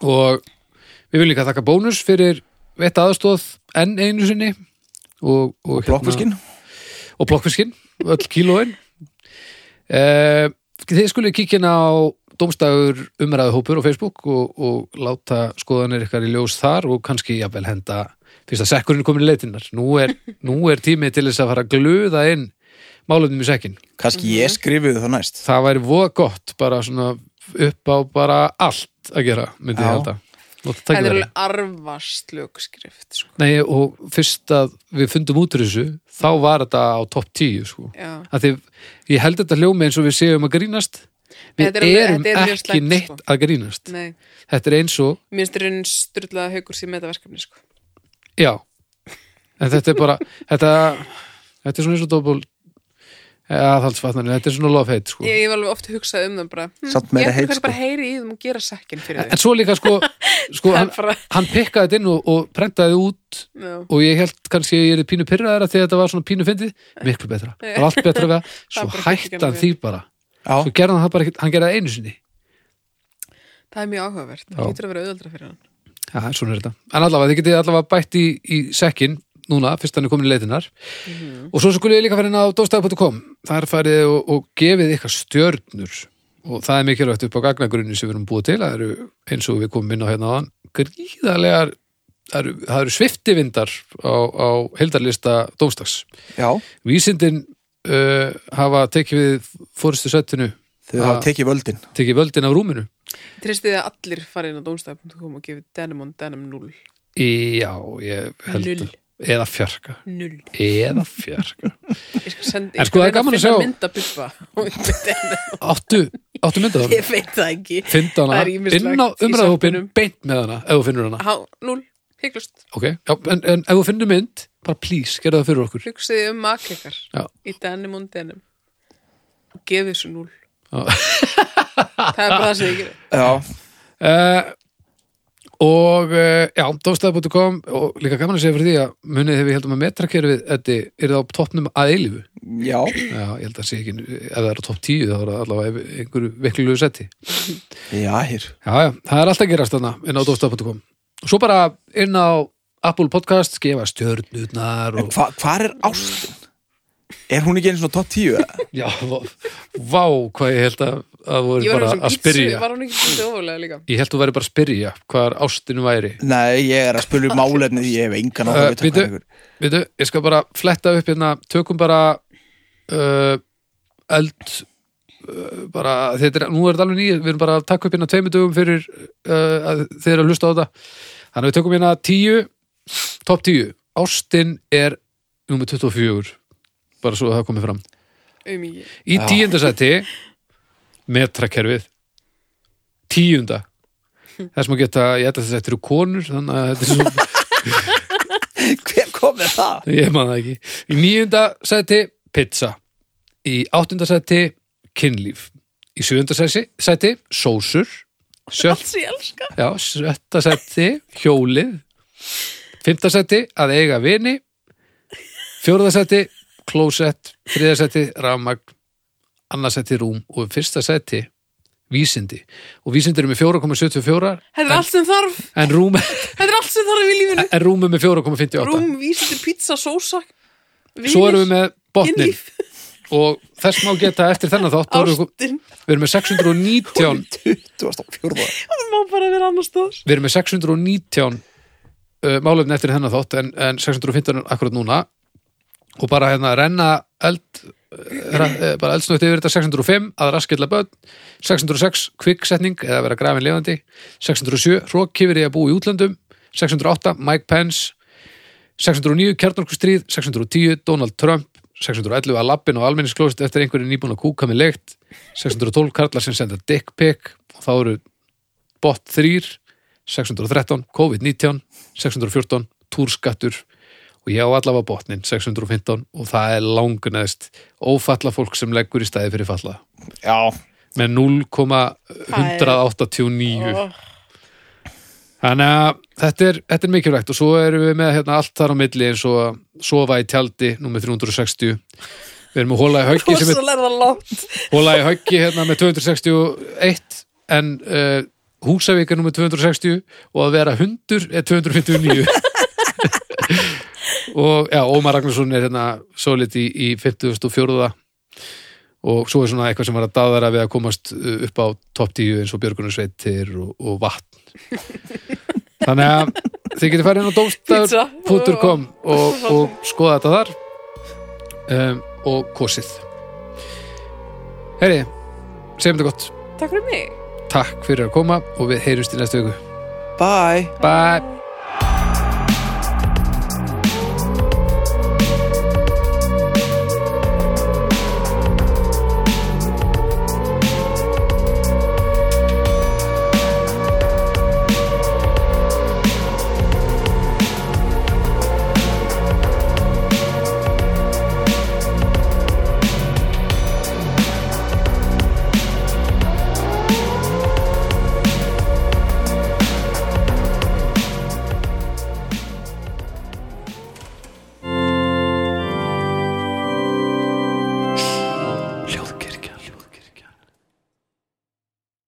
Speaker 2: og við viljum líka þakka bónus fyrir veitt aðstóð enn einu sinni og, og, hérna-
Speaker 1: blokkviskin
Speaker 2: og blokkfiskin, öll kílóin eh, Þið skulle kíkja inn á Dómstagur umræðu hópur á Facebook og, og láta skoðanir ykkar í ljós þar og kannski jafnvel henda fyrst að sekkurinn komin í leitinnar nú er, nú er tími til þess að fara að glöða inn málefnum í sekkin
Speaker 1: kannski ég skrifuði það næst
Speaker 2: það væri voða gott bara svona upp á bara allt að gera myndi ég
Speaker 1: Já.
Speaker 2: halda Nota
Speaker 3: það er
Speaker 2: tækifærið.
Speaker 3: alveg arfarslög skrift sko
Speaker 2: Nei, og fyrst að við fundum út úr þessu þá var þetta á topp 10 sko.
Speaker 3: Já,
Speaker 2: að því ég held þetta hljómi eins og við séum að grínast við
Speaker 3: Þetta er alveg-
Speaker 2: erum
Speaker 3: þetta er mjög
Speaker 2: ekki
Speaker 3: slæmt,
Speaker 2: neitt
Speaker 3: sko.
Speaker 2: að grínast
Speaker 3: nei,
Speaker 2: þetta er eins og,
Speaker 3: mér finnst raunin styrlaða haukur sem með þetta verkefni sko
Speaker 2: já en þetta er bara þetta, þetta er svona eins og dóbul aðhaldsfatnarinn, þetta er svona lofheit sko.
Speaker 3: Ég, ég var alveg oft hugsað um það bara hm,
Speaker 1: Samt meira
Speaker 3: Ég
Speaker 1: heit,
Speaker 3: ætla
Speaker 1: sko.
Speaker 3: bara að heyri í þeim og gera sekkin fyrir
Speaker 2: en svo líka sko, sko
Speaker 3: Það er
Speaker 2: hann,
Speaker 3: bara-
Speaker 2: hann pikkaði þetta inn og, og prentaði út
Speaker 3: þau Já.
Speaker 2: og ég held kannski að ég er pínu pyrraðara þegar þetta var svona pínu fyndið, miklu betra það var allt betra við að, svo
Speaker 3: Það er bara
Speaker 2: hætti hann
Speaker 3: fyllt í
Speaker 2: því bara
Speaker 1: Já,
Speaker 2: svo gerði hann það bara ekkert, hann gerði það einu sinni
Speaker 3: Það er mjög áhugavert,
Speaker 2: Já.
Speaker 3: það getur að vera auðvöldra fyrir hann
Speaker 2: Já, svona er þetta. En allavega, þið getið allavega bætt í, í sekkin núna, fyrst hann er komin í leitinar. Og svo skulle ég líka farin á dóstæðu.com. Þar farið og, og gefið ykkar stjörnur. Og það er mikilvægt upp á gagnagrunni sem við erum búið til. Það eru, eins og við komum inn á hérna á hann, gríðarlegar, það eru, það eru sviftivindar á, á heldarlista dómstags.
Speaker 1: já,
Speaker 2: Vísindin uh, hafa tekið við fórustu settinu,
Speaker 1: þau hafa tekið völdin
Speaker 2: tekið völdin af rúminu.
Speaker 3: Tristið að allir fara inn á domstaf.com og gefi Denim on Denim 0
Speaker 2: Í, já, ég held
Speaker 3: Null.
Speaker 2: að. Eða fjarka.
Speaker 3: 0
Speaker 2: eða fjarka
Speaker 3: Ég skal
Speaker 2: En
Speaker 3: senda,
Speaker 2: sko,
Speaker 3: ég skal
Speaker 2: það er gaman að
Speaker 3: finna
Speaker 2: sjá-
Speaker 3: mynd að bubba á internetu.
Speaker 2: áttu, áttu myndað hana
Speaker 3: Ég veit það ekki
Speaker 2: finna
Speaker 3: Það er
Speaker 2: hana
Speaker 3: ýmislegt
Speaker 2: inn á
Speaker 3: í
Speaker 2: umræðhópin
Speaker 3: sarpinum.
Speaker 2: beint með hana ef þú finnur hana
Speaker 3: Há, 0, hygglust
Speaker 2: ok, já, en, en ef þú finnur mynd bara please, gerðu það fyrir okkur
Speaker 3: Hugsiði um makleikar
Speaker 2: Já.
Speaker 3: í Denim on Denim og gefið þessu 0
Speaker 2: Já.
Speaker 3: Það er bara það sem ég gerir
Speaker 1: Já,
Speaker 2: uh, og uh, já, dófstæði.com og líka gaman að segja fyrir því að munið þegar við heldum að metrakerfið þetta er það á toppnum að eilífu
Speaker 1: já
Speaker 2: já, ég held að sé ekki, ef það er á topp 10 þá er það allavega í einhverju veklulegu seti
Speaker 1: Já, hér
Speaker 2: Já, já, það er alltaf að gerast þarna inn á dófstaf.com og svo bara inn á Apple Podcast, gefa stjörnurnar
Speaker 1: En
Speaker 2: og
Speaker 1: hva, hvar er ástin? Er hún ekki einu svona top 10? eða?
Speaker 2: Já, vá, vá, hvað ég held að, að voru
Speaker 3: Ég var
Speaker 2: bara
Speaker 3: hún
Speaker 2: að
Speaker 3: sem gitsu,
Speaker 2: spyrja
Speaker 3: var hún ekki gitsu ofalega líka
Speaker 2: Ég held að þú væri bara að spyrja hvar ástinu væri
Speaker 1: Nei, ég er að spila um málefni því ég hef engan á
Speaker 2: Uh, býtu, býtu, ég skal bara fletta upp hérna, tökum bara uh, eld uh, bara, þetta er, nú er þetta alveg nýja við erum bara að taka upp hérna tveimur dögum fyrir uh, að þeir eru að hlusta á þetta þannig að við tökum hérna tíu topp tíu, Ástin er nummer 24 bara svo að það komið fram
Speaker 3: um ekki
Speaker 2: í tíundasæti metrakerfið tíunda þess maður geta, ég ætla þess að þetta eru konur þannig að þetta er svo
Speaker 1: Hver kom með það?
Speaker 2: Ég man það ekki. Í nýjunda seti pizza. Í áttunda seti kynlíf. Í sjöunda seti, seti sósur. Sjött,
Speaker 3: allt sem ég elska
Speaker 2: já, sjötta seti hjólið. Fymta seti að eiga vini. Fjórða seti klósett. Þriða seti rafmagn. Annars seti rúm. Og í fyrsta seti vísindi. Og vísindi eru með 4,74
Speaker 3: þetta er allt sem þarf,
Speaker 2: en rúm,
Speaker 3: þetta er allt sem þarf í lífinu
Speaker 2: en rúm er með 4,58.
Speaker 3: rúm, vísindi, pizza, sósa
Speaker 2: Svo erum við með botnin
Speaker 3: Kynlíf.
Speaker 2: og þess má geta eftir þennan þátt þá erum við,
Speaker 3: ástin
Speaker 2: við erum með 619
Speaker 1: 24.
Speaker 3: það má bara vera annars stóðs
Speaker 2: við erum með 619 uh, málefni eftir þennan þátt en, en 615 er akkurat núna og bara hérna renna eld eh, ra- eh, bara eldsnögt yfir þetta 605 að raskilla börn 606 kvikksetning eða vera grafin lifandi 607 hrókifir í að búa í útlöndum 608 Mike Pence 609 kjarnorkustríð 610 Donald Trump 611 að lappin og almenningsklóst eftir einhverju nýbúin að kúka með leikt 612 karlar sem senda dick pic og þá eru bot 3 613, COVID-19 614, túrskattur og ég á allavega botnin 615 og það er langunæðist ófalla fólk sem leggur í stæði fyrir falla
Speaker 1: Já,
Speaker 2: með 0,189
Speaker 3: oh.
Speaker 2: þannig að þetta er, þetta er mikilvægt og svo erum við með hérna, allt þar á milli eins og að sofa í tjaldi nummer 360 við erum að hóla í höggi sem er
Speaker 3: Rosa lærða látt
Speaker 2: Hóla í höggi hérna með 261 en uh, Húsavík er nummer 260 og að vera hundur er 259 og já, Ómar Ragnarsson er hérna svolít í, í 54 og svo er svona eitthvað sem var að daðara við að komast uh, upp á topp 10 eins og Björgunarsveitir og, og vatn þannig að þið getið farið inn á
Speaker 3: Pizza.
Speaker 2: domstaf.com og, og skoða þetta þar um, og kosið Herri, segjum þetta gott
Speaker 3: takk fyrir mig
Speaker 2: Takk fyrir að koma og við heyrjumst í næstu viku
Speaker 1: bye
Speaker 2: Bye